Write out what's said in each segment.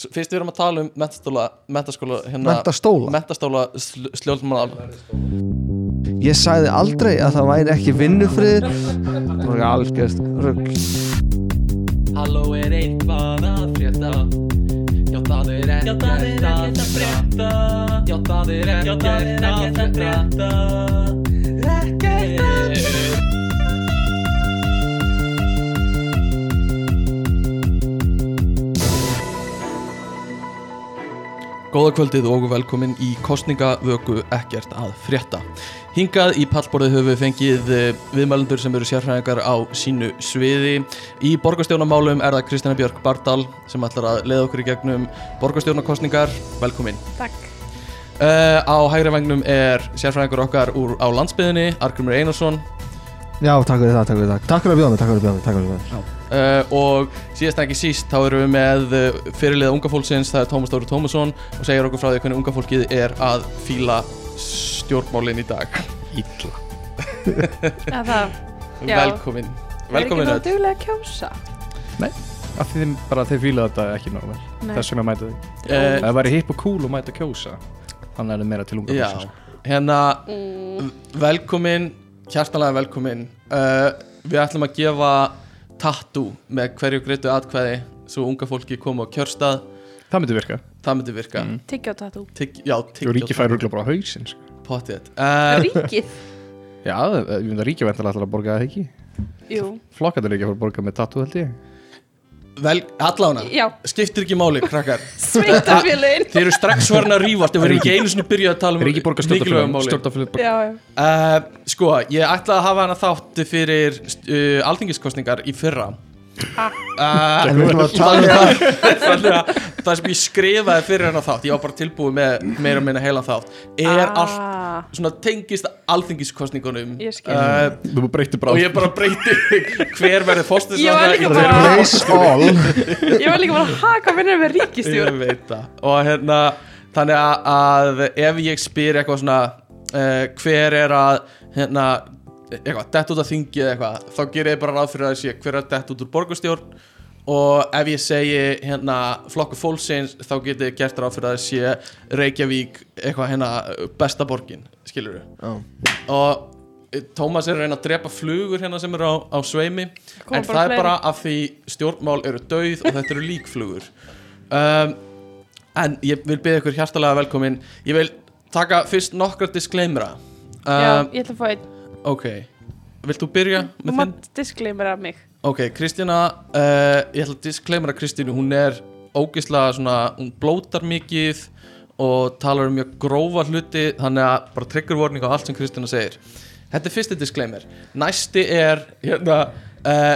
S- Fyrst við erum að tala um mentaskóla, mentaskóla hérna, Menntastóla Mentaskóla sl sljóðmanna Ég sagði aldrei að það væri ekki vinnufriður Það var algjörst rugl Halló er eitthvað að frétta Já það er ekkert að frétta Já það er ekkert að frétta Eh, Ekkert að frétta Góða kvöldið og velkomin í kostningavöku ekkert að frétta. Hingað í pallborðið höfum við fengið eh, viðmælendur sem eru sérfræðingar á sínu sviði. Í borgarstjónamálum er það Kristjana Björk Bardal sem ætlar að leiða okkur í gegnum borgarstjónakostningar. Velkomin. Takk. Uh, á hægri vagnum er sérfræðingur okkar úr á landsbyðinni, Argrymur Einarsson Já, takk fyrir það, takk fyrir það Takk fyrir að bjóða mig, takk fyrir að bjóða mig, takk fyrir að bjóða mig uh, og síðast en ekki síst þá erum við með uh, fyrirliða unga fólksins það er Tómas Dóri Tómasson og segir okkur frá því hvernig unga fólkið er að fíla stjórnmálin í dag Ítla Að það Já. Velkomin Velkomin öll er ekki bara duglega að kjósa. að því þeim bara þeir fíla þetta ekki nóg vel Nei. þess vegna mæta því uh, það væri hipp og cool og mæta kjósa þannig Eh. er það meira til unga Já, fólksins. hérna Mm. Velkomin, hjartalega velkomin uh, Við ætlum að gefa tattoo með hverju greitu atkvæði svo unga fólki koma á kjörstað það myndi virka það myndi virka mm. Tyggja og tattoo. Tygg, já, og ríki fær rúglega bara á hausinn sko. pottið uh, Ríkið? já, það- ég myndi að ríki verður alltaf að borga það ekki Jú. flokkandur ekki að fara að borga með tattoo held ég vel, Allána Já, skiptir ekki máli, krakkar sveitarfélagin. Þeir eru strax farin að rífast ef við erum ekki einu sinni byrjuð að tala um ríki borga mikilvægum máli stjórnaflöð já, já. uh, Sko, ég ætlaði að hafa hana þátt fyrir uh, alþingiskostningar í fyrra uh, En við ætlum að tala um það Þannig að það sem ég skrifaði fyrir hana þátt Ég var bara tilbúið með meira og minna heila þátt Er allt Ah, svona tengist alþingiskostningunum Ég skil. uh, þú breytir bara Og ég bara breyti hver verður fórstis Ég var líka bara- Place all Ég var líka bara að haka minnir með Ég ríkistjórn. veit það Og hérna, þannig að, að ef ég spyr eitthvað svona uh, hver er að hérna, eitthvað, dett út af þingi eða eitthvað, þá gerir ég bara ráð fyrir að sé hver er að dett út úr borgarstjórn og ef ég segi hérna flokku fólksins, þá getur ég gert ráð fyrir að sé Reykjavík eitthvað hérna besta borgin, skilur og eh, Tómas er að reyna að drepa flugur hérna sem eru á, á sveimi Koma en bara það er fleiri. bara af því stjórnmál eru dauð og þetta eru líkflugur um, en ég vil byrja ykkur hjartalega velkomin ég vil taka fyrst nokkra disclaimera Já, Mm, um, ég ætla að fá einn. ok vilt þú byrja Þú með þinn? mátt disclaimer af mig. ok, Kristina uh, ég ætla að disclaimera Kristínu hún er ógislega svona hún blótar mikið og talar um mjög grófa hluti þannig að bara trigger warning á allt sem Kristina segir Þetta er fyrsti disclaimer Næsti er hérna, uh,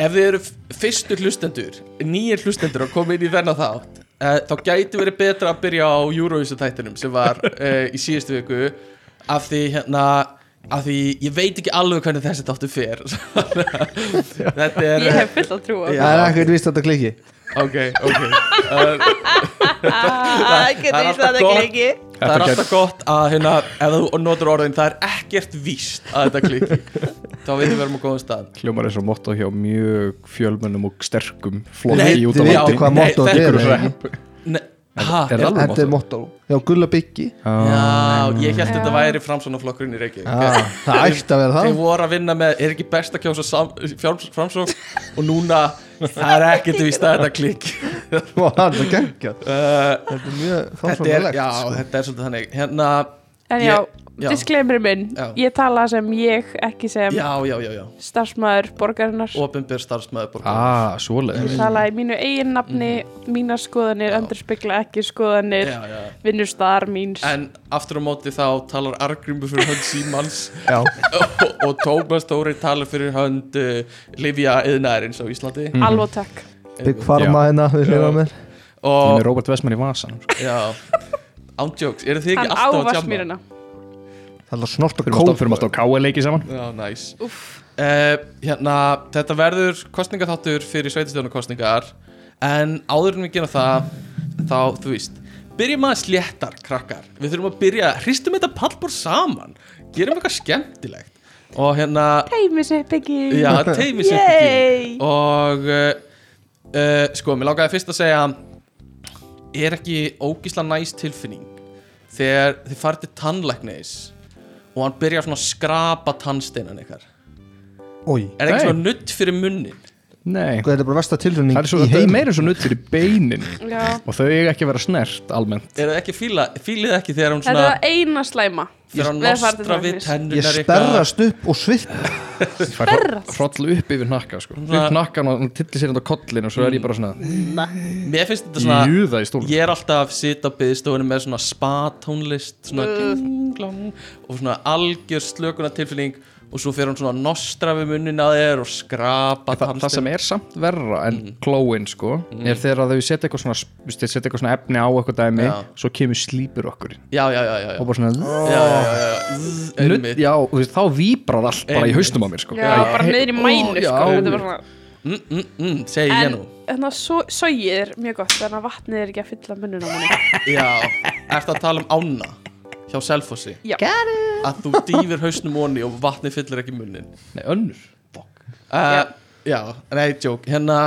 Ef þið eru f- fyrstu hlustendur Nýjir hlustendur að koma inn í þennan þátt uh, Þá gæti verið betra að byrja á Eurovision þættinum sem var uh, í síðustu viku Af því hérna Af því ég veit ekki alveg hvernig þessi þáttu fer Þetta er Ég hef fullt að trúa. Já. Það er ekkert vist að þetta kliki Ok, ok uh, Ah, Það er getur alltaf gott. ekki. Það er Þetta alltaf gott að hérna Ef þú notur orðin það er ekkert víst að þetta klikki Þá veitum við erum á góðum stað hljómar eins og motto hjá mjög fjölmönnum og sterkum Nei, flokki út á já, Þið veitir landi hvað nei, mottóð þetta er ekki? Einhver rap. Nei, ha, Er það Þetta er alveg mottóð Já, gulla byggi Já, ég held þetta Já. væri framsóknarflokkurinn í Reykjavík Já, Það ætti að vera Þeir það voru að vinna með, er ekki best að kjósa sam- fjár- framsókn og núna það er ekkert víst að þetta klikk Vá, Það er geggjað uh, Þetta er mjög Þetta er, þáframlegt já, þetta er svolítið þannig Hérna, En Ég- já, já. disclaimer minn. Já. Ég tala sem ég, ekki sem já, já, já, já starfsmæður borgarinnar. Opinber starfsmæður borgar ah, svoleið Ég tala í mínu eigin nafni, mínar skoðanir, endur spegla ekki skoðanir, Mhm. Já, já vinnustar míns. En aftur á móti þá talar Argrimur fyrir hönd Símans Já. og, og Tómas Dóri talar fyrir hönd uh, Livja Iðnæðarins á Íslandi Alveg takk. Big Pharma hérna við hljóðum mér Ég Og, er Robert Westman í sko. vasan já Ándjóks, eru þið ekki Hann á alltaf að tjama? Vassmýrina. Það er að snort og Fyrir kóp maður stáð KL-leiki saman Já, næs nice. uh, Hérna, þetta verður kostningaþáttur fyrir sveitastjónarkostningar En áður en við gerum það Þá, þú víst Byrjum að sléttar, krakkar Við þurfum að byrja, hristum þetta pallbór saman Gerum eitthvað skemmtilegt Og hérna, Heimi sér bygging. já, teimi sér Yay! eh, Og uh, uh, sko, mér lákaði fyrst að segja er ekki ógísla næs tilfinning þegar þið farið til tannlæknis og hann byrjar svona að skrapa tannsteinan ykkar er Ói, það ekki Nei. svona nutt fyrir munnin Nei, þetta er bara versta tilrunning það er, svo, í það er heim meira svo nutt fyrir beinin Já. og þau eiga ekki að vera snert almennt er það ekki fíla, fílið ekki þegar hún Þetta er svona það eina slæma þegar hann Við erum farin til nostra við tannlæknis. Ég tennunar sperrast upp og svipp Ég fæ hroll upp yfir hnakka sko. Svona- upp hnakkan og hún tillir sér þetta á kollin og svo er ég bara svona mér finnst þetta svona júða í stólum ég er alltaf að sita á byggstofunum með svona spa-tónlist svona gling, glang, og svona algjör slökuna tilfinning og svo fer hann svona að nostra við munnin að þér og skrapa Þa, það sem er samt verra en klóin sko, er þegar að þau setja eitthvað svona, þú veist, þau setja eitthvað svona efni á eitthvað dæmi Já. svo kemur slípur okkur inn. já, já, já, já, já. og bara svona já, já, já, já. Zzz, Nudd, einmitt. já, og þú veist, þá víbrar allt bara í Einmitt. haustum á mér sko. Já, bara niður í mænu Já. sko. Þetta er bara svona- Mm, mm, mm, segi ég En nú þannig að so, sogið er mjög gott Þannig að vatnið er ekki að fylla munnuna á manni já, eftir að tala um ána hjá Selfossi Já. að þú dýfir hausnum onni og vatni fyllir ekki munnin Nei, önnur uh, já, nei, joke hérna,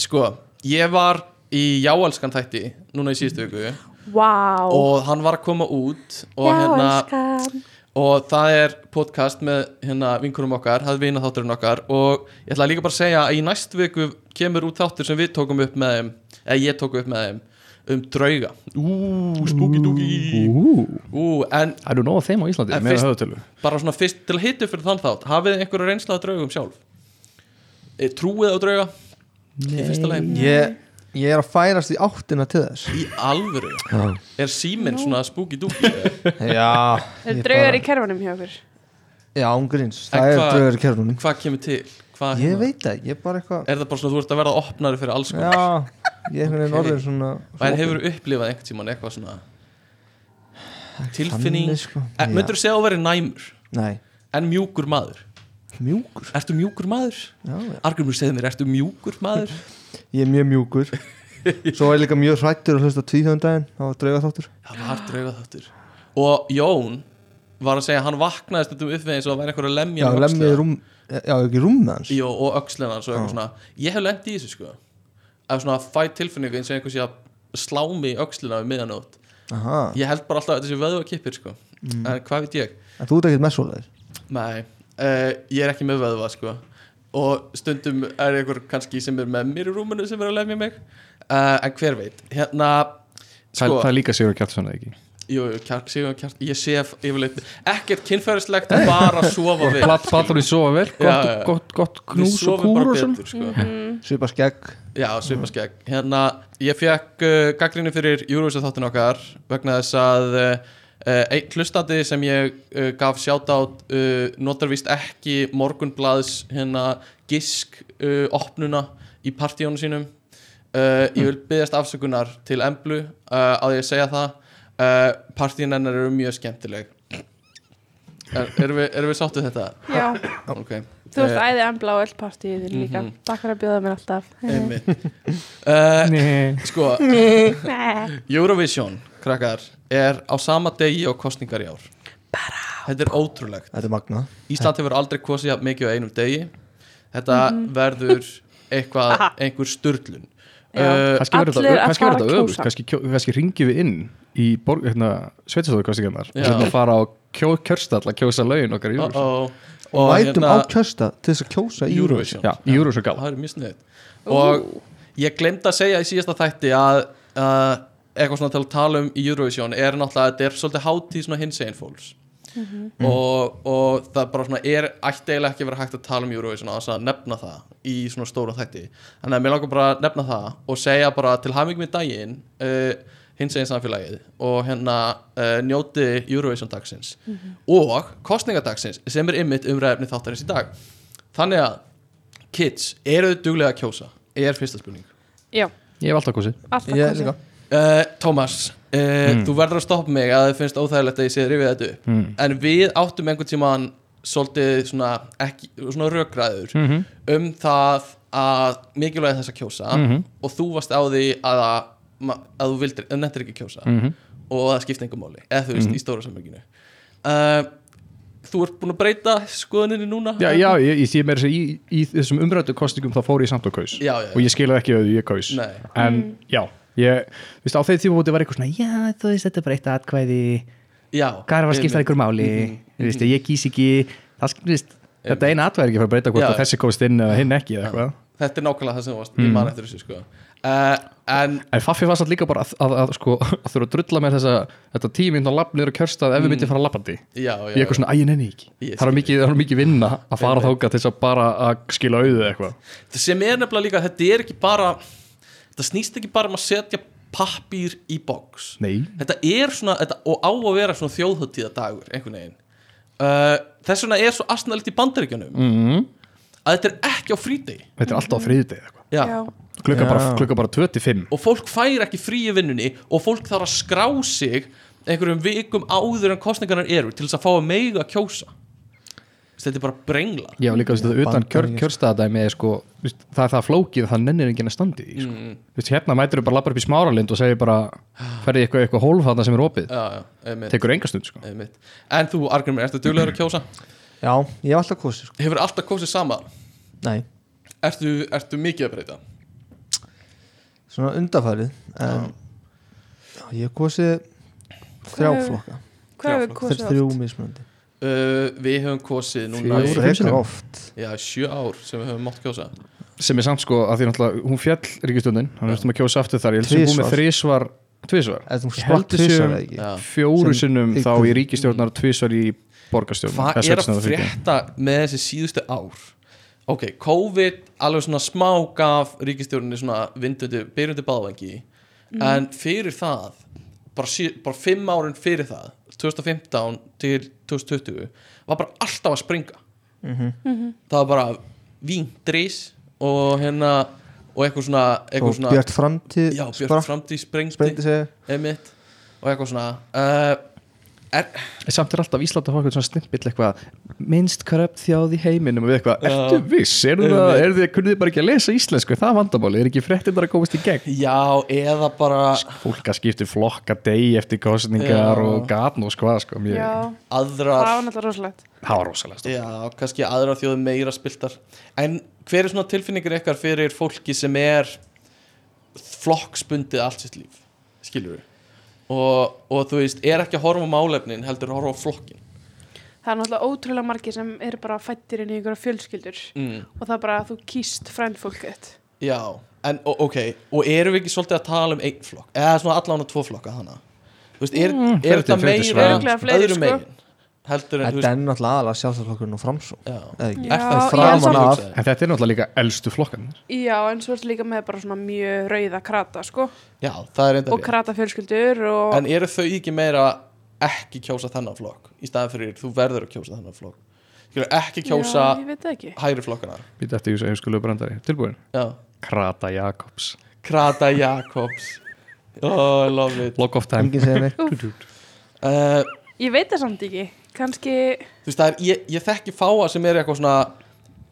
sko, ég var í jáelskan þætti núna í síðustu viku Vá og hann var að koma út og, hérna, elskan og það er podcast með hérna, vinkunum okkar, hafði vina þátturinn okkar og ég ætla líka bara að segja að í næst viku kemur út þáttur sem við tókum upp með þeim eða ég tók upp með þeim um drauga Ú, spooky dooky Ú, Ú, en það eru nóg af þeim á Íslandi En með fyrst- höfutölu bara svona fyrst til að hitta upp fyrir þann þátt hafið þið einhverju reynslað draugum sjálf e, trúið á drauga í fyrsta lagi ég, ég er að færast í áttina til þess í alvöru Já, er síminn svona spooky dooky Er ég draugar í bara- kerfunum hjá okkur? Já, ángríns, En það er hvað- draugur í kerfunum hvað kemur til hvað, Ég hérna, veit það, ég er bara eitthvað er það bara svona þú ert að verða opnari fyrir alls konar Já, ég er einhvern veginn Ok. orðin svona en hefur upplifað einhvern tímann eitthvað svona tilfinning Þannig, sko. e, Já. myndur þú segja að vera næmur Nei, en mjúkur maður mjúkur ertu mjúkur maður? já, já. Argrymur segði mér, ertu mjúkur maður? Ég er mjög mjúkur Svo er ég líka mjög hrættur að hlusta tvíhjóndaginn á drauga þáttur það var drauga þáttur og Jón var að segja að hann vaknaði stundum upp við eins og það væri einhverja Já, lemja lemmið rúm, já, ekki rúm með hans Jó, og öxlina hans og eitthvað svona ég hef lendið í þessu sko að svona fæ tilfinningu eins og einhvers ég að slá mig í öxlina við miðanótt Aha, ég held bara alltaf að þetta sé vöðu sko Mm. en hvað veit ég? en þú ert ekkert með svoleiðir Nei, uh, ég er ekki með vöðva sko og stundum er einhver kannski sem er með mér í rúminu sem er að lemja mig uh, en hver veit hérna það, sko, það er líka Sigur Kjartason eða ekki jú, jú, kjark, síðan kjark ég sé yfirleitt ekkert kynferðislegt bara að sofa við Platt fattur því sofa vel, gott, Já, já. gott, gott Við knús og sofum bara kúr og svona betur, sko. Mhm. Svipa skegg Já, svipaskegg Hérna, ég fekk uh, gaggrinni fyrir Eurovision þáttin okkar vegna þess að uh, uh, einn hlustandi sem ég uh, gaf sjátátt uh, notar víst ekki morgunblaðs hérna gisk uh, opnuna í partíónu sínum uh, Ég vil byggðast afsökunar til Emblu uh, að ég segja það uh, Partíin hennar eru mjög skemmtileg er, Erum við, erum við sáttu þetta? Já Okay. Þú ert Eh, æði embla á öllpartíð þín líka Mhm. Eh. Takk fyrir að bjóða mér alltaf einmitt. uh, Nei. Sko, Nei. Eurovision, krakkar, er á sama degi og kostningar í ár Þetta er ótrúlegt Þetta er magna Ísland hefur aldrei kosið jafn mikið á einum degi Þetta verður eitthvað, einhver sturlun Já. uh, Kannski verður Allir þetta- að kannski verður fara þetta að öfugt kjósa. kannski, kjó- kannski ringjum við inn í borg, hérna, sveitastofukostingarnar og Já. hérna fara á kjó, kjörstall að kjósa lögin okkar í uh Eurovision -oh. Og mætum á kjösta til þess að kjósa í Eurovision Eurovision Já, í Eurovision Það gala er mjög sniðið Og ég glemd að segja í síðasta þætti að uh, eitthvað svona til að tala um í Eurovision er náttúrulega að þetta er svolítið hátíð svona hins einn fólks og, og það bara svona er ætti eiginlega ekki að vera hægt að tala um Eurovision á þess að nefna það í svona stóra þætti þannig að mér langar bara að nefna það og segja bara til hamingum í daginn uh, hins einn samfélagið og hérna uh, njóti Eurovision dagsins og kostningadagsins sem er ymmit umræðefni þáttarins í dag þannig að kids, eru þið duglega að kjósa? er fyrsta spurning Já, Ég hef alltaf kosið alltaf Ég kosið. líka Uh, Tómas, uh, Hmm. þú verður að stoppa mig að þið finnst óþægilegt að ég sé rifið þetta upp Mm. en við áttum einhvern tímann svolítið svona, ekki, svona rökræður Mhm. um það að mikilvæg þess að kjósa Mhm. og þú varst á því að, að, ma- að þú vildir, að nettir ekki kjósa Mhm. og það skipti engum máli eða þú veist Hmm. í stóra samönginu uh, Þú ert búin að breyta skoðuninni núna? Já, já, ég, ég, ég meira þess að í, í þessum umrættu kostingum þá fór ég samt og kaus Já, já, já. og ég skilaði ekki að ég kaus Nei. en já, ég, þú veist, á þeim tímabúti var eitthvað svona já, þú veist, þetta er bara eitt atkvæði já hvað er að skipta einmitt. ykkur máli, þú veist, ég gís ekki það skiptist, þetta eina atkvæði er ekki að fara að breyta hvort Já. að þessi komst inn eða hinn ekki eða eitthvað þetta er nákvæmlega það sem þú varst ég Mm. man eftir þessu sko uh, en En Faffi var satt líka bara að, að, að, sko, að þurfa að drulla með þessa, þetta tímynd á lappnir og kjörstað ef við myndið fara lappandi já, Mm. já, Ég er eitthvað svona, æ, ég nenni ekki Ég Það er mikið, það er mikið vinna að fara þáka til þess að bara að skila auðu eitthvað sem er nefnilega líka þetta er ekki bara þetta snýst ekki bara um að setja pappír í box Nei þetta er svona þetta, og á að vera svona þjóðhóttíða dagur einhvern veginn uh, þess vegna er svo asnælt í bandaríkjunum mm. að þetta er ekki á frídegi Þetta er alltaf á þriðjudegi eitthvað já. Já. Klukka bara, Já. klukka bara 25 og fólk fær ekki frí í vinnunni og fólk þarf að skrá sig einhverjum vikum áður en kostningarnar eru til þess að fá að meiga að kjósa Þess, þetta er bara brengla Já, líka þú veist, þetta utan kjör, Bandaríkjast. kjörstaðadæmi er sko, þú veist, það er það flókið að það nennir enginn að standi í, sko. Mm. Þú veist, hérna mætur bara labbar upp í smáralind og segir bara Ah. ferði eitthvað eitthvað hólf þarna sem er opið já, já, einmitt, tekur engastund, sko einmitt. en þú Argrimur, ertu duglegur að kjósa Já, ég hef alltaf kosið sko. hefur alltaf kjósið sama Nei, ertu, ertu mikið að breyta svona undarfærið en, já, Ég hef kosið þrjá Hvað- flokka Hvað hefur Þrjá Þeir kosið þrjú oft? mismunandi uh, við höfum kjósið núna Fjögur. í, fimm Frekar sinnum? oft já, sjö ár sem við höfum mátt kjósa sem er samt sko að því náttúrulega hún fjall ríkistöndin, hann ertum að kjósa aftur þar ég held sem búið með þrísvar, tvísvar Eða þú Ég spratt held þessu- tvisvar eða ekki já. fjóru Sem sinnum þá ykkur- í ríkistjórnar og tvísvar í borgarstjórnar hvað er að frétta með þessi síðustu ár ok, COVID alveg svona smá gaf ríkistjórninni svona vindundi, byrjundi báðvangi en fyrir það bara, sí, bara fimm árin fyrir það 2015 til 2020 var bara alltaf að springa Mhm. það var bara víndris og hérna og eitthvað svona, eitthvað Og svona Bjart framtíð já, björt spratt- framtíð Sprengdi sprengdi sig einmitt og eitthvað svona uh, er, samt er alltaf Ísland að hafa eitthvað svona snippill eitthvað minnst korrupt þjóð í heiminum og við eitthvað, Já. ertu viss, er það, er þið, kunnið þið bara ekki að lesa íslensku, það er vandamáli, er ekki fréttin að komast í gegn já, eða bara fólk að skipti flokka degi eftir Ah. kostningar Já. og gatn og hvað sko, mér, Já, aðrar það var náttúrulega rosalegt það var rosalega stórt. Já, kannski aðra þjóðum meira spiltar En hver er svona tilfinningur ykkar fyrir fólki sem er flokksbundið allt sitt líf skilur við og, og þú veist, er ekki að horfa á málefnin heldur að horfa á flokkin Það er náttúrulega ótrúlega margir sem eru bara fættir inn í einhverja fjölskyldur mm. og það er bara að þú kýst frændfólk þitt. Já, en o- ok og erum við ekki svolítið að tala um einn flokk eða svona allan og tvo flokka hana Þú veist, er, Mm, er þetta 40, 40 meira svæðum. Örugglega fleiri, öðru sko. megin heldur en, þú Þetta veist, er náttúrulega aðalega sjálfstæðflokkurinn og framsó já Eða ekki Já, Er það ég er framan samt- af en þetta er náttúrulega líka elstu flokkan Já, en svo er líka með bara svona mjög rauða krata, sko, Já, það er enda og rétt. krata fjölskyldur og... En eru þau ekki meira ekki kjósa þennan flokk í staðan fyrir þú verður að kjósa þennan flokk Skilur, ekki kjósa Já, ég veit það ekki. hægri flokkana við þetta ég skulum brandari, tilbúin Já. Krata Jakobs, Krata Jakobs Oh, I love it log off time Engin segir neitt uh, Ég veit það samt ekki. Kannski, Þú veist, það er, ég, ég þekki fáa sem er eitthvað svona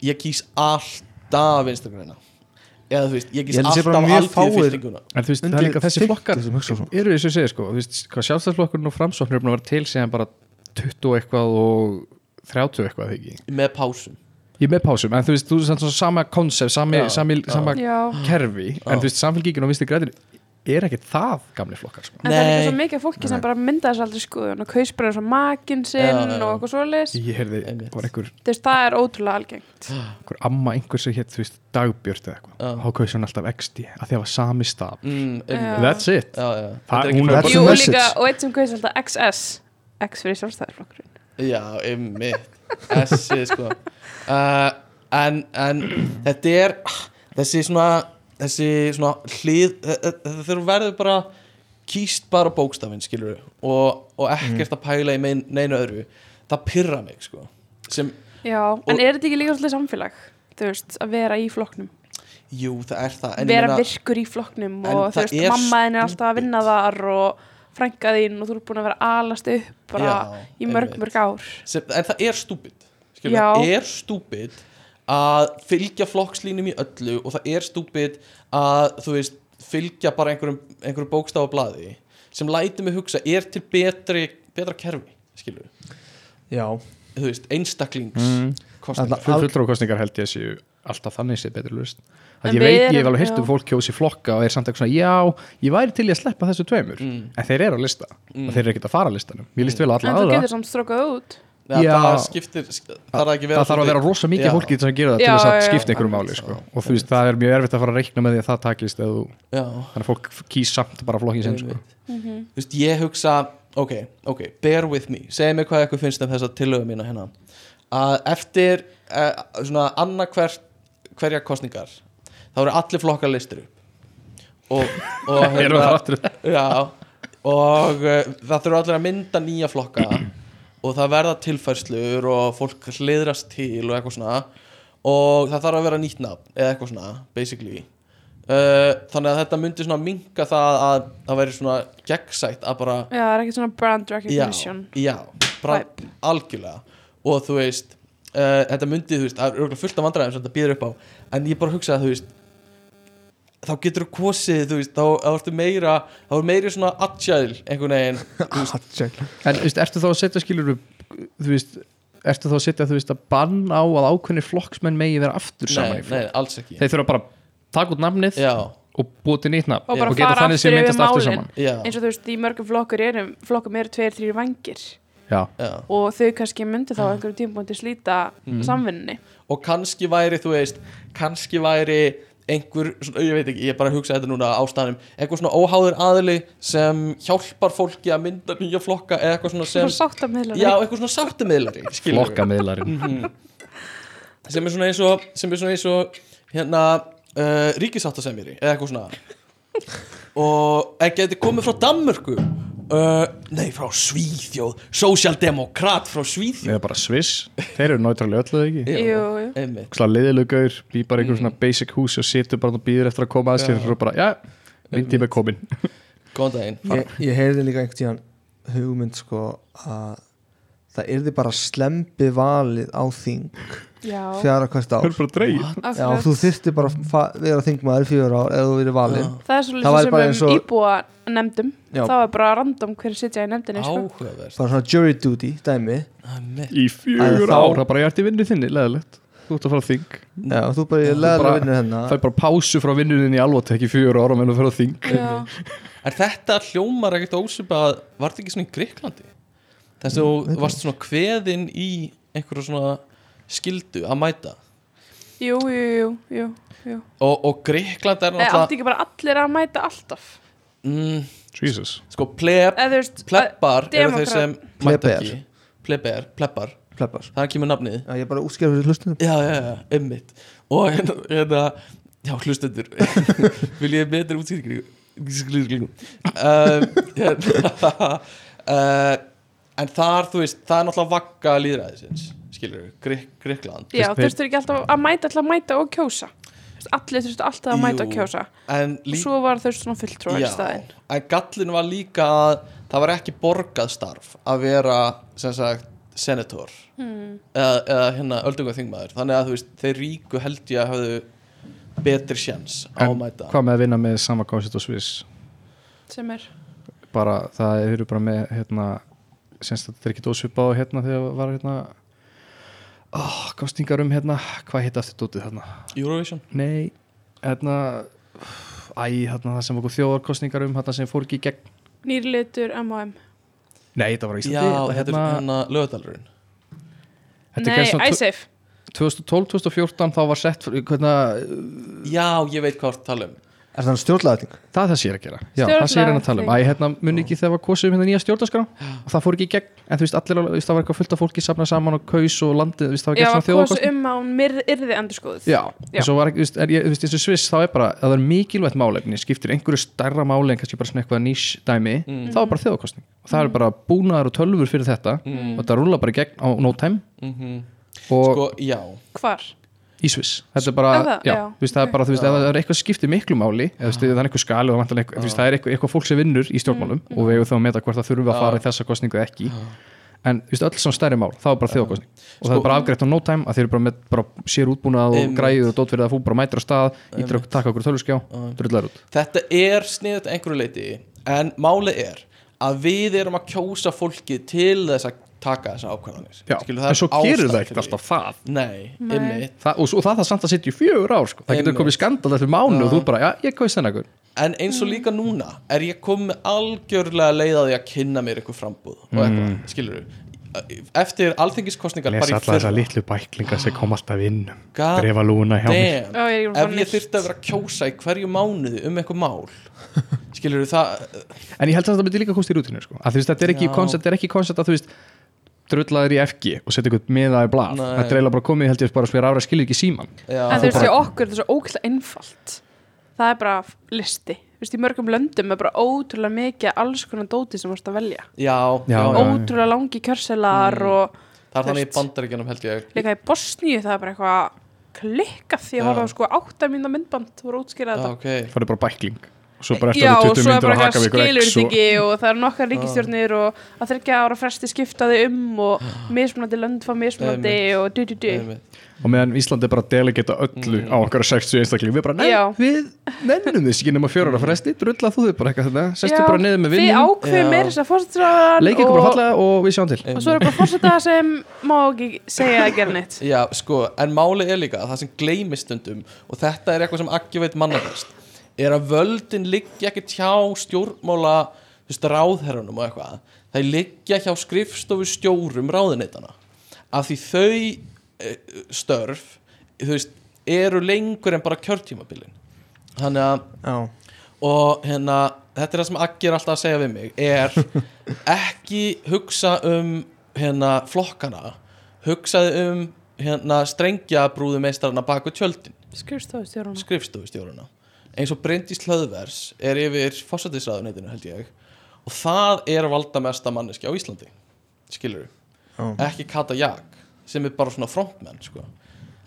Ég kýs alltaf vinstri greina Eða þú veist, ég kýs Ég held að sé alltaf bara mjög alltíð fáir- fyltinguna En þú veist, það er Undir líka þessi 50 flokkar sem hugsa svona. eru þess að segja sko, þú veist, hvað sjálfstæðsflokkurinn og framsóknir er búin að vera til síðan bara 20 eitthvað og 30 eitthvað eða ekki. Með pásum Ég er með pásum, en þú veist, þú veist, svona sama konsept, sami, Já, sami, já. sama já. kerfi, Já. en þú veist, samfélgíkin og vinstri græðin er ekkert það gamli flokkar sko. En það er líka Nei. svo mikið af fólki sem bara mynda þess aldrei skoðun og kaus bara eins og makinn sinn Já, já, já. og eitthvað svoleiðis. Ég heyrði, Einmitt. var einhver, Þú veist, það er ótrúlega algengt. einhver amma einhver sem hétt, þú veist, dagbjört eða Já. eitthvað, þá kaus hún alltaf XD, að því að var sami staf. mm, einmitt. Já. That's it. Já, já, Það- Þetta er ekki hún bara- er- That's the Jú, og message. líka, og eitt sem kaus alltaf XS. X fyrir sjálfstæðarflokkurinn. Já, einmitt Þessi sko uh, en, en þetta er þessi svona þessi svona hlið þetta þurfum verður bara kýst bara bókstafinn skilur og, og ekkert að pæla í mein, neinu öðru það pyrra mig sko sem, Já, en er þetta ekki líka svolítið samfélag? Þú veist, að vera í flokknum. jú það er það en ég vera meina- virkur í flokknum En og þú það veist, er mamma þinn er alltaf að stúpid. vinna þar og frænka þín og þú er búin að vera að alast upp bara Já, í mörg, einmitt. mörg ár sem, en það er stúbid skilur, Já. það er stúbid að fylgja flokkslínum í öllu og það er stúbid að þú veist, fylgja bara einhverjum, einhverjum bókstaf á blaði sem læti mig hugsa, er til betri betra kerfi, skilur Já, þú veist, einstaklings mm. Alla- kostningar Fulltrókostningar held ég séu alltaf þannig sé betur lust En að ég við veit, ég hef erum- alveg heyrt um já. fólk kjósi flokka og er samt eitthvað svona, já, ég væri til í að sleppa þessu tveimur, Mm. en þeir eru á lista og þeir eru ekkert að fara á listanum, ég líst vel á alla En þú aðra getur samt strókað út Já, Já. það skiptir Það þarf ekki það þarf að vera rosa mikið Já. fólki sem gerir það til Já, þess að já, já. skipta einhverju máli sko. og þú veist, það er mjög erfitt að fara að reikna með því að það takist eða þú, Já þannig að fólk kýs samt bara flokkin sinn sko. Þú veist, ég hugsa ok, ok, bear with me segi mér hvað ykkur finnst um þessa tillögu mína hérna að eftir eh, svona annarkvert hverja kostningar þá eru allir flokkar listir upp og, og hérna- Erum við þar aftur? já, og uh, það þurfa allir að mynda nýja flokka og það verða tilfærslur og fólk hliðrast til og eitthvað svona og það þarf að vera nýtt nafn eða eitthvað svona, basically uh, þannig að þetta myndi svona minka það að það væri svona gegnsætt að bara Já, það er ekki svona brand já, recognition já, bara Vibe. algjörlega og þú veist uh, þetta myndi, þú veist, það er örugglega fullt af vandræðum sem þetta býður upp á, en ég bara hugsa að þú veist þá getur þú kosið, þú veist, þá þá ertu meira þá er meiri svona agile einhvern veginn En þú veist, ertu þá að setja skilur þú veist, ertu þá að setja þú veist að bann á að ákveðni flokksmenn megi vera aftur nei, saman í nei, flokk alls ekki þeir þurfa bara að taka út nafnið já, og búið til nýtt nafn Og bara geta fara þannig aftur sem yfir myndast aftur málin. saman já, Eins og þú veist, í mörgum flokkur eru flokkum eru tveir, þrýr vangir já, já og þau kannski myndu Ah. þá á einhverjum tímpúndi slíta Mm. samvinni og kannski væri, þú veist kannski væri einhver svona, ég veit ekki, ég bara hugsa þetta núna ástæðanum einhver svona óháður aðli sem hjálpar fólki að mynda nýja flokka eða eitthvað svona Svo sem sátt að meðla já, einhver svona sáttamiðlari skilurðu. flokkamiðlarinn sem er svona eins og sem er svona eins og hérna uh, ríkisáttasemjari eða eitthvað svona og en geti komið frá Danmörku uh, nei, frá Svíþjóð sósjaldemokrat frá Svíþjóð eða bara Sviss, þeir eru náttúrulega öllu eða ekki Já, Jú, jú. einmitt slag liðilugaur, bý bara einhver svona basic hús og situr bara og býður eftir að koma að sér og bara, já, minn tíma er komin góðan daginn ég, ég heyrði líka einhvern tíðan hugmynd sko að það yrði bara slempi valið á þing Já, fjara hvert ár bara dreigir Já, akkurat. þú þyrfti bara að fa- vera þingmaður í fjögur ár eða þú verið valinn Það er svolítið Það væri sem bara um eins og- íbúa nefndum Já. Það var bara random hver sitja í nefndinni sko. áhugaverst bara svona jury duty dæmi einmitt í Að fjögur þá- ára, bara ég ert í vinnu þinni, leðilegt þú ert að fara að þing, Já, þú bara hérna, ég leðar að bara- vinna hennar það er bara pásu frá vinnuðinni í alvotek í fjögur ára menn að fara að þing Já. Er þetta hljómar ekkert ósipað Var þetta ekki svona í Greiklandi? Þess að þú varst svona kveðin í einhverju svona skildu að mæta Jú, jú, jú, jú, jú. Og, og Greikland er Nei, átti náttúrulega ekki bara allir að mæta alltaf mm, Jesus, Sko pleb, Eða þú veist að- plebbar eru þeir demókrat- sem mæta Pleber. ekki Pleber, plebbar, pleppar það kemur nafnið Já, ég bara útskjæður fyrir hlustunum Já, já, já, einmitt Og hérna, hérna já, hlustendur Vil ég betur útskýringu Útskýringu um, hérna, uh, En þar, þú veist, það er náttúrulega vakka lýðræðisins Skilur við, Grik, Grikland Já, þú Þú veist, þeir- þurftur ekki alltaf að mæta alltaf að mæta og kjósa Þú veist, Allir þurftu alltaf að mæta og Jú, kjósa En Og líka svo var þau svona fulltrúar í staðinn en gallin var líka að það var ekki borgað starf að vera sem sagt senator eða, eða hérna öldunga þingmaður þannig að þú veist þeir ríku held ég að hafðu betri sjens á að en mæta hvað með að vinna með sama koncept og Sviss sem er bara, það eru bara með hérna, semst að þetta er ekki dósvipa á hérna þegar var hérna oh, kostningar um hérna hvað heit aftur dótið hérna Eurovision nei, hérna æ, hérna það sem okkur þjóðarkostningar um hérna sem fór ekki í gegn nýrlitur M&M nei, þetta var á Já, Íslandi þetta er hérna lögadalurinn þetta er Nei, gerst svona Æsif 2012-2014 þá var sett hérna, Já, ég veit hvað það tala um Er það stjórnlæðing? það er það sér að gera já, það sér hérna að tala um, æ, hérna muni ekki þegar var kosið um hérna nýja stjórnarskrá og það fór ekki í gegn en þú veist, allir, þú veist, það var eitthvað fullt af fólki samnað saman og kaus og landið, þú veist, það var Já, gerst að svona kosa þjóðarkostning um að hún myrð- yrði endurskoðuð Já, Já. en svo var ekki, þú veist, er ég- þú veist, eins og Sviss þá er bara, ef það er mikilvægt málefni skiptir einhverju stærra máli en kannski bara svona eitthvað nýs dæmi, þá er bara þjóðkostning og það er bara búnaðar og tölfur fyrir þetta og þetta rúla bara í gegn á no time og Sko, já, Hvar? í Sviss þetta er bara, Er það? já, Já, þú veist, það er ok. bara þú veist, ef það er eitthvað sem skiptir miklu máli eða, þú veist, það er eitthvað skali og það vantar eitthvað, þú veist, það er eitthvað, eitthvað fólk sem vinnur í stjórnmálum Mm. og við eigum þá að meta hvort það þurfum við að fara í þessa kostningu eða ekki en þú veist, öll svona stærri mál, það er bara þjóðkostning og það er bara afgreitt á no time að þeir eru bara með bara sér útbúnað og Sko- Einmitt. græðu og dótt fyrir það fú bara mætir á stað, ítrykk, taka okkur tölvskjá drullar út, þetta er sniðut einhverju leiti en málið er að við erum að kjósa fólki til þess að taka þessar ákvæðanir Já, en svo gerur það ekkert alltaf það Nei, Nei. einmitt Þa, og, s- og það það samt að sitja í fjögur ár sko. það getur Einmitt. komið skandal eftir mánu og þú bara, já, ég kaust þennan gaur. En eins og líka núna er ég komið algjörlega leið að ég að kynna mér eitthvað frambúð og eitthvað, skilur Eftir alþingiskostningar bara í fyrra litlu bæklinga sem kom alltaf inn God lúna damn, Ó, ég er ekki búin að fá ef ég neitt. þyrfti að vera að kjósa í hverju mánuði um eitthvað mál skilur það en ég held að þetta myndi líka komst í rútinu sko. að þú veist, þetta er ekki Já. koncept, þetta er ekki koncept að þú veist drullaður í FG og setja ykkur miða í blað Nei. þetta er eiginlega bara komið, held ég, bara svo ég ráður að skilja ekki síman já, En þú veist, hjá okkur er þetta svo ókvæmlega einfalt Það er bara f- listi Þú veist, í mörgum löndum er bara ótrúlega mikið af alls konar dóti sem vorst að velja já, já, Já, já. já. Mm. Ótrúlega langi kjörselar og það er þannig í Þurft. bandaríkjunum held ég líka í Bosníu það er bara eitthvað klikkað því Já. að horfa á sko áttar mínna myndband þú voru útskýrað já, þetta ok, það er bara bækling og svo bara eftir Já, og alveg 20 svo er myndur bara að haka eitthvað við ykkur skilur X þetta og... ekki og það eru nokkar ríkistjórnir og að þryggja ára fresti skipta þau um og mismunandi lönd fá mismunandi og du du du einmitt. og meðan Ísland er bara að delegita öllu á okkar 60 einstakling við bara, nei, Mm. Já. við nennum þess ekki nema fjórar að fresti, drulla þú þau bara eitthvað þetta sestu Já, bara niður með Þið vinnum, Já. ákveðum meira þess að fórsetstráðan leik ykkur bara fallega og við sjáum til og svo er bara fórseta sem má ekki segja að gera neitt já, sko, en málið er líka að það sem gleymist stundum og þetta er eitthvað sem ekki veit manna best er að völdin liggja ekki hjá stjórnmála þú veist, ráðherranum og eitthvað það liggja hjá skrifstofu stjórum ráðuneytana af því þau eh, störf þú veist, eru lengur en bara kjörtímabilin þannig að já, og hérna þetta er það sem Aggi er alltaf að segja við mig er ekki hugsa um hérna flokkana hugsaði um hérna strengjabrúðu meistarana baku tjöldin skrifstofustjórun skrifstofustjóruna eins og Bryndís Hlöðvers er yfir fórsættisraðuneytinu held ég og það er valdamesta manneski á Íslandi skilur já. ekki Kata Jak sem er bara svona frontmenn sko.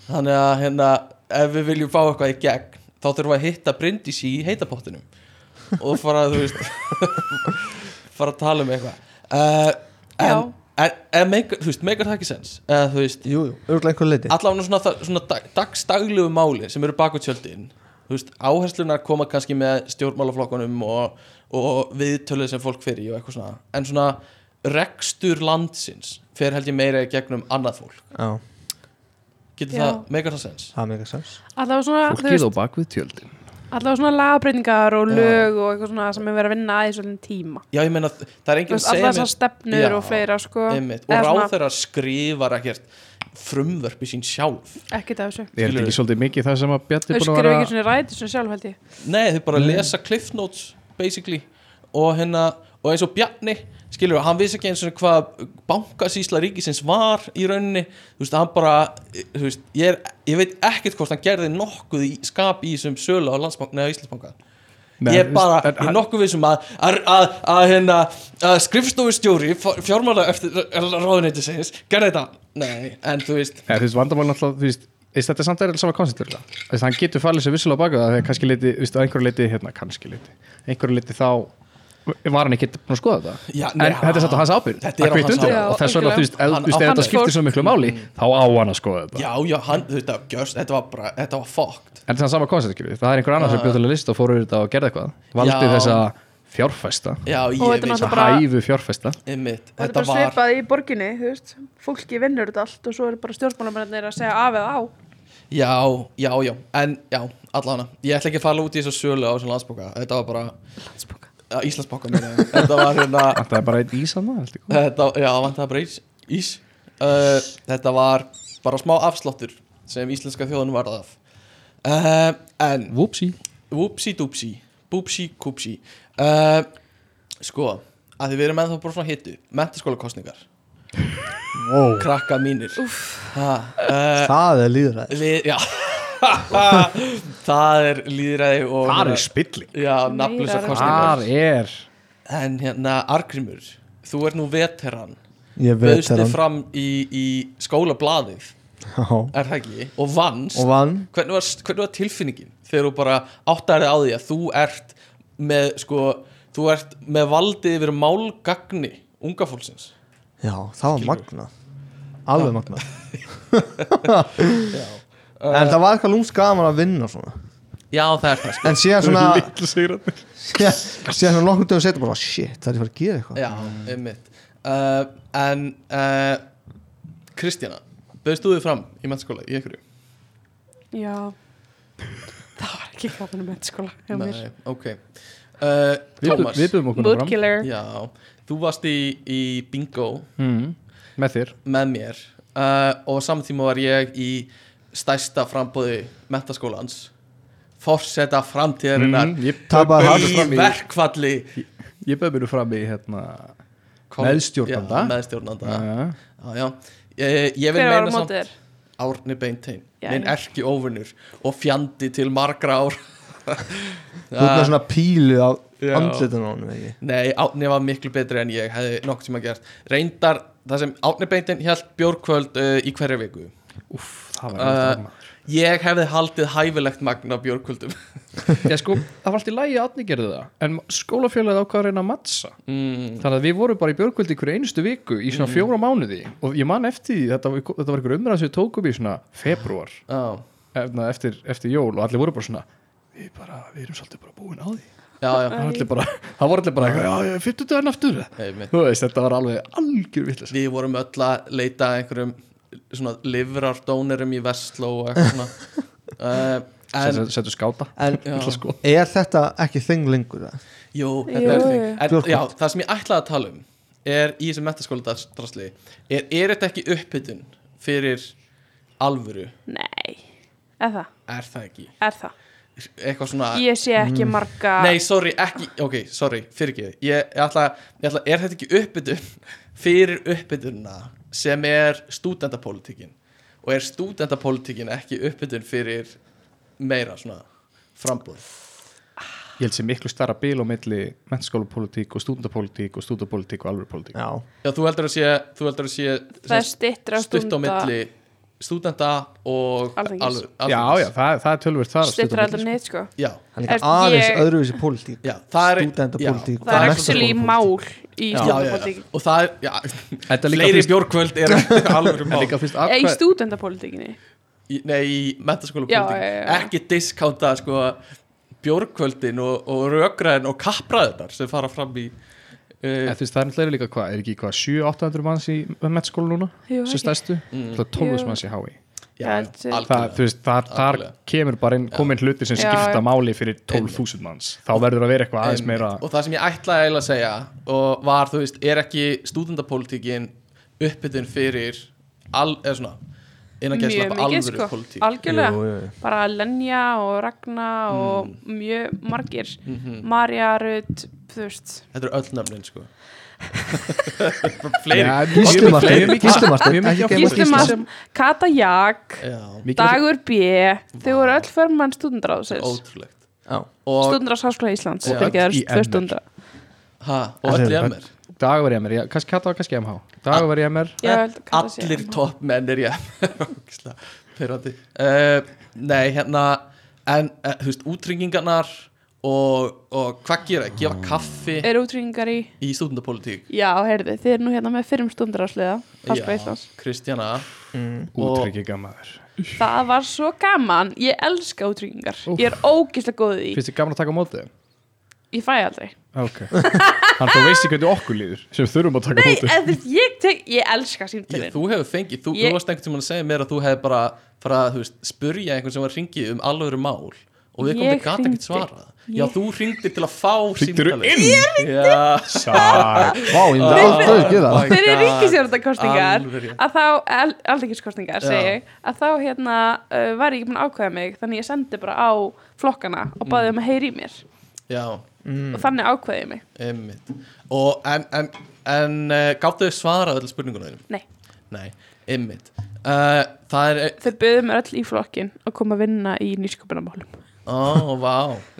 þannig að hérna, ef við viljum fá eitthvað í gegn þá þurfum við að hitta Bryndís í heitapottinum og fara þú veist fara að tala um eitthvað uh, Já. en, en, en meikar, þú veist, meikar það ekki sens eða Eh, þú veist, jú, jú, örgulega einhver leiti allavega svona, það- svona dag, dagstaglegu máli sem eru baku tjöldin þú veist, áherslunar koma kannski með stjórnmálaflokkunum og, og viðtölið sem fólk fyrir í og eitthvað svona en svona rekstur landsins fer held ég meira í gegnum annað fólk já, getur Já. það, meikar það sens það er mega sens allavega svona, þú fólkið á veist, bak við tjöldin allavega svona lagabreitingar og Já. lög og eitthvað svona sem er verið að vinna aðeins svona tíma já, ég meina, það er Þú enginn að veist, allavega segja þessar stefnur Já. og fleira sko einmitt, og Eða svona- ráð þeirra skrifar ekkert frumvörpi sín sjálf ekkert af þessu er þetta ekki svolítið mikið það sem að Bjarni þau búin að skrifa vera ekki svona ræti svona sjálf held ég Nei, þau bara lesa cliff notes basically og hérna og eins og Bjarni, skilur hann vissi ekki eins og hvað bankasýsla ríkisins var í rauninni, þú veist, hann bara eh, þú veist, ég, er, ég veit ekkert hvort hann gerði nokkuð í skap í þessum sölu á landsbank, neða Íslandsbanka Nei, ég er bara, en ég er hann- nokkuð vissum að að, að, að, hérna, að skrifstofustjóri fjármála eftir ráðuneyti segis, gerði þetta, nei en þú veist, Nei, þú veist, vandamál náttúrulega, þú veist, veist þetta er samt er sama koncept örugglega. Þú veist, hann getur falið sér vissulega á baka það þegar kannski leiti, þú veist, að einhverju leiti hérna, kannski leiti, einhverju leiti þá var hann ekki búin að skoða þetta Já, en nei, þetta er satt á hans ábyrgð Þetta er að á kvitta hans undir ábyrgð. það. og Já, þess vegna, þú veist, ef- Hann- þú veist, ef hann- þetta skiptir svo miklu Mm. máli þá á hann að skoða þetta já, já, hann, þetta var gjörst þetta var bara, þetta var fokkt en það er sama koncept, skilur, við. það er einhver annar sem bjóð til að lista og fór yfir þetta og gerði eitthvað valdi Já. þessa fjárfesta já, ég þetta er veit náttúrulega þessa bara- hæfu fjárfesta Einmitt, og þetta þetta er bara var svipað í borginni þú veist fólki vinnur þetta allt og svo er bara stjórnmálamennir að segja af eða á Já, já, já, en já, allana Ég ætla ekki að fara út í þessu sölu á þessum landsbóka Þetta var bara landsbóka uh, Íslandsbóka meina ég. Þetta var hérna það er bara einn ísanna, held ég þetta, Já, vantaði bara ís, ís. Uh, Þetta var bara smá afsláttur sem íslenska þjóðan varð af uh, En Whoopsie. Whoopsie doopsie Boopsie koopsie uh, Sko, að þið verðum ennþá bara svona hittu Mentaskóla kostningar wow. Krakka mínir ha, Eh, það er líðræði lið, Já Það er líðræði og Þar er spilling Já, nafnlösa Meira kostningar þar er En hérna, Argrimur, þú ert nú veteran ég veit Böðstu það fram í, í skólablaðið og Er það ekki? Og vannst vann hvernig, var, hvernig var tilfinningin þegar þú bara áttaði á því að þú ert með, sko, þú ert með valdið yfir málgagni unga fólksins já, það var magnað alveg magnað Já, Eh, en það var eitthvað lúmsk gaman að vinna svona Já það er það sko en síðan svona litlu sigrarnir síðan, síðan svona nokkur dögum setja bara shit, það er ég að fara að gera eitthvað Já, einmitt uh, en uh, Kristjana bauðst þú þig fram í mennskóla í einhverju? Já Það var ekki gaman um mennskóla hjá mér Nei, ok uh, Við bu- Thomas við buðum okkur nú fram Moodkiller Já, þú varst í, í bingo mm, Með þér með mér uh, og samtíma var ég í stærsta frambóði mentaskólans forseta framtíðarinnar Mm, Ég Tapaði bauð- harður í fram í- verkfalli Ég bauð mér nú fram í hérna Meðstjórnanda. já, meðstjórnanda. Já. Já, já. Ég, ég vil Hver var á meina móti samt þér? Árni Beintein Já, minn já. erki óvinnur og fjandi til margra ár Þú ert með svona pílu á Já. andlitinu á honum ekki Nei, Árni var miklu betri en ég hefði nokkuð tíma gert reyndar það sem Árni Beintein held bjórkvöld uh, í hverja viku Úff, það var Uh, uh, ég hefði haldið hæfilegt magna bjórkvöldum Já sko, það var allt í lagi að Átni gerði það En skólafélagið ákvað að reyna að mattsa mm, Þannig að við vorum bara í björgvöldi hverju einustu viku Í svona fjóra mánuði Og ég man eftir því, þetta, var- þetta var einhver umræð sem við tókum í svona februar á, efna, eftir, eftir jól og allir voru bara svona Við, bara, við erum svolítið bara búin á því já, já, Það var allir bara, það voru allir bara eitthvað, Já, já, 50 daginn aftur einmitt. Þú veist, þetta var alveg algjör vitlega við vorum öll að leita að einhverjum svona livrardónerum í Vestló og eitthvað svona uh, en, Settu skáta En Já. Ítla sko er þetta ekki þing lengur? eða? Jú, Jú, þetta er jú. þing en, Björgvin. já, Það sem ég ætlaði að tala um er í þessum metaskóladrasli er, er þetta ekki upphittun fyrir alvöru Nei, er það, er það ekki er það eitthvað svona Ég sé ekki Ah. marga Mm. Nei, sorry, ekki, ok, sorry, fyrir ekki ég, ég ætla, ég ætla, er þetta ekki uppbytun fyrir uppbytunna sem er stúdendapolítikin og er stúdendapolítikin ekki uppbytun fyrir meira svona frambúð Ég held sem miklu starra bíl á milli mennskólapolitík og stúdendapolítík og stúdendapolítík og alvörpolítík Já, Já, þú heldur að sé, þú heldur að sé Það er stittra stutt á milli stúdenda og Alþingis. alv- Já, já, það, það er tölvöld þar Stittra heldur neitt sko já, hann er Er ekki aðeins ég- öðruvísi pólitík já, það er Stúdentapólitík. já, Það er er actually menntaskólapólitík. mál í Já, já, já, stúdentapolítikinni og það er, já, Þetta er líka fleiri fyrst- bjórkvöld er alveg En mál líka fyrst Í atkvæð stúdentapolítikinni í, nei, í mentaskóla Já, já, já, já. ekki diskáta sko, bjórkvöldin og, og rökraðin og kapraðinar sem fara fram í uh, En þú veist, það er náttúrulega líka hvað, er ekki hvað 7-800 manns í mettskóla núna Jú, sem ekki. stærstu, Mm. það er 12 manns í HÍ já, ég held sér. það, algjörlega. þú veist, þar, þar Algjörlega. kemur bara inn komin hluti sem Já, skipta já. máli fyrir 12.000 manns þá verður að vera eitthvað aðeins meira Einmitt. og það sem ég ætlaði eiginlega að segja og var, þú veist, er ekki stúdendapolítikin uppbytun fyrir al, eða svona innangeðsla Mjög mikið alvöru sko pólitík Algjörlega Jú, jú, jú. Bara Lenja og Ragna og mjög margir Mm. Mhm. Marja, Rut, þú veist þetta eru öll nöfnin sko fleiri Gísli Marteinn, Gísli Marteinn, ekki gleyma Gísli Marteinn, Kata Jak já, Dagur B Þau voru öll förmann stúdendaráðsins ótrúlegt Já. og, Stúdendarháskóla Íslands Já, Fyrir öll í ekki MR. þar stundar ha, og öll í emmer dag var ég að mér, kannski katta var kannski MH dag var ég að mér, Ég held að Kata sé allir MH. toppmenn er ég pyrrandi uh, nei hérna en uh, þú veist útringingarnar og, og hvað gera, gefa kaffi Er útrýningar í í stúdendapolítík Já, heyrðu, þið eru nú hérna með fyrrum stundarásliða Háskóla Íslands Kristjana Og- útryggja maður Það var svo gaman, ég elska útryggingar Ég er ógislega góð í því. finnst þið gaman að taka á móti? þeim? Ég fæ aldrei ok þannig þú veist ekki hvernig okkur líður sem þurfum að taka á Nei, móti eða, þú veist, ég, tek, ég elska ég, símtölin þú hefur fengið, þú, Ég- þú varst einhvern tímann að segja mér að þú hefði bara, bara þú veist, spurja einhvern sem var hringið um alvöru mál og við komum Ég til gata ekkert hringdi. svara já, Ég- þú hringdir til að fá Hringdirðu símtalið. já, Sæk. Vá, ég myndi aldrei að gera það my Fyrir God. ríkisjörndakostningar Alveg rétt. að þá, aldrikisjörndakostningar Já. segi ég, að þá hérna uh, var ég ekki búin að ákvæða mig þannig ég sendi bara á flokkana og Mm. baði um að heyri í mér já, Mm. og þannig ákvæði ég mig einmitt og en, en, en uh, gáttu þau svara öll spurningunum þínum? Nei, nei, einmitt uh, það er, þau böðu mér öll í flokkin og kom að vinna í nýsköpunarmálum ó, vá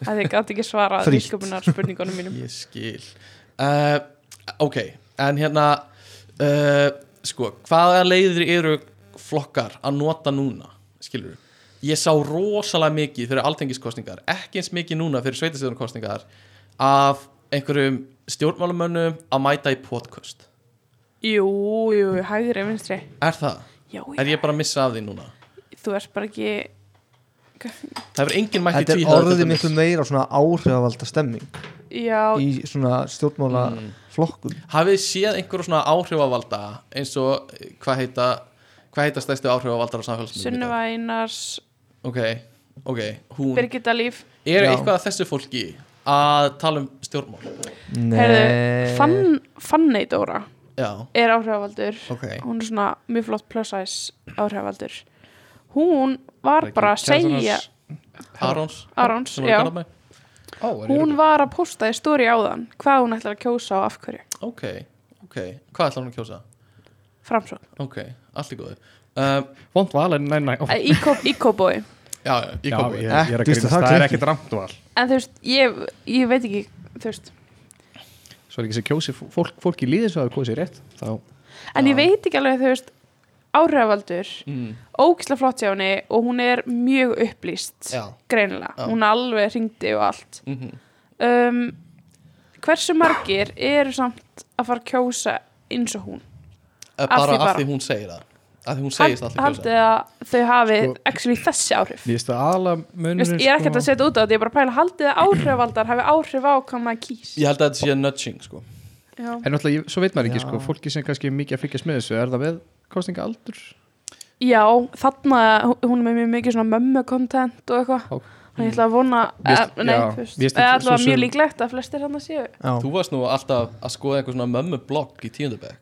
að þið gátt ekki svara Frítt. nýsköpunarspurningunum mínum ég skil uh, ok, en hérna uh, sko, hvaða leiðir eru flokkar að nota núna skilur ég sá rosalega mikið fyrir altengiskostningar ekki eins mikið núna fyrir sveitastöðunarkostningar af einhverjum stjórnmálumönnum að mæta í podcast Jú, jú, hægri, vinstri er það? Já, Er ég bara að missa af því núna? þú ert bara ekki líka það hefur enginn mætt í þetta er tvíhöfða til orðið dæmis. miklu meira svona áhrifavalda stemming Já, í svona stjórnmála flokkum hafið þið séð einhverjum svona áhrifavalda eins og eh, hvað heita hvað heita stærstu áhrifavaldar á samfélagsmyndum Sunniva Einars, ok, ok, hún Birgitta Líf er Já. eitthvað að þessu fólki að tala um stjórnmál Nei. Mm. Heyrðu, Fann, Fanney Dóra já, er áhrifavaldur ok hún er svona mjög flott plus size áhrifavaldur hún var bara að segja Arons Arons, sem voru í já, Garðabæ. hún hérna. hún var að posta í stóri áðan hvað hún ætlar að kjósa og af hverju ok, ok, hvað ætlar hún að kjósa framsókn, ok, allt í góðu um, vond val en nei, nei ó, Eh, í Kó- í kóbói já, já, ég Já, ég, kom við ég er að Ekki, grínast, veistu, það það er klikkar. ekkert ramt val en þú veist, ég, ég veit ekki þú veist, svo er ekki sem kjósi fólk, fólk í líðis að það kjósi rétt þá en ég veit ekki alveg þú veist, áhrifavaldur mm, ógislega flott hjá henni og hún er mjög upplýst, já, greinilega Já. hún alveg hringdi og allt mm um, hversu margir eru samt að fara að kjósa eins og hún Af bara því bara. af því hún segir það af því hún segist Hald- allir kjósa haldið að þau hafi Sko- actually þessi áhrif líðist að aðla munur Vist, ég er ekkert að sko. setja út á þetta, ég er bara að pæla haldið að áhrifaldar hafi áhrif á hvað maður kýs ég held að þetta sé nudging sko Já. en náttúrulega, ég- svo veit maður ekki Já. sko, fólki sem kannski er mikið að fylgjast með þessu er það við kostninga aldur Já, þarna hún er með mjög mikið svona mömmu content og eitthvað Ó. Þannig ég ætla að vona Mér- eh, Nei, já, þú veist, mér finnst eða þetta svo allavega sem- mjög líklegt að flestir hann að séu Já. þú varst nú alltaf að skoða einhver svona mömmublogg í tíundabæk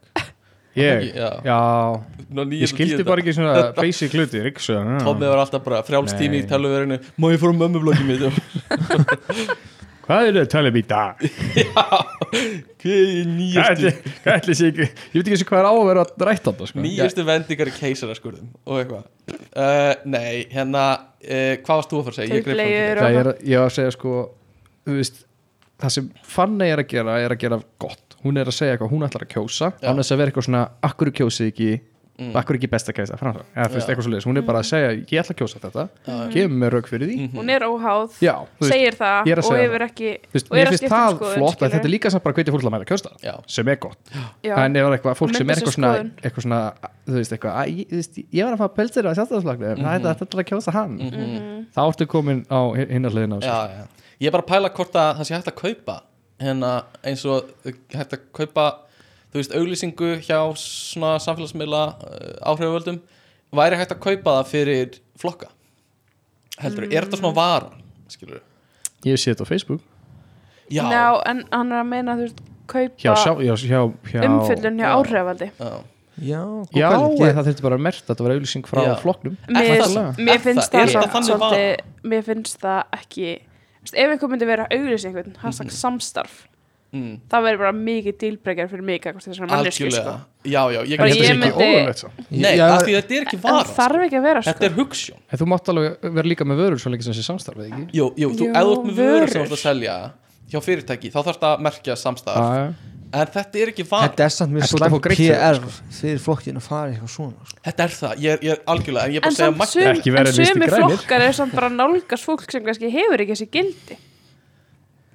Ég, já, já, ég skildi bara ekki svona basic hluti, sko. riksu Tommi var alltaf bara frjálstími í Nei. tölvuverinu Má ég fór á mömmublokkið mitt Hvað er það að tala um í dag? Hvað er Hvað nýjastu ætli- hvað ætli sé ekki ég veit ekki sem hvað er á að vera rætt á þetta sko. Nýjastu vendingar í keisaraskurðum Og eitthvað uh, Nei, hérna, uh, hvað varst þú að fara að segja? Ég greip fram í Tauglegur þetta. Já, ég er, ég er að segja sko þú veist, það sem Fanny er að gera er að gera gott, hún er að segja hvað hún ætlar að kjósa Já. annars að vera eitthvað svona, akkur kjósið ekki Mm. akkur ekki best að kjósa framfram, eða þú veist Já. eitthvað svo hún er bara að segja ég ætla að kjósa þetta, gefur mér rauk fyrir því Mm. Hún er óháð, Mhm. já, þú veist, segir það ég er að og segja hefur ekki þú veist, og er mér að finnst skipta um það skoðun, flott skilurðu. að þetta er líka samt bara hvetja fólk til að mæta að kjósa Já, sem er gott Já. en ef það er eitthvað fólk Og sem mynda er sér eitthvað svona, skoðun. eitthvað svona þú veist eitthvað, "Æ, ég, þú veist, ég var að fá pölsir á sjálfstæðsflagni, mm -hmm. það ætlar að kjósa hann Mhm. þá ertu komin á hinnarlegin á Mm. já, já Ég er bara að pæla hvort að það sé hægt að kaupa Hérna, eins og uh, hægt að kaupa Þú veist, auglýsingu hjá svona samfélagsmiðla uh, áhrifavöldum Væri hægt að kaupa það fyrir flokka Heldur, er þetta Mm. svona vara? Skilur ég sé þetta á Facebook Já, Já, en hann er að meina þú veist, hjá, kaupa sjá, hjá, hjá, hjá umfyllun hjá Já. áhrifaldi já. já, góð Já, pæling. eða Ég- það þurfti bara að merta að þetta var auðlýsing frá Já. flokknum Mér, það- mér er það- finnst það, er það samt þannig svolítið, mér finnst það ekki þú veist, ef einhver myndi vera að auglýsa einhvern hashtag Mhm. samstarf, Mm, það verður bara mikið dílbreykjar fyrir mig gagnvart þessari mannesku sko. algjörlega Já, já, ég Bara Ég held að get ég það sé myndi- ekki óðurlegt svo Nei, Já, af því þetta er ekki en vara þarf ekki að vera Þetta sko. er hugssjón En þú mátt alveg vera líka með vörur svo lengi sem þessi samstarfið, ekki? Jú, jú, þú, Jú, ef þú ert með vörur sem þú vörur. ert að selja hjá fyrirtæki, þá þarfst að merkja samstarf Já, en þetta er ekki vara, þetta er samt mér Þetta er svolítið slæmt greitt fyrir PR fyrir sko? flokkinu að fara í eitthvað svona sko. þetta er það ég er, ég er algjörlega, en ég er en bara að segja samt magna sum, Ekki en verið vinstri sumi grænir. flokkar er samt bara að nálgast fólk sem kannski hefur ekki þessi gildi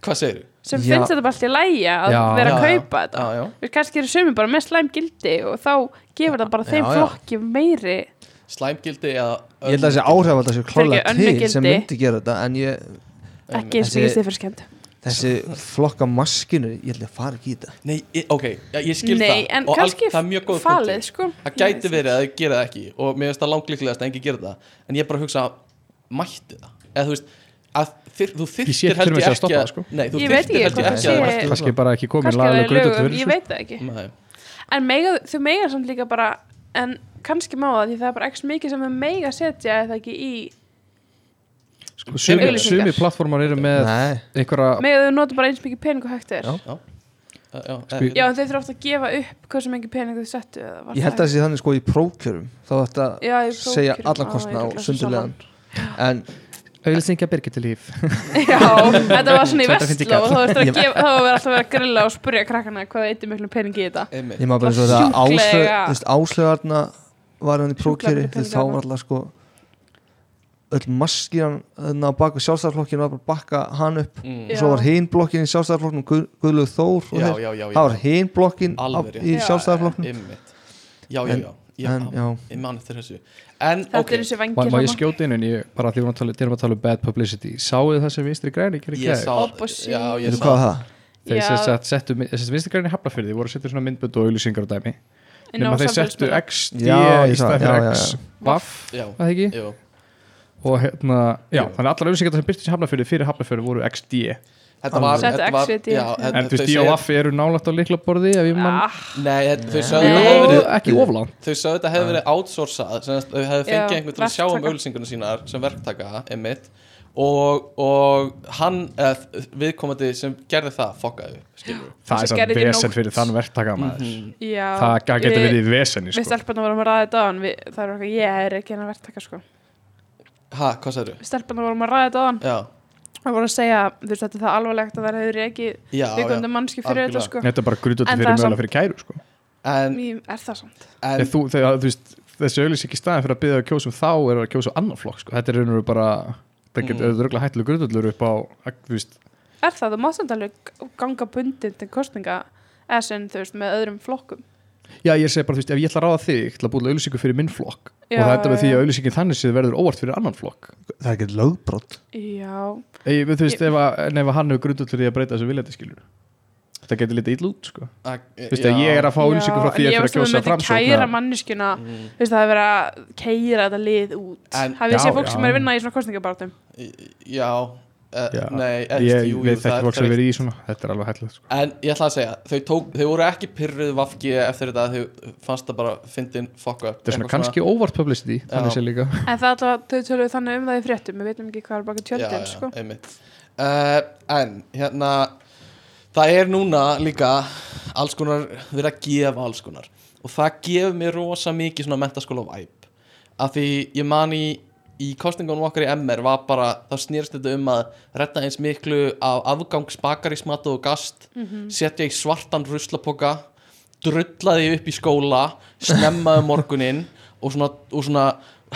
hvað segir þú? sem Já. finnst þetta bara alltaf í lægja að Já. vera Já, að já. kaupa þetta Já, já. Þú veist, kannski eru sumi bara með slæm gildi og þá gefur það bara þeim Já, já. flokki meiri Slæmgildi eða ég held að þessi áhrifald að séu Fyrirgefðu, klálega önnur til sem gildi. myndi gera þetta en ég, ekki eins Þessi- mikið stiðfyrir skemmt þessi flokka maskinu ég held að fara ekki í þetta Nei, ég- ok, já, ég skil Nei, það en og kannski það er mjög góð falið sko það gæti verið að þau gera það ekki og mér finnst það langlíklegast að enginn gera það en ég er bara að hugsa mætti það eða þú veist, að þyr, þú Ég sé þyrftir held ég ekki fyrir mér að ekki stoppa að það, sko. nei, þú Ég veit þyrftir ekki held ég hvort ekki það að sé- merkja Kannski bara ekki komin kannski lagalega verið grötu lögum, ég fyrir þessu. veit það ekki það. Nei. en mega, þau mega samt líka bara en kannski má það því það er bara ekki mikið sem þau mega setja eða ekki í Sko, sumi, Auglýsingar. sumi plattformar eru með nei, einhverja, mega þau nota bara eins mikið pening og hægt er Já. já, Já, já, Sko, eh, en þau þurfa ofta að gefa upp hversu mikið pening þau settu eða var ég held að það þessi þannig sko í prókjörum þá þetta Já, í prófkjörum. segja Á, allan ég kostna rugla og þessu sundurlegan en auðlýsingja Birgitulíf. já, þetta var svona í Þetta finnst ég vestló og þá verður Ég- alltaf að vera að grilla og spurja krakkana hvað þau eittu miklu pening í þetta einmitt. Mm. ég maður bara eins og Það þetta var áslög sjúklega- þú veist, áslögarna var hann í prókjöri Sjúklega þegar fyrir þá peningana. var alltaf sko öll maskíran þarna á baku sjálfstæðarflokkinu var bara að bakka hann upp Mm. og svo var hinn blokkin í sjálfstæðarflokkinu Guð, Guðlaug Þór og já, þeir já, já, já. það var hinn blokkin á, Alveg rétt. í sjálfstæðarflokkinu Einmitt. Já, já, En- já já, en, já. ég man eftir þessu en Þetta ok, er þessi Má, vangir má ég skjóti inn en ég bara því við erum að tala, þegar við erum að tala um bad publicity Sáuðu það sem vinstri græni gerir ég gæði? sá Opposite. já, ég Veitu sá hvað það? Þeir Já. sem sagt settu, mynd- sem sagt vinstri græni hafnafyrði voru að setja svona myndbönd og auðlýsingar á dæmi Inn á Nefnum þeir settu samfélagsmiðla. XD Já, í ég sá það, stað fyrir já, já, X já. Vaff, já, það ekki? jú. Og hérna, já, Jú. þannig að allar auðlýsingar sem byrtist í hafnafyrði fyrir hafnafyrði voru XD þetta var, Settu þetta var XVD. já, En þetta- En þú þau veist, ég og Vaff eru nálægt á liklaborði ef ég mann Ah, nei, þetta- þau Jú, sögðu að það hefði verið- ekki oflan þau sögðu þetta hefði verið outsourcað sem sagt, þau hefði fengið Já, einhvern til að sjá um verktaka. auglýsingunum sínar sem verktaka, einmitt og, og hann eð, viðkomandi sem gerði það fokkaði, skilur Sem Það er sann gerði því nótt. vesen fyrir þann verktaka maður já Það getur Við- verið vesen sko. Við stelpunum vorum að ræða þetta á hann Það er okkar, ég er ekki hennar verktaka sko ha, hvað sagður? Við stelpunum vorum að ræða þetta á hann já, Það voru að segja, þú veist þetta er það alvarlegt að það hefur ekki já, viðkomandi já mannski fyrir þetta algjörlega. sko Þetta er bara grútið En það fyrir er mögulega samt- fyrir kæru sko. en, Mér er það samt en en, þú, þegar, þú veist, Þessi auðlýsing í staðin fyrir að byggja að kjósa um þá er að kjósa um annan flokk sko. Þetta er raunur bara Það getur Mm. mm. auðvitað hættilega grútið upp á að, þú veist, Er það, þú mátt samt alveg g- ganga bundin til kostninga eða sem þú veist með öðrum flokkum Já, ég segi bara, þú veist, ef ég ætla að ráða þig til að búið auðlýsingu fyrir minn flokk Já, og þetta með því já. að auðlýsingin þannig séð verður óvart fyrir annan flokk Það er ekkert lögbrott Já, Ég, þú veist, Ég- ef, að, en ef að hann hefur grútið fyrir því að breyta þessu viljandi skilur Þetta getur litið ítl út sko. að, Þú veist, að ég er að fá auðlýsingu frá því að fyrir Ég að kjósa veist að við myndum kæra framsókn manneskjuna, Mm. þú veist það er verið að keira þetta lið út En- Hafið Já, séð fólk já. sem er að vinna í svona kostningabartum já, eh, Já. nei eh, Ég jú, jú, veit það ekki er- fólk það sem er verið í svona Þetta er alveg hættilegt sko. En ég ætla að segja, þau, tók, þau voru ekki pyrruð vafki eftir þetta þau fannst það bara fyndin fokka Þetta er svona kannski óvart publicity Þannig Já. sé líka En það er alltaf, þau töluðu þannig um það í fréttum Við veitum ekki hvað er baka Já, já, tjöldin sko. einmitt uh, En hérna Það er núna líka alls konar, við erum að gefa alls konar og það gefur mér rosa mikið svona mentaskóla væp af því ég man í, í kostningunum okkar í MR var bara, þá snýrst þetta um að retta eins miklu af afgangsbakarísmatu og gast setja í svartan ruslapoka drulla því upp í skóla snemma um morguninn og svona, og svona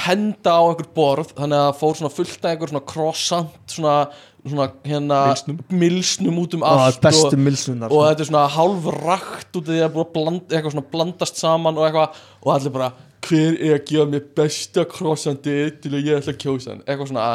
henda á einhver borð þannig að það fór svona fullt af einhver svona krossant svona, svona hérna Mylsnum. milsnum út um Það allt er bestu og, milsunar sko. og þetta er svona hálfrakt út af því að búið að blanda, eitthvað svona blandast saman og eitthvað og allir bara hver er að gefa mér besta krossandi til að ég ætla að kjósa hann eitthvað svona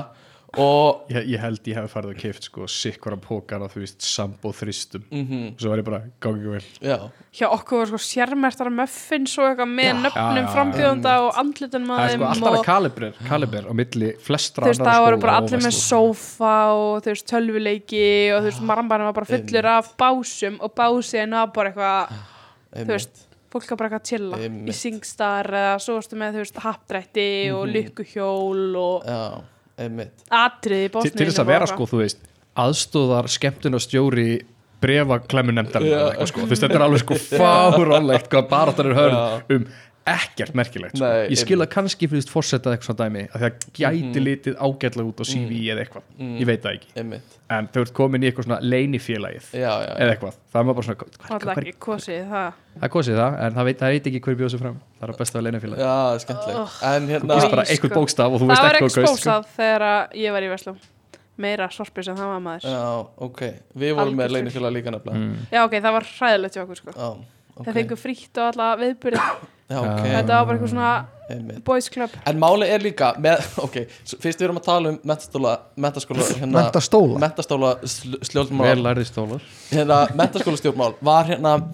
og ég, ég held ég hef farið og keift sko sikkvara pókana, þú veist, sambo þristum mm og svo var ég bara, gangi vel já Hjá okkur var sko sérmertar muffins og eitthvað Já, með já, já, nöfnum já. frambjóðanda og andlutunum það að er þeim sko alltaf að og kalibrir kalibir á milli flestra þú veist það sko, voru bara allir með svo sófa og þú veist tölvuleiki og þú veist marmbarnum var bara fullur af básum og básin var bara eitthvað einmitt. þú veist fólk var bara eitthvað að chilla Einmitt. í singstar eða svo varstu með þú veist happdrætti Mhm. og lykkuhjól og já, einmitt atrið í til, bóðsninu til þess að vera sko, þú veist aðstóðar skemmtun og stjóri brefa klemmu Já. nefndar sko. þú veist, þetta er alveg sko fáránlegt hvað bara er hörð um ekkert merkilegt sko. Nei, ég skil einmitt. Mhm. að kannski fyrir þú fórseta eitthvað svona dæmi að það gæti litið ágætlega út á CV eða eitthvað, ég veit það ekki Mm, einmitt, en þau ert komin í eitthvað svona leinifélagið já, já, já. eða eitthvað, það er maður bara svona hvað- hvað- alltaf hvað- ekki kosið það það er kosið það, en það veit, það veit ekki hver bjóð sér fram það er að besta að leina félag Já, skemmtileg En þú hérna veist bara Nei, einhver sko. bókstaf og þú það veist var ekki ekki hvað kaust, sko. spósað þegar að ég var í Vestlum meira sorpið sem það var maður Já, ok Við vorum með Algjör. leinifélag líka nefnilega Mm. já ok, það var hræðilegt hjá okkur sko Já, ok það fengur frítt og alla viðbyrði Já, ok Já. þetta var bara eitthvað svona einmitt. boys club En máli er líka með, Ok, s- fyrst við erum að tala um mentastóla Mentaskóla hérna, Mentastóla Mentastóla sl- vel sljóðmál lærði stólar Hérna, mentaskóla stjórnmál Var hérna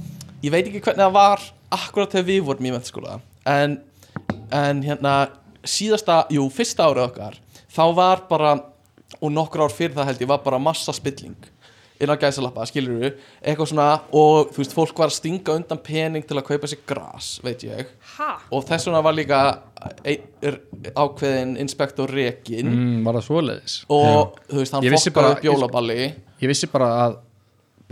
Ég veit ekki hvernig það var Akkurat þegar við vorum í mentaskóla En, en hérna Síðasta, jú, fyrsta árið okkar Þá var bara Og nokkur ár fyrir það held ég Var bara massa spilling innan gæsalappa, skilur við, eitthvað svona og þú veist, fólk var að stinga undan pening til að kaupa sér gras, veit ég ha? og þess vegna var líka ein, er- ákveðin inspektor Rekin mm, var það svoleiðis og þú veist, hann Ég vissi fokkaði bara- upp jólaballi ég vissi bara að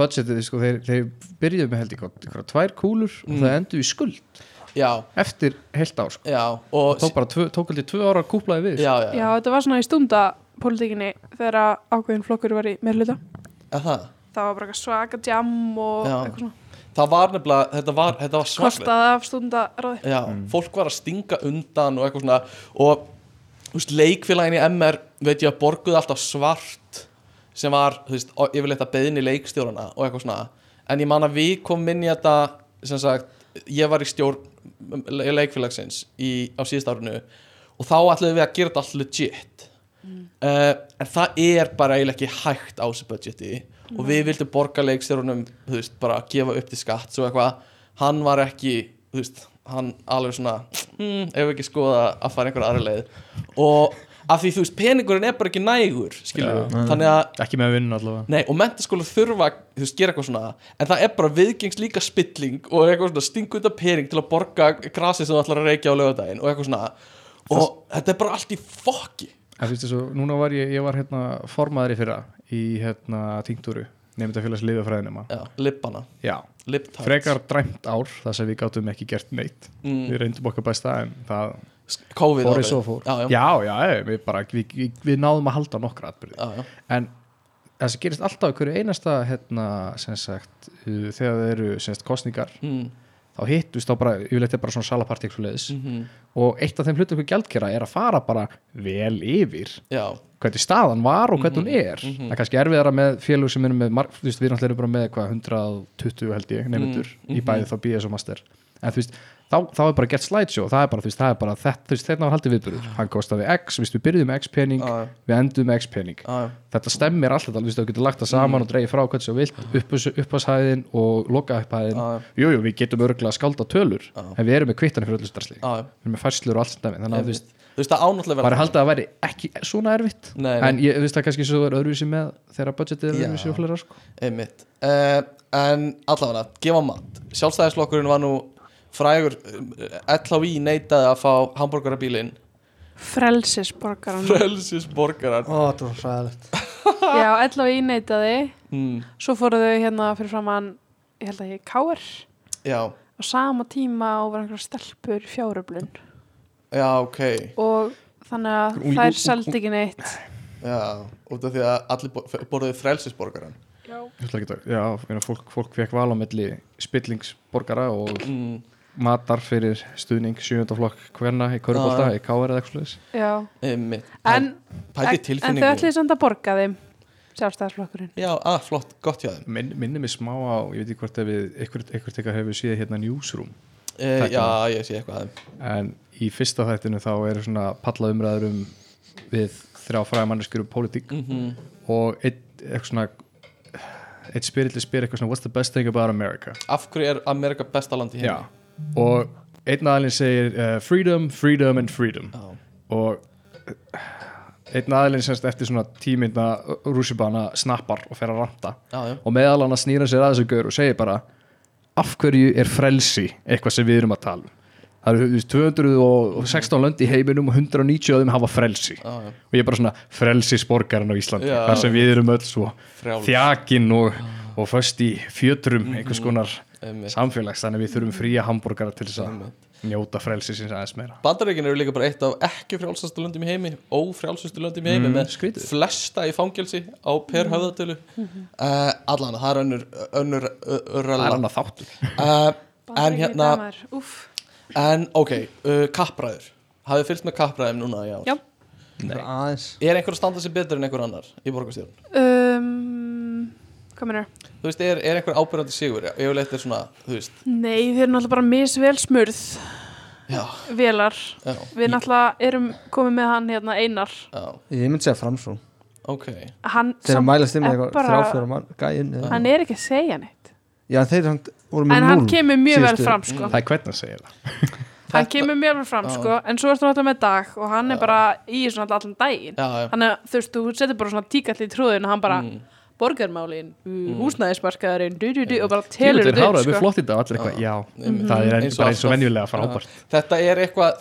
budgetið sko, þeir, þeir byrjuðu með held ég hvað- einhverjar tvær kúlur og það endur í skuld já, eftir heilt ár sko. já og, tók bara tvö, tók held ég tvö ára að kúplaði við já, sko. já, já, þetta var svona í stunda pólitíkinni þegar að ákveðin flokkur var í meirluta Er það, það var bara eitthvað svaka jam og Já. eitthvað svona það var nefnilega þetta var, þetta var svaklegt kostaði af stunda ráði já, fólk var að stinga undan og eitthvað svona og þú veist, leikfélagin í MR veit ég að borguði alltaf svart sem var, þú veist, o- yfirleitt að beðinni leikstjórana og eitthvað svona en ég man að við komum inn í þetta sem sagt, ég var í stjórn le- leikfélagsins í, á síðust árinu og þá ætlum við að gera þetta allt legit uh, en það er bara eiginlega ekki hægt á þessu budgeti og við vildum borga leikstjórunum þú veist, bara að gefa upp til skatt svo eitthvað, hann var ekki þú veist, hann alveg svona hmm, ef ekki skoða að fara einhverja aðra leið og af því þú veist, peningurinn er bara ekki nægur, skilur við þannig að ekki með að vinna allavega Nei, og mentaskóla þurfa að, þú veist, gera eitthvað svona en það er bara viðgengs líka spilling og eitthvað svona stingunda pering til að borga grasið sem þú ætlar að reykja á lögadaginn og eitthvað svona og þetta er bara allt í fokki en finnst þessu, núna var ég, ég var hérna formaður í fyrra í hérna tíngtúru nefndafélags liðafræðinema Já, lippana, já, lipptart frekar dræmt ár þar sem við gátum ekki gert neitt Mm. við reyndum okkar bæsta en það COVID fór árið. eins og fór Já, já, já, já, já, við, bara, við, við, við náðum að halda nokkra atbyrði já, en það sem gerist alltaf í hverju einasta hérna, sem sagt, uh, þegar það eru sem sagt, kostningar, Mm, þá hittust þá bara, yfirleitt er bara svona salapartík svo leiðis mhm, og eitt af þeim hlutum hverju gjaldkera er að fara bara vel yfir já, hvernig staðan var og hvernig hún er mhm. það er kannski erfiðara með félög sem eru með marg, þú veist, við náttúrulega erum bara með hvað 120 held ég, nefndur, Mm, í bæði mhm. þá BS og master en þú veist, þá, þá er bara gett slideshow það er bara, þú veist, það er bara þetta, þú veist, þetta var haldið Ah. viðbyrður, hann kostaði X, þú veist, við byrjuðum með X pening, Já, já. við endum með X pening já, já. þetta stemmir alltaf, þú veist, þú getur lagt það Mm. saman og dreigir frá hvernig svo Ah. vilt, upphás- upphafshæðin og lokahæðin, Já, já. jújú, jú, við getum örgulega að skálda tölur, Ah. en við erum með kvittanir fyrir öllu starfslið, já, já. við erum með færslur og allt stæmi, þannig að þú veist, Þú veist, það ánáttlega maður vera er haldið að það væri ekki svona erfitt, Nei, nei. en ég þú veist það er kannski svo er öðruvísi með þegar budgetið er Já. öðruvísi og flera, sko. einmitt uh, en allavega, gefa mat sjálfstæðislokkurinn var nú frægur eh, LHÍ neitaði að fá hambúrgarabílinn frelsisborgaran frelsisborgarar Ó, þetta var fræðilegt já, allavega ég neitaði mm, svo fóru þau hérna fyrir framann ég held að ég káir já, á sama tíma og var einhverja stelpur í fjáröflun já, ok og þannig að Ungling- þær seldi ekki neitt já, út af því að allir bo- borðuðu frelsisborgaran Ég ætla ekki að- Já, ég meina, fólk, fólk fekk val á milli spillingsborgara og mm, matar fyrir stuðning 7. flokk hverna í Ah. Körbólta, í K.R. eða eitthvað svoleiðis. já, einmitt en, pældi í en, en þau tilfinningu. ætliði samt að borga þeim sjálfstæðarflokkurinn já, að, flott, gott hjá þeim Minn, minnir mig smá á, ég veit ekki hvort ef við eitthvað tekur hefur séð hérna Newsroom uh, Þetta. já, ég sé eitthvað að þeim en í fyrsta þættinu þá eru svona palla umræður um við þrjá fræðamanniskur um pólitík og eitt, eitthvað svona eitt spyrilli spyr eitthvað svona what's the best thing about America af hverju er Amerika besta land í heim Já. og einn aðalinn segir uh, freedom, freedom and freedom Já. og eh, einn aðalinn semst eftir svona tímynda rússibana snappar og fer að ranta já, já, og meðal hann að snýra sér að þessu gaur og segir bara af hverju er frelsi eitthvað sem við erum að tala um það eru þú veist, 216 lönd í heiminum og 190 af þeim hafa frelsi já, já. og ég er bara svona frelsisborgarinn á Íslandi Já. þar sem við erum öll svo Frjáls. þjakin og, og föst í fjötrum einhvers konar Mhm. Einmitt. samfélags þannig að við þurfum fría hambúrgara til þess Einmitt. að njóta frelsisins aðeins meira Bandaríkin eru líka bara eitt af ekki frjálsastu löndum í heimi ófrjálsastu löndum í heimi Mm, með skrítið. flesta í fangelsi á Mhm. per höfðatölu uh, allan, það er önnur önnur, önnur, það er önnur annað þáttur uh, en Bandaríkin í hérna dag, maður. Úff. en ok, uh, kappræður hafið fylgst með kappræðum núna í ár Já. Bara Aðeins er einhver að standa sig betur en einhver annar í borgarstjórn um, hvað meina þú veist, er, er einhver ábyrjandi sigur yfirleitt er svona, þú veist nei, þau eru náttúrulega bara misvel smurð já, velar, já, við náttúrulega erum komið með hann hérna einar já, Ég myndi segja framsó ok hann, Þegar samt- mælast þið með er eitthvað bara- þrjáfjóra mann Gæinn eða- hann er ekki að segja neitt Já, þeir samt voru með en hann núll kemur mjög vel síðustu- fram sko. það er hvernig að segja það hann Þetta- kemur mjög vel fram sko. en svo ertu náttúrulega með dag og hann er bara í svona allan daginn já, já, þannig að þú veist, þú setur bara svona tíkall í trúðin og hann bara borgarmálin, mm. húsnæðismarkaðurinn du, du, du, og bara telur Tílutir þetta háraði, upp við sko. flott í þetta og allir eitthvað, já, Ah. einmitt. það er enn, Eins og bara eins alltaf. og Ah. venjulega frábært þetta er eitthvað,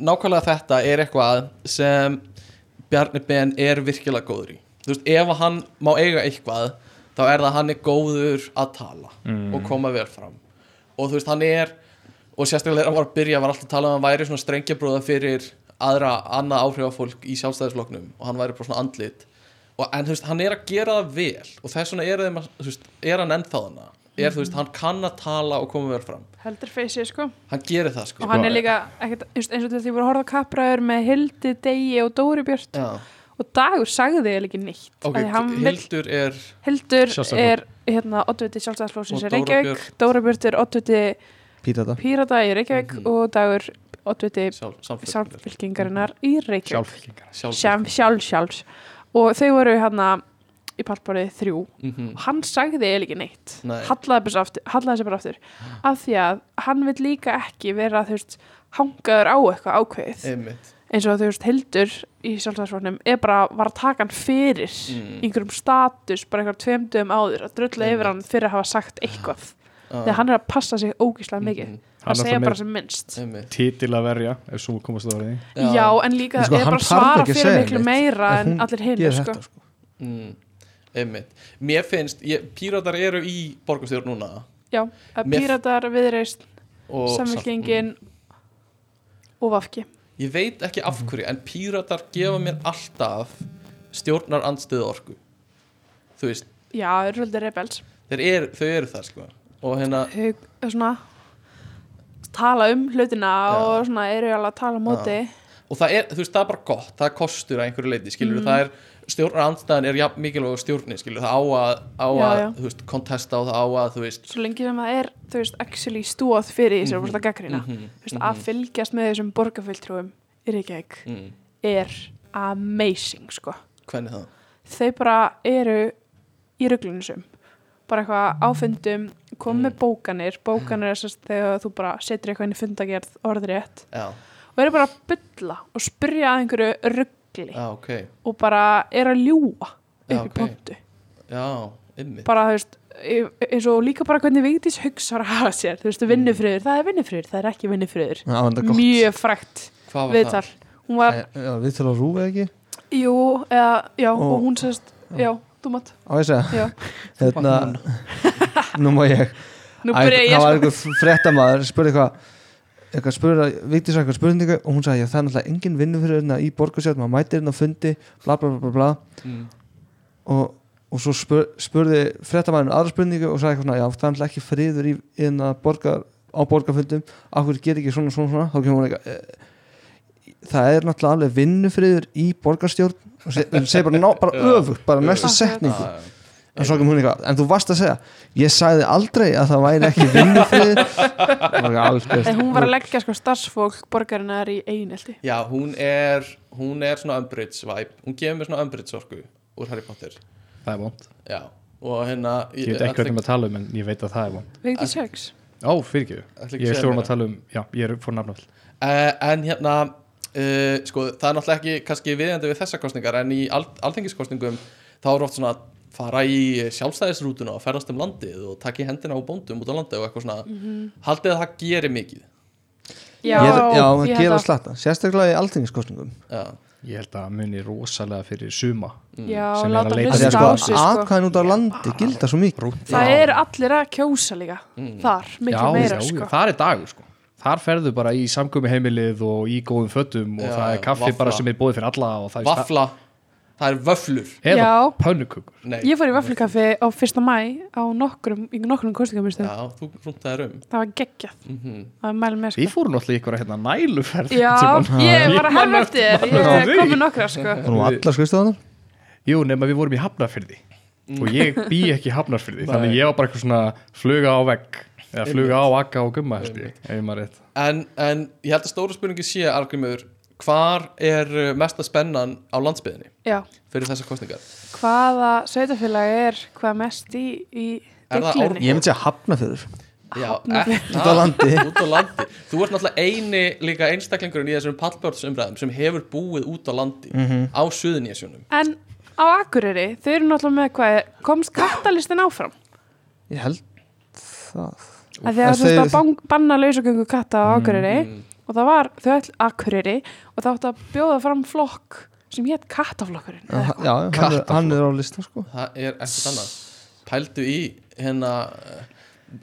nákvæmlega þetta er eitthvað sem Bjarni Ben er virkilega góður í þú veist, ef að hann má eiga eitthvað þá er það að hann er góður að tala og koma vel fram og þú veist, hann er og sérstaklega þegar hann var að byrja var alltaf að tala um að hann væri svona strengjabrúða fyrir aðra, annað áhrifafólk í sjálfstæðisflokknum og hann væri bara svona andlit og, en þú veist, hann er að gera það vel og þess vegna er, þeim að- þú veist, er hann ennþá þarna er, þú veist, hann kann að tala og koma vel fram heldur feysið sko. hann gerir það og sko hann er líka ekkit, eins og til því voru að horfa á kapraður með Hildi, Degi og Dóri Björt Já. og Dagur sagði eiginlega ekki neitt Ok, Af því hann vill- Hildur er Hildur Sjálfstæðisflokk. er hérna, oddviti sjálfstæðarflóksins Og í Dóra Reykjavík Dóra Björt er oddviti pítata Pírata í Reykjavík Mhm. og dagur oddviti Sjálf, sjálf, samfylkingarinnar í Reykjavík sjálfhengar sjálf, sjálf, sjálf, sjálf og þau voru hann í pallborðið þrjú Mhm. og hann sagði eiginlega ekki neitt Nei. hallaði, bara svo aftur, hallaði sér bara aftur af því að hann vil líka ekki vera þú veist, hangaður á eitthvað ákveðið Einmitt. eins og þú veist Hildur í sjálfstæðsfórnum er bara var að taka hann fyrir Mm. einhverjum status, bara einhverjum tveimdöfum áður að drulla yfir hann fyrir að hafa sagt eitthvað Ah. þegar hann er að passa sig ógíslega mikið Mhm. hann er segja alltaf bara með sem minnst Einmitt. Titil að verja, ef svo komast það að verði já, en líka En sko, er hann bara að þarf svara ekki að fyrir segja miklu neitt. meira En en hún allir hinn gerir sko. þetta sko. Mm, einmitt Mér finnst, ég, píratar eru í borgarstjórn núna já, að Mér- píratar, viðreist, og- samfélkingin og vafki Ég veit ekki Mhm. af hverju, en píratar gefa mér alltaf stjórnar andstuð orku Þú veist, já, það eru svolítið rebels þeir eru, þau eru það sko Og hérna, Hug, svona tala um hlutina og svona eru alveg að tala á móti og það er, þú veist, það er bara gott það er kostur að einhverju leiti, skilur Mhm. það er, stjórnar andstæðan er jafn mikilvæg og stjórnin skilur, það á að, á Já, að já. þú veist, kontesta og það á að, þú veist svo lengi sem það er, þú veist, actually stóð fyrir því sem þú veist að gaggrina mhm, þú veist, að fylgjast með þessum borgarfylgtrúum í Reykjavík mm, er amazing, sko hvernig það? þau bara eru í ruglinsum bara eitthvað áfundum kom Mhm. með bókanir, bókanir er sérst þegar þú bara setur eitthvað inn í fundagerð orðrétt Já, og eru bara að bylla og spyrja að einhverju rugli já, ok, og bara eru að ljúa Já, upp í ok. pontu já, ymmið bara þú veist e- eins og líka bara hvernig Vigdís hugsar að hafa sér þú veist, vinnufriður, það er vinnufriður, það er ekki vinnufriður Það var þetta gott. mjög frækt Hvað var viðtal hún var, Eh, já, Við til að rúfa ekki jú, eða, já, og Og- hún sérst já, þú mátt, Á ég að segja já hérna, Nú má ég nú Æ, byrja Það var ég sko, einhver fréttamaður spurði eitthvað eitthvað spurði, Vigdís var eitthvað spurningu og hún sagði, já það er náttúrulega engin vinnu fyrir hérna í borgarsjátt, maður mætir hérna á fundi bla bla bla bla, bla. það? Mm. Og, og svo spur, spurði fréttamaðurinn aðra spurningu og sagði eitthvað svona, já það er náttúlega ekki friður í, hérna borgar, á borgarfundum okkur gerir ekki svona svona svona þá kemur hún eitthvað eh, það er náttúrulega alveg vinnufriður í borgarstjórn og se- hún segir bara, ná, bara öfugt bara næstu Akkurat. setningu Ah, en svo kom hún eitthvað, en þú varst að segja ég sagði aldrei að það væri ekki vinnufrið en hún var að leggja sko starfsfólk borgarinnar í einelti Já, hún er, hún er svona Umbridge vibe, hún gefur mér svona Umbridge orku úr Harry Potter, það er vond já og hérna Ég veit ekki hvernig maður tala um, en ég veit að það er vond Vigdís Hugs, Ó, fyrir ekki, Ætla ekki ég að er segja stórum meira. að tala um Já, ég er fór nafnafl uh, En hérna, uh, sko, það er náttúrulega ekki kannski viðjandi við þessar kostningar en í al alþengiskostningum þá er oft svona að fara í sjálfstæðisrútuna og ferðast um landið og taka í hendina á bóndum út á landið og eitthvað svona Haldið að það geri mikið já, já, já það ég gera held að- slatta sérstaklega í alltingiskostningum Já, Ég held að það muni rosalega fyrir suma já, sem er að leita. láta að því hlusta að á sko, sig sko atkvæðin út á landi gilda svo mikið það er allir að kjósa líka Mm. þar, miklu meira sko það er dagur sko Þar ferðu bara í samkomi heimilið og í góðum fötum og Já, það er já, kaffi vafla. bara sem er bóðið fyrir alla og það er vafla, það er vöflur eða Já. pönnukökur. Nei, Ég fór í vöflukaffi á fyrsta mæ á nokkrum, í nokkrum kostningaminnstöðum. já, þú rúntaðir um Það var geggjað. mm Það var mæli með Við sko. fórum alltaf ykkur að hérna næluferð Já, sem hann- ég var að herra eftir. eftir Ég því. kom með nokkra sko. og nú allar skristofanar Jú, nema við vorum í Hafnarfyrði Mm. og ég bý ekki í Hafnarfyrði þannig ég var bara eitthvað svona fluga á vegg eða fluga á akka og gumma held ég, ef ég maður rétt en, en ég held að stóra spurningi sé Argrimur, hvar er uh, mesta spennan á landsbyðinni Já, fyrir þessar kostningar? hvaða sveitafélag er hvað mest í, í Er það deglunni? ég myndi segja hafna fyrir Já, Hafnarfjörður. ekki- Út á landi. út á landi Þú ert náttúrulega eini líka einstaklingurinn í þessum pallbjörnsumræðum sem hefur búið út á landi Mhm. á suðunésjunum En á Akureyri, þau eru náttúrulega með hvað, er- komst kattalistin áfram? ég held það að því að En þú veist þau- að ban banna lausagöngu katta á Akureyri Mm. og það var, þau ætl Akureyri og það átti að bjóða fram flokk sem hétt kattaflokkurinn. já, já, hann, er- hann er á lista sko Það er ekkert annað Pældu í hérna eh,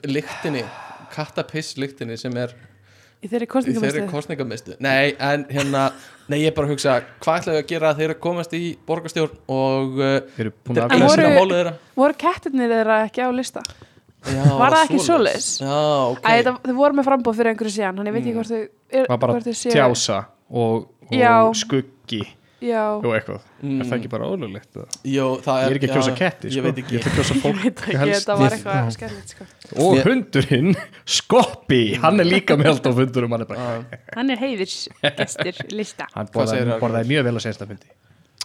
lyktinni, kattapiss lyktinni sem er Í þeirri í þeirri kostningamestu. kostningamistu Nei, en hérna, nei ég er bara að hugsa hvað ætlaðu að gera þegar þeir komast í borgarstjórn og uh, Þeir eru búin þetta er að En að voru- sinna málið þeirra Voru kettirnir þeirra ekki á lista? Já, Var það ekki svoleiðis? svoleiðis? Já, ok Mm. Æ, það, þau voru með frambóð fyrir einhverju síðan, hann ég veit ekki hvort þau er, var bara hvort þau séu- tjása og, Já. og skuggi já, Jó, eitthvað, er það Mm. ekki bara ólulegt? Jó, það Ég er er ekki að kjósa já, ketti, Ég sko. veit ekki Ég er að kjósa ég fólk veit ekki, helst þetta var við- eitthvað já. skellið sko. Og Ég- hundurinn, Skoppi, hann er líka með alltaf hundurum, hann er bara Já. hann er heiðisgestir lista Hann Hvað borðaði, segir það? borðaði mjög vel á sensta fundi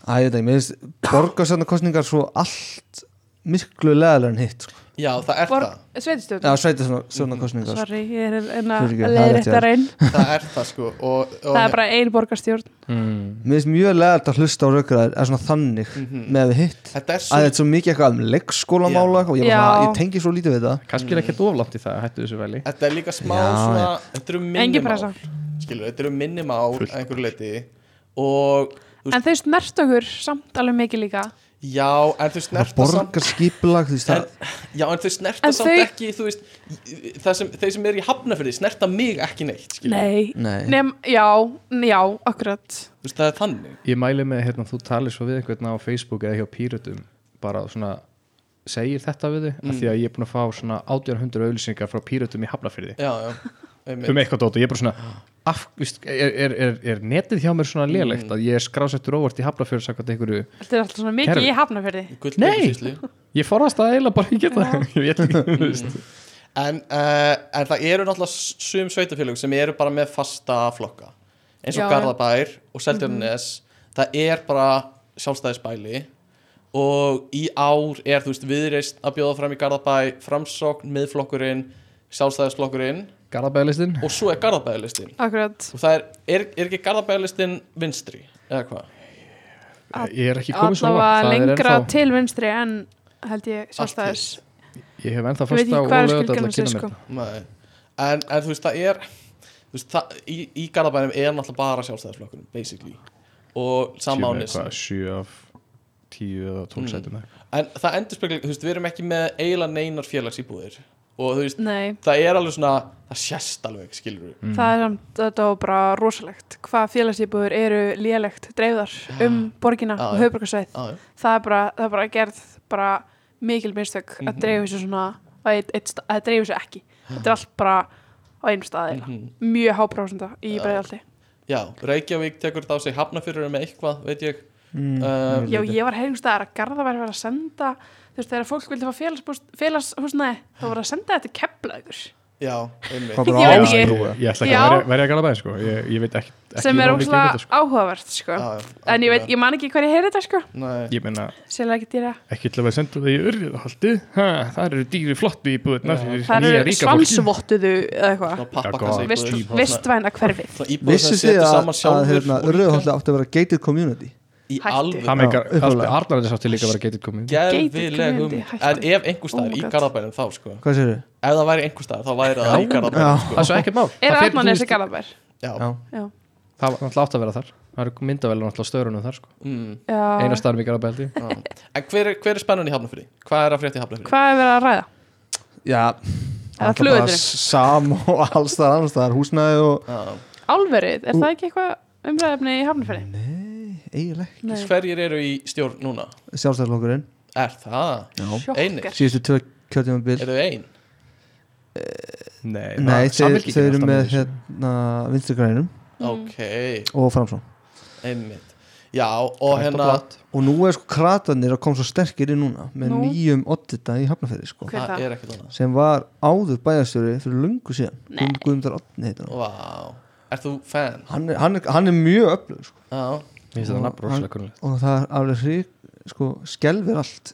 Æ, ég veit ekki, mér finnst borgarstjórnarkosningar svo allt miklu leðalega en hitt sko. Já, það er Borg- það sveitastjórn, Já, sveitarstjórnarkosningar sko. sorry, ég er enn að Fyrirgefðu, það er rétt hjá leiðrétta þér. reyn Það er það sko og, og, það er bara ein borgarstjórn sko. Mér finnst mjög leðalt að hlusta á raukraðir er svona þannig með við hitt Þetta er að svo þetta er Mhm. svo mikið eitthvað um leikskólamála og ég, bara Já. svona, ég tengi svo lítið við það kannski Mm. er ekkert oflátt í það, hættu þessu veli Þetta er líka smá Já, svona Þetta eru um engin minnumál pressa Skilur, þetta eru minnumál að einhverju leiti Og þú veist, en þau snert okkur samt alveg mikið líka já, en þau snerta samt borgarskipulag þú veist en, það Já, en þau snerta En samt þau- ekki Þú veist, það sem, þeir sem eru í hafnafyrði snerta mig ekki neitt skilur. nei, Nei. Nefn, já, já, akkurat Þú veist, það er þannig ég mæli með, hérna, þú talir svo við einhvern á Facebook eða hjá Píratum bara svona, segir þetta við þig Mm. af því að ég er búin að fá svona 1800 auðlýsingar frá Píratum í Hafnafyrði Já, já, einmitt um eitthvað dót og ég er bara svona af, víst, er, er, er, er netið hjá mér Mm. svona lélegt að ég er skrásettur óvart í Hafnafjörð samkvæmt einhverju, þetta er alltaf svona mikið Herru. í hafnafjörði Gull Nei. Dekusýslu. ég forast að eiginlega bara ekki það, ég veit ekki þú Mm. veist. en, uh, en það eru náttúrulega s- sum sveitafélög sem eru bara með fasta flokka eins og Já, Mhm. já. Garðabær og Seltjarnes það er bara sjálfstæðisbæli og í ár er þú veist viðreist að bjóða fram í Garðabæ framsókn, miðflokkurinn sjálfstæðisflokkurinn Garðabæðlistin og svo er Garðabælistin akkurat, og það er, er, er ekki Garðabælistin vinstri eða hvað? ég er ekki komið svo allavega langt það er lengra ennþá- til vinstri en held ég sjálfstæðis ég hef ennþá ég veit fast á ekki og hvað er lögut að skilgjörnum kynna sér mér sko þetta. Nei. En, en þú veist það er þú veist, það, í, í Garðabænum er náttúrulega bara sjálfstæðisflokkurinn basically og Séu með samánis hvað, 7 af 10 eða 12 Mm. sætum þar. en það endurspeglar, þú veist, við erum ekki með eiginlega neinar félagsýbúðir og þú veist, nei, það er alveg svona það sést alveg, skilur við það er samt, þetta var bara rosalegt hvað félagsýbúður eru lélegt dreifðar um borgina Já, og já. höfbrukarsvæð ah, það er bara, það er bara gerð bara mikil mistök að Mhm. dreifu sér svona að, að, að dreifu sér ekki þetta er allt bara á einum stað eða mjög háprósenda Mhm. í Já. breiðaldi Já, Reykjavík tekur þetta á sig hafnafyrir með eitthvað, veit ég mm, já, ég var heimstæðar að garða væri verið að senda þú veist, þegar fólk vildi fá félagshúsnaði félagshúsnaði, þá voru að senda þetta keplaður Já, einmitt Hvað bara Ég veit Ásbrú, eða? Ég ætla ekki Já. að verja- verja að garabæði sko Ég, ég veit ekki, ekki sem er nógu mikið um óslega þetta, sko. áhugavert sko. Já, já, en ég veit, algjörlega. ég man ekki hvað ég heyri þetta sko. Nei, Ég meina, sérlega ekki dýra ekki til að vera sendur það í urrið haldi Það eru dýri flott í búðina það eru svansvottuðu eða eitthvað svona pappakassa Vist, vistvæna hverfið Svona íbúð sem Vissu þið setur að, saman að sjálfur hérna, og líka Rauðholti átti að vera gated community Í Hættu. alveg Það meikar, Já, upphaflega. Arnarðis átti líka að vera getið komið geðvileg Gated um community, en hættu. ef einhver Oh staðar my í God. Garðabænum þá sko ef Hvað séru? það væri einhver staðar þá væri það í Garðabænum Já. sko. það er svo ekkert mál er Það fer- Arnmann þú þessi veist, garðabær já, Já. það var náttúrulega átt að vera þar það eru myndavelur náttúrulega á störunum þar sko. mm, eina Já. starf í Garabældi já. en hver er, hver er spennun í Hafnafyrði? hvað er að frétta í Hafnafyrði? hvað er verið að ræða? Já, alltaf Eða bara flugvöllurinn. Sam og alls þar annars þar húsnæði og Já. Álverið, er það ekki eitthvað umræðefni í hafnafæri? eiginlega Nei, hverjir eru í stjórn núna? sjálfstæðlokkurinn er það? einir. sjokkar síðustu tvö kjörtímabil eru þau ein? Nei, Nei, þeir, Samfylkingin þeir er eru alltaf með með þessu. hérna, vinstrigrænum Mm. ok, og framsó einmitt já, og hérna og nú er sko kratanir að koma svo sterkir inn núna með Nú. nýjum oddita í Hafnarferði sko, Hver það það? er ekkert annað sem var áður bæjarstjóri fyrir lungu síðan Nei. Guðm- Guðmundar Oddni heitir hann. vá, er þú fan? hann er, hann er, hann er mjög öflug sko, já, Mér finnst þetta nafn rosalega kunnulegt og það er alveg hrík sko, skelfir allt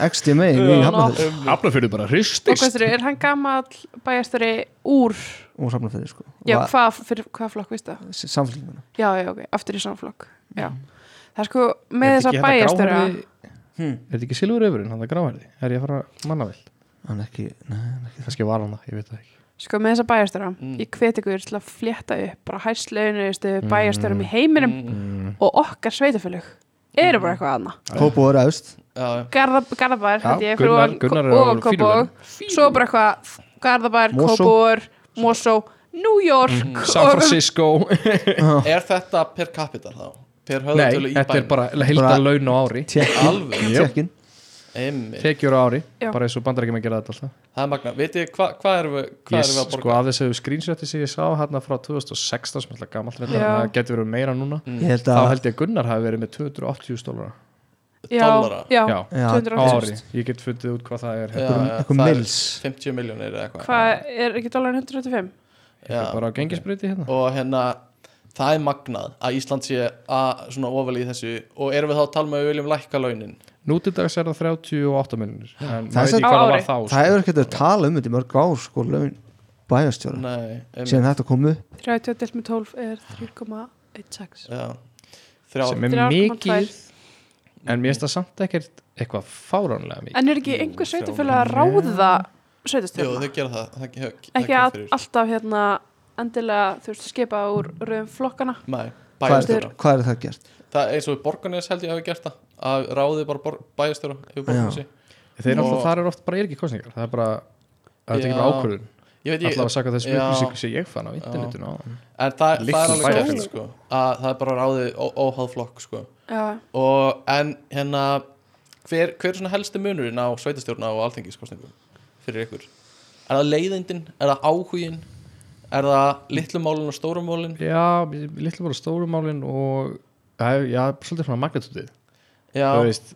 XDMA í Hafnarferði Hafnafjörðu bara Og hristist hvað er hann gamall bæjastöri úr og Hafnarferði sko, Já, og hvað, fyrir hvað flokk, veistu það? samfélkinguna Já, já, ok, aftur í samflokk Já, það er sko með Er þetta þessa Mm. ekki hérna bæjastöra gráhærði- er þetta ekki silfuröfurinn, hann það gráhærði er ég að fara manna vel, hann er ekki, nei, hann er ekki kannski var hann það, ég veit það ekki Sko með þessa bæjastöra Mm. Ég hveti ykkur til að flétta upp bara hæslaunustu Mm. bæjastörum í heiminum mm, og okkar sveitafélög eru bara eitthvað annað Kópóður efst já, Garða, Garðabær, Já, hætti ég, fyrir ofan- Gunnar- Gunnar er á ofan fíluveiðum. Kópavog svo bara eitthvað Garðabær, Mosó. Kópavog, Mosó New York Mm. San og- Francisco, er þetta per capita þá? per nei, höfðatölu í þetta er bænum? bara heilta laun og ári Tékkin, alveg Tékkin Einmitt. tekjur á ári, Já. bara eins og bandar ekki með að gera þetta alltaf það er magna, veit ég hvað hva erum við hvað Ég erum við að sko borga að þessu screenshoti sem ég sá hérna frá 2016 sem er alltaf gamalt reyndar, Já. en það getur verið meira núna ég held þá að held ég að Gunnar hafi verið með 280 dólara já, dollara. já, Já, Já, 200 á ári, þúsund. ég get fundið út hvað það er Já, hérna, já, eitthvað það er mils 50 miljónir eða eitthvað hvað er ekki dólarin 125? Já. Ég er bara á gengisbreyti hérna og hérna það er magnað að Ísland sé að svona ofalið í þessu og erum við þá að tala með að við viljum lækka launin Nú til dags er það 38 miljonir en Það er maður veit sem- ekki hvað Á það ári. var þá það hefur ekkert að tala um þetta í mörg ár sko laun bæjastjóra Nei, um, síðan þetta kom upp 30 delt með 12 er 3,16 já, þrjá, sko, sem er 3,2. mikið en mér finnst það samt ekkert eitthvað fáránlega mikið En er ekki einhver sveitufélag að ráða jú, sveitustjórna? þau gera það, það, það, það Ekki kemur að, fyrir. alltaf hérna endilega þú veist skipa úr röðum flokkana Nei, hvað bæjarstjóra er, hvað er það gert? Það er eins og í borgarnes held ég hafi gert það að ráði bara bæjarstjóra yfir borgarnesi þeir eru Og- alltaf, þar er oft bara er ekki kostningar það er bara, það er ekki Já. bara ákvörðun Ég veit ég, alltaf að saka þessu Já. upplýsingu sem ég fann á internetinu á en það, það er Litlu alveg gert bæjarstjóra. sko, að það er bara ráði ó- óháð flokk sko. Já, og en hérna hver, hver er svona helsti munurinn á sveitastjórna og alþengiskostningum fyrir ykkur? Er það leiðindin? Er það áhugin? Er það litlumálin og stórumálin? já, litlu bara stórumálin og já, já, svolítið svona magnetútið Já, þú veist,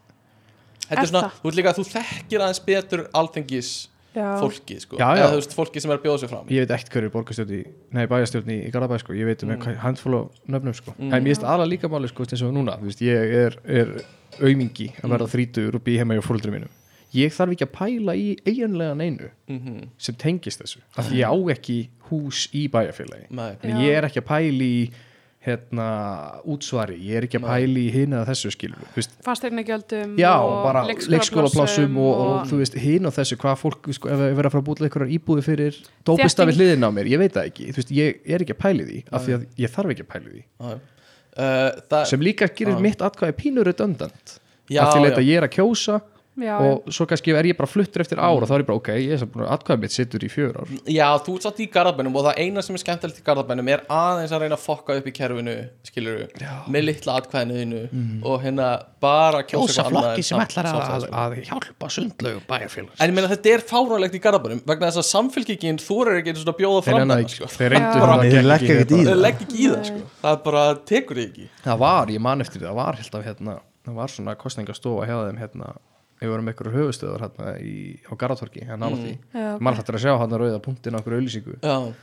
þetta Er er svona, það? þú veit líka að þú þekkir aðeins betur alþengis já, fólki sko, Já, já. eða þú veist fólki sem er að bjóða sér fram ég veit ekkert hverju borgarstjórn í, nei, bæjarstjórn í, í Garabæ sko, ég veit um Mm. mm. handfól og nöfnum sko, Mm. en mér finnst aðla líka máli sko, eins og núna, þú veist, ég er, er aumingi að Mm. verða þrítur og býja heima hjá fólundri mínum, ég þarf ekki að pæla í eiginlega neinu mm sem tengist þessu, af því ég á ekki hús í bæjarfélagi, Nei, Já. en ég er ekki að pæla í hérna, útsvari, ég er ekki að Nei. pæla í hina þessu skilur, þú veist, fastegnagjöldum Já, og bara leikskólaplássum leikskólaplássum og, og, þú veist, hinn og þessu, hvað fólk sko, ef við verðum að fara að búið einhverjar íbúði fyrir dópista við Þétting. hliðin á mér, ég veit það ekki þú veist, ég er ekki að pæli því, af því að ég þarf ekki að pæli því já. Uh, það, sem líka gerir Já. mitt atkvæði pínur redundant, já, af því leita já, ég er að kjósa já, og svo kannski er ég bara fluttur eftir ára, þá er ég bara, ok, ég er samt búin að atkvæði mitt situr í fjör ár, já, þú ert satt í garðabænum og það eina sem er skemmtilegt í garðabænum er aðeins að reyna að fokka upp í kerfinu skilur með litla atkvæðinuðinu og hérna bara kjósa eitthvað annað en sam- samsæðisflokk. hjálpa sundlögu bæjarfélags En ég meina þetta er fáránlegt í garðabænum vegna þess að samfélkingin þú eru ekki einu svona að bjóða þeir fram enna það ekki, sko. þeir reyndu Bara- það Þeir gekk leggja ekki, hérna. ekkert í þetta- Þeir legg ekki í það Nei. sko. það bara tekur þig ekki það var, ég man eftir því, það var alltaf hérna, það var svona kostningastofa hjá þeim hérna, við vorum með einhverju höfustöðar hérna í, á Garðatorki, hérna nála því Mm. Já, ok. maður hættur að sjá hérna rauða punktin á okkur auðlýsingu, Já,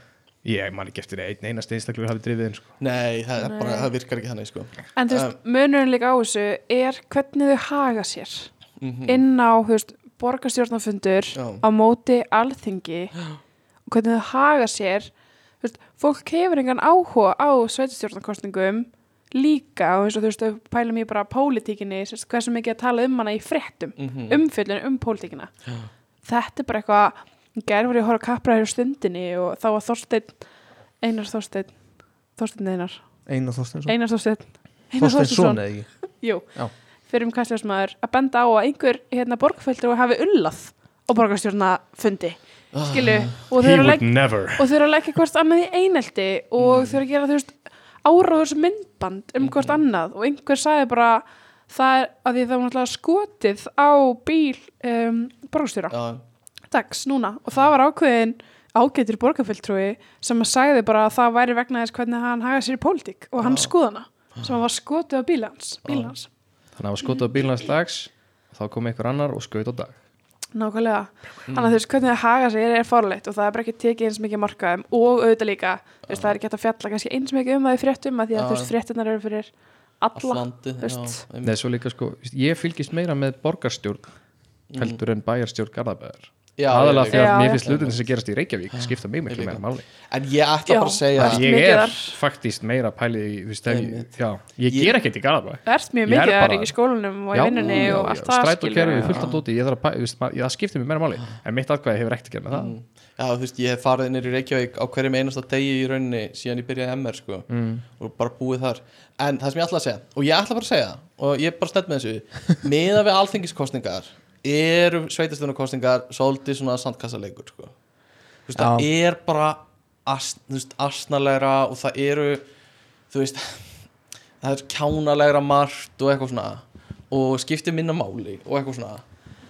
ég man ekki eftir einn einast einstaklega hafi drifið inn sko. nei, það, er Bara, það virkar ekki þannig sko. En þú veist, munurinn líka á þessu er hvernig þau haga sér Mhm, inn á, þú veist, borgarstjórnafundur Já. á móti alþingi og hvernig þau haga sér þú veist, fólk hefur engan áhuga á sveitastjórnarkostningum líka og eins og þú veist, þau pælum í bara pólitíkinni, þú veist, hversu mikið að tala um hana í fréttum, mhm. umfyllun um pólitíkina þetta er bara eitthvað gerð var ég að horfa kappræður stundinni og þá var Þorsteinn Einar Þorsteinn Þorsteinn Einar Einar Þorsteinsson Einar Þorsteinn Einar Þorsteinsson eða ekki Jú, Já. fyrir um kastljásmaður að benda á að einhver hérna borgarfældur hafi ullað á borgarstjórnafundi skilu, og þau Ah, he eru að would leggja never Mm. og þau eru að leggja hvort annað í einelti og þau eru að gera þú veist áráðurs myndband Mm-hmm. um hvort annað og einhver sagði bara það er að því það var náttúrulega skotið á bíl um, borgarstjóra Ah. Já, dags núna og það var ákveðin ágætur borgarfylltrúi sem að sagði bara að það væri vegna þess hvernig hann haga sér í pólitík og Ah. hann skoðana sem hann var skotið á bílans, bílans. þannig að hafa skotað á bílans dags þá kom einhver annar og skaut á dag nákvæmlega þannig að þú veist hvernig það haga sér er fórleitt og það er bara ekki tekið eins mikið markaðum og auðvitað líka þú veist það er ekki hægt að fjalla kannski eins mikið um það í fréttum að því að Já. þú veist fréttunar eru fyrir allt alla landið já, veist. einmitt. Nei, svo líka, sko, ég fylgist meira með borgarstjórn heldur en bæjarstjórn Garðabæðar Mm. Já, aðalega ég því að líka. Já, mér já. finnst hlutin sem gerast í Reykjavík skipta mig Ég miklu líka. meira máli En ég ætla bara að Já. segja Allt ég mikið er þar. faktist meira pælið í, þú veist, ef ég- Einmitt. já, ég Ég- ger ekkert í Garðabæ Erst mjög Ég er mikið bara- þar í skólanum og í vinnunni og allt það Mm. stræt og skilur kerfi við. fullt af dóti ég þarf að, pæ- þú veist, maður- ég- það skiptir mér meira máli en mitt atkvæði hefur ekkert að gera með það Mm. Já, þú veist, ég hef farið inn í Reykjavík á hverjum einasta degi í rauninni síðan ég byrjaði MR, sko og bara búið þar en það sem ég ætla að segja, og ég ætla bara að segja það, og ég er bara stend með þessu meða við alþengiskostningar eru sveitastunarkostningar svolítið svona sandkassaleikur sko. þú veist, það er bara ast, þú veist, astnalegra og það eru þú veist það er kjánalegra margt og eitthvað svona og skiptir minna máli og eitthvað svona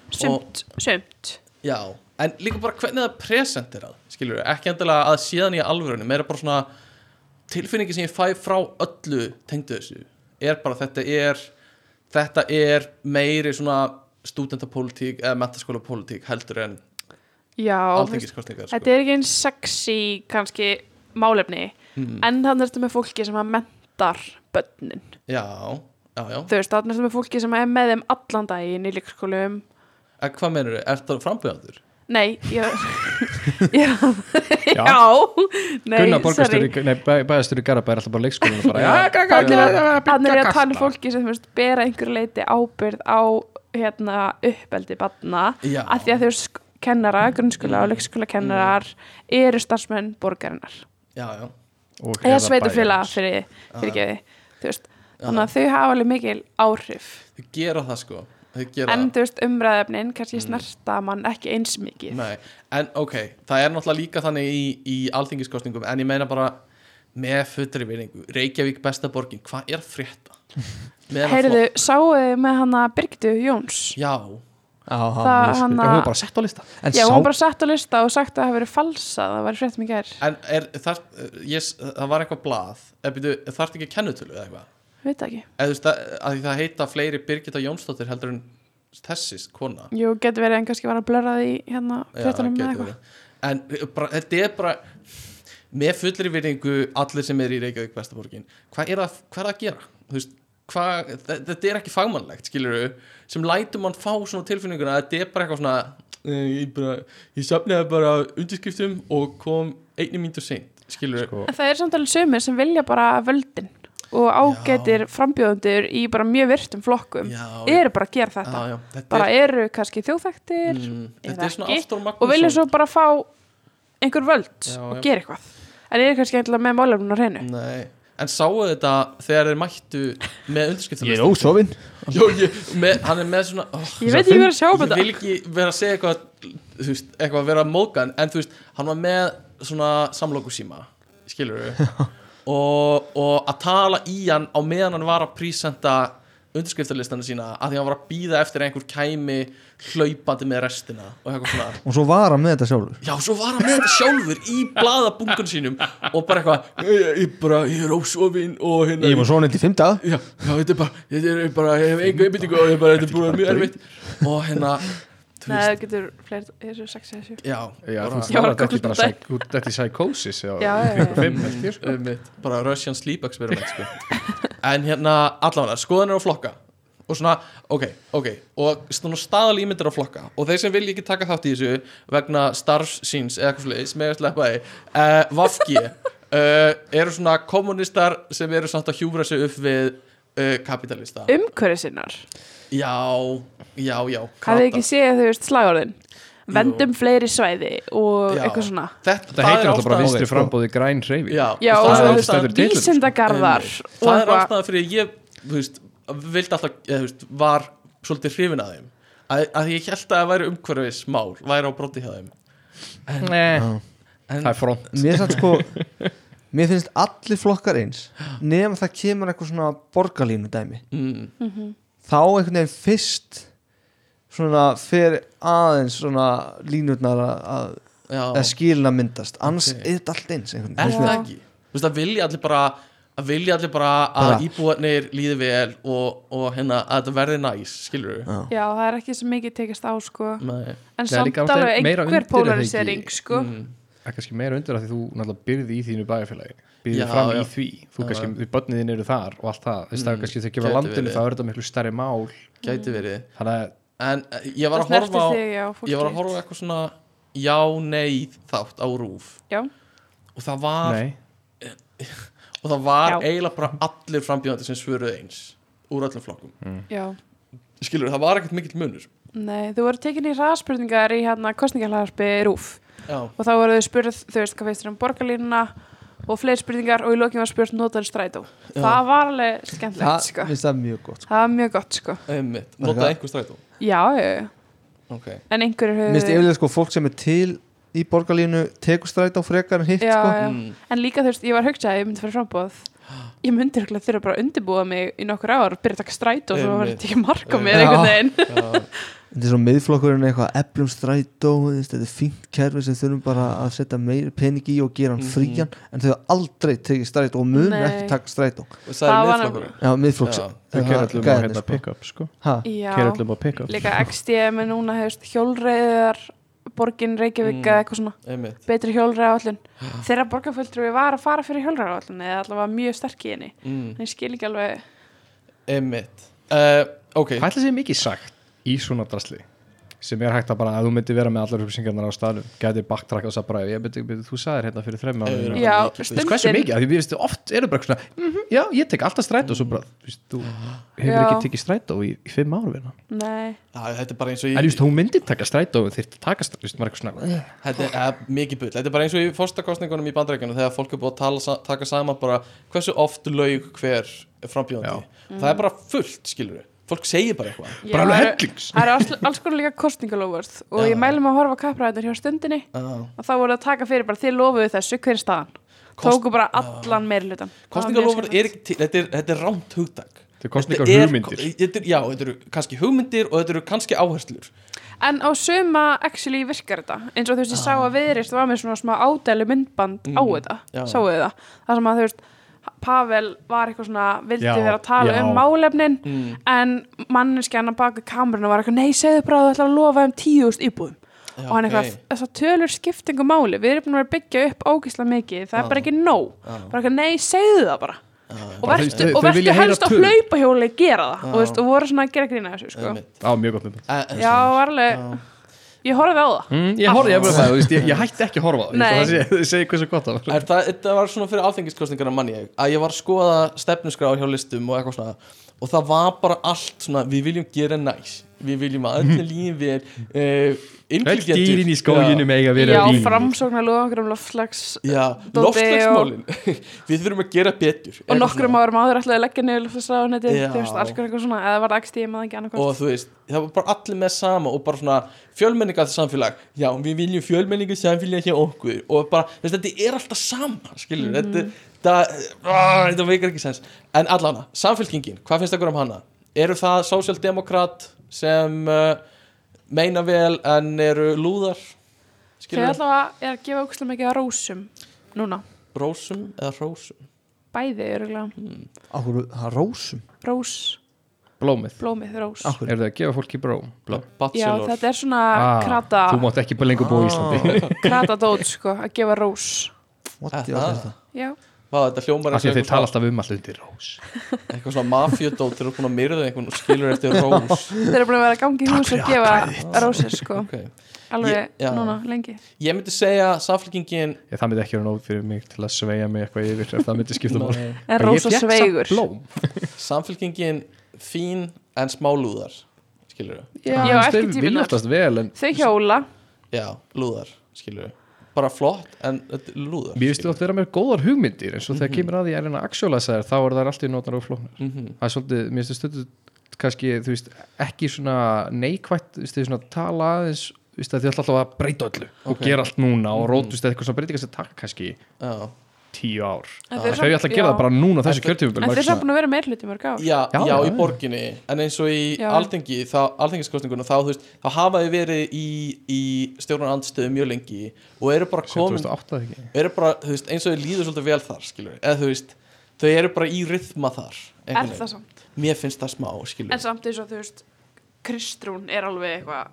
sumt, sumt já, en líka bara hvernig það presentir að, skilur ekki endilega að séðan í alvörunni, meira bara svona tilfinningi sem ég fæ frá öllu tengdu þessu, er bara þetta er, þetta er meiri svona stúdentapólitík eða mentaskólapólitík heldur en sko. já, þú veist, alþingiskostningar þetta er ekki eins sexy kannski málefni Mm. en þannig er þetta með fólki sem að mentar börnin, Já, já, já. þú veist, þannig er þetta með fólki sem er með þeim allan daginn í leikskólum En hvað meinur þau? Er það frambjöðandur? nei, ég já, já, nei, Gunnar sorry. borgarstjóri, nei, bæ, bæðastjóri Garabæ er alltaf bara leikskólan og bara, já, Þannig er þannig er ég að tala um fólki sem þú veist, bera einhverju leiti ábyrð á hérna, uppeldi barna Já. að því að þau sk- kennara, Mm. grunnskóla og leikskóla kennarar eru starfsmenn borgarinnar Já, já. og hérna eða eða sveitufélag bæjarins. fyrir, fyrir gefi veist, þannig að þau hafa alveg mikil áhrif Þau gera það sko. Þau gera en það. þú veist umræðefnin Mm. kannski snerta mann ekki eins mikið Nei, en ok, það er náttúrulega líka þannig í, í alþingiskostningum en ég meina bara með fullri vinningu, Reykjavík besta borgin, hvað er að frétta? Með hana heyrðu, flott- sáu þið með hana Birgitu Jóns Já, það hana, Já, hún er bara sett á lista en já, sá, hún var bara sett á lista og sagt að það hafi verið falsað það var frétt um mikið er en er, þar, yes, það var eitthvað blað, en byrju, þarf ekki kennutölu eða eitthvað? Veit það ekki. Eða þú veist að, að því það heita fleiri Birgitta Jónsdóttir heldur en þessis kona. Jú, getur verið en kannski var að blörra því hérna Já, fréttunum með gæti eitthvað. verið. en eh, bara, þetta er bara með fullri virðingu allir sem eru í Reykjavík bestaborgin hvað er það, hvað er það að gera Þú veist, hvað, þe- þetta er ekki fagmannlegt skilurðu, sem lætur mann fá svona tilfinninguna að þetta er bara eitthvað svona eh, ég, bara, ég safnaði bara undirskriftum og kom einni mínútur seint skilur Sko. En það er samt alveg sömur sem vilja bara völdin og ágætir frambjóðundur í bara mjög virtum flokkum já, eru bara að gera já, þetta. já, þetta bara er, eru kannski þjóðþæktir mm, eða þetta er svona ekki, Ástór og vilja Magnússon svo bara fá einhver völd Já, Mm. og já. gera eitthvað. En eru kannski eitthvað með málefnum á hreinu. Nei. en sáu þetta þegar þeir mættu með undirskriftum ég er ósofin Jó, ég, með, hann er með svona oh, Ég veit ekki hvað er að sjá um Ég þetta. vil ekki vera að segja eitthvað þú veist, eitthvað að vera móðgan en þú veist, hann var með svona samlokusíma, skilur við og, og að tala í hann á meðan hann var að prísenda undirskriftarlistana sína, að því hann var að býða eftir að einhver kæmi hlaupandi með restina og eitthvað svona og svo var hann með þetta sjálfur Já, svo var hann með þetta sjálfur í blaðabungun sínum og bara eitthvað "Ég- ég, ég, bara, ég er ósofin og hérna ég var svo neitt í fimmtað já, já, þetta er bara, þetta er bara, ég hef enga einbyttingu og ég er bara, þetta er búin mjög erfitt og hérna, þú veist, Nei, það getur fleiri, ég er svo 6 eða 7. já, Já, þú bara, veist, Ég var að þetta er ekki googla þetta. bara psych- þú- þetta er psychosis já, Já, já, já. fimm held ég, sko. um mitt, bara Russian sleep experiment, sko. En hérna, allavega, skoðanir á flokka og svona, ok, ok, og svona staðalímyndir á flokka og þeir sem vilja ekki taka þátt í þessu vegna starfs síns eða eitthvað sliðis, með að sleppa því, uh, Vafki, uh, eru svona kommunistar sem eru samt að hjúfra sig upp við uh, kapitalista. Umhverju sinnar. Já, já, já, Hafið þið kratar. ekki séð þau veist slagorðin? Vendum fleiri svæði og Já. eitthvað svona. þetta, Þetta heitir alltaf bara ástæðan- sko. vinstri framboði græn hreyfi já, Já, það og er svo ástæðan- þú stendur veist, í titlinum. vísindagarðar og sko. það er eitthvað. ástæðan fyrir að ég þú veist, vildi alltaf, eða, þú veist, var svolítið hrifin að þeim að, að ég held að það væri umhverfismál væri á broti hjá þeim en, það er front mér, satt, sko, mér finnst allir flokkar eins nema það kemur eitthvað svona borgarlínu dæmi mm, þá einhvern veginn fyrst svona fer aðeins svona línurnar að- að já, eða skilina myndast annars Ok. er þetta allt eins einhvern er veginn það Já. ekki þú veist, að vilja allir bara að vilja allir bara að Bara- íbúarnir líði vel og, og hérna að þetta verði næs skilur Ah. við Já, það er ekki sem mikið tekist á sko Mm. En Nei, samt líka ástæðan alveg meira undir einhver er það polarisering ekki- sko Mm, Það er kannski meira undir að því þú náttúrulega byrði í þínu bæjarfélagi byrði Já, fram já. í því, þú Já, kannski, já. því börniðin eru þar og allt það, þess að mm, kannski þegar kemur að gæti landinu verið. þá er þetta miklu stærri mál gæti verið þannig að, en eh, ég var að Það horfa snertir á þig á fólki ég var að horfa á eitthvað svona já, nei þátt á rúf Já, og það var nei, og það var Já. eiginlega bara allir frambjöðandi sem svöruðu eins úr öllum flokkum já skilur, það var ekkert mikill munur Nei, þú voru tekinni hraðspurningar í hérna kostningarhlaðarpi RÚF já, og þá voru þau spurð, þau veist hvað feistir um borgarlínuna og fleiri spurningar og í lokin var spurt notar strætó Já. Það var alveg skemmtilegt það sko finnst það mjög gott sko. Það var mjög gott sko einmitt, Var notaði það- einhver strætó Já, já, já. ok, en einhverjur mér finnst yfirlega sko fólk sem er til í borgarlínu tekur stræta á frekar en hitt Já, sko. já. Mm. En líka þú veist, ég var hugsað að ég myndi fara í frambóð Ég myndi örugglega þurfa bara að undirbúa mig í nokkur ár, byrja að taka stræt og svo var Einmitt. þetta ekki mark á mér Já. einhvern veginn já, þetta er svo miðflokkurinn eitthvað eflum strætó þú veist, þetta er fínt kerfi sem þurfum bara að setja meir pening í og gera hann Mhm. frían en þau hafa aldrei tekið strætó og mun Nei. ekki taka strætó og það er Það var miðflokkur já, miðflokks Já, Þau það- kæra allum á gæðarnir, hérna sko. pick-up sko Ha, Já, Kæra allum á pick-up líka XDM er núna hefst, hjólreiðar borgin Mm. Reykjavík eða eitthvað svona einmitt betri hjólreiðaállun þeirra borgarfulltrúi var að fara fyrir hjólreiðaállun eða allavega mjög sterk í henni mm, en ég skil ekki alveg einmitt uh, ok, Hvað ætla sér mikið sagt í svona drasli sem er hægt að bara, að þú myndir vera með allar upplýsingarnar á staðnum, gæti backtrack og það bara, ég beti, beti, þú sagðir hérna fyrir þremmu Eh, ára Já, já, mikið. Þú veist hversu mikið, stundin af því við veistu oft eru bara eitthvað svona, mm já, ég tek alltaf strætó svo bara, þú veist, þú hefur Já. ekki tekið strætó í, í fimm ára vinna nei, Æ, þetta er bara eins og en þú ég veist, hún myndir taka strætó og þurft að taka strætó, þú veist, maður er eitthvað svona Þetta er eh, mikið bull, þetta er bara eins og í fórstakostningunum í bandarækjunum þegar fólk er búið að tala, sa- taka saman bara hversu oft laug hver frambjóðandi, það er bara fullt skilur við, fólk segir bara eitthvað Já, bara alveg það eru- hellings það eru alls, alls konar líka kostningalófust og Já. ég mælum að horfa kappræðunar hjá stundinni uh, og þá voru að taka fyrir bara þið lofuðu þessu hver er staðan Kost- tóku bara allan meiri hlutan kostningalofur er ekki til, þetta er, þetta er rámt hugtak Þetta er kosningar Þetta er- hugmyndir. þetta er, Já, þetta eru kannski hugmyndir og þetta eru kannski áherslur en á suma actually virkar þetta eins og þú veist ég sá að viðrist var með svona smá ádælu myndband á þetta Ah. Mm. já. sáu þið það, það sem að þú veist Pavel var eitthvað svona, vildi Já, vera að tala já. um málefnin Mm. en manneskjan á baku kameruna var eitthvað nei, segðu bara að þú ætla að lofa um tíðust íbúðum já, og hann ok. eitthvað, þessar tölur skiptingu máli við erum búin að vera að byggja upp ógisla mikið það er Ah. bara ekki nóg, bara eitthvað nei, segðu það bara og Bara verðstu, þau- og þau verðstu vilja heyra helst á tölur. hlaupahjóli gera það og, veist, og voru svona að gera grína þessu sko. Einmitt. á, mjög gott mynd Eh, eh, já, varlega, ég horfði á það mm, ég horfði, ég, bara það, þú veist, ég, ég hætti ekki að horfa á það, ah. Nei. þú veist, það sé- segi hversu gott það var Er það, þetta var svona fyrir alþengiskostningarna manni ég að ég var að skoða stefnusgráð hjá listum og eitthvað svona og það var bara allt svona við viljum gera næs við viljum að öllu lífi vel uh, öll dýrin í já, skóginum eiga að vera já, í framsóknar lofa okkur um loftslags já, Dóti loftslagsmálin við þurfum að gera betur og Eitthvað nokkrum svona. árum áður ætlaði að leggja niður loftslagsráðuneti Já. þú veist, alls konar eitthvað svona, eða var það ekki stíma eða ekki annarkvæmt og þú veist, það var bara allir með sama og bara svona fjölmenningar samfélag já, við viljum fjölmenningar samfélag hjá okkur og bara, þú veist, þetta er alltaf sama skilur, Mhm. þetta þetta, á, þetta veikar ekki sens en allan, samfélkingin, hvað finnst ykkur um hana? eru það sósjaldemokrat sem uh, meina vel en eru lúðar þau skilur, allavega er að gefa ógisla mikið að rósum núna, rósum eða rósum bæði öruglega, okkur, hann rósum rós blómið blómið, rós okkur, er það að gefa fólki bróm, blóm já, bachelor þetta er svona Ah, krata Ah. þú mátt ekki bara lengur búa í Íslandi krata dót, sko, að gefa rós what Eh, the hell er það? það? já, Vá, þetta hljómar af eins og því að þeir tala eitthvað, alltaf um allt undir rós svona- eitthvað svona mafjödótt þeir eru búin að myrða einhvern og skilur eftir rós þeir eru búin að vera að gangi í hús og gefa rósir, sko, okay. alveg Ég- já. núna, lengi ég myndi segja samfélkingin Ég, það myndi ekki vera nóg fyrir mig til að sveigja mig eitthvað yfir ef það myndi skipta mál Nei. en rósa sveigur blóm samfélkingin fín en smá lúðar skilur við, Já, Þú veist, ekki þau tíminar. vilja oftast vel en þau hjóla já, lúðar skilur við, bara flott en þetta er lúðar mér finnst þú oft vera með góðar hugmyndir eins og þegar kemur að því að reyna að aksjólæsa þær þá er það alltaf notar og flóknar mm -hmm. það er svolítið, mér finnst þú stundu kannski, þú veist, ekki svona neikvætt, þú veist, þau svona tala aðeins þú veist, að þið ætla alltaf að breyta öllu og Ok. Mhm. gera allt núna og rót, þú veist, eitthvað svona breytingar sem takk kannski já. tíu ár En þau ætla að gera það bara núna á En þessu þau- kjörtífum en þeir eru búin að vera meir hluti mörg á Já, já, Já, í já. borginni en eins og í Já. alþingi þá, alþingiskostningunum þá, þú veist, þá hafa þau verið í, í stjórnar andstöðu mjög lengi og eru bara komin eru bara, þú veist, eins og þau líður svolítið vel þar skilur við, eða þú veist, þau eru bara í rytma þar einhvern er veginn. það samt, mér finnst það smá, skilur en samt eins og þú veist Kristrún er alveg eitthvað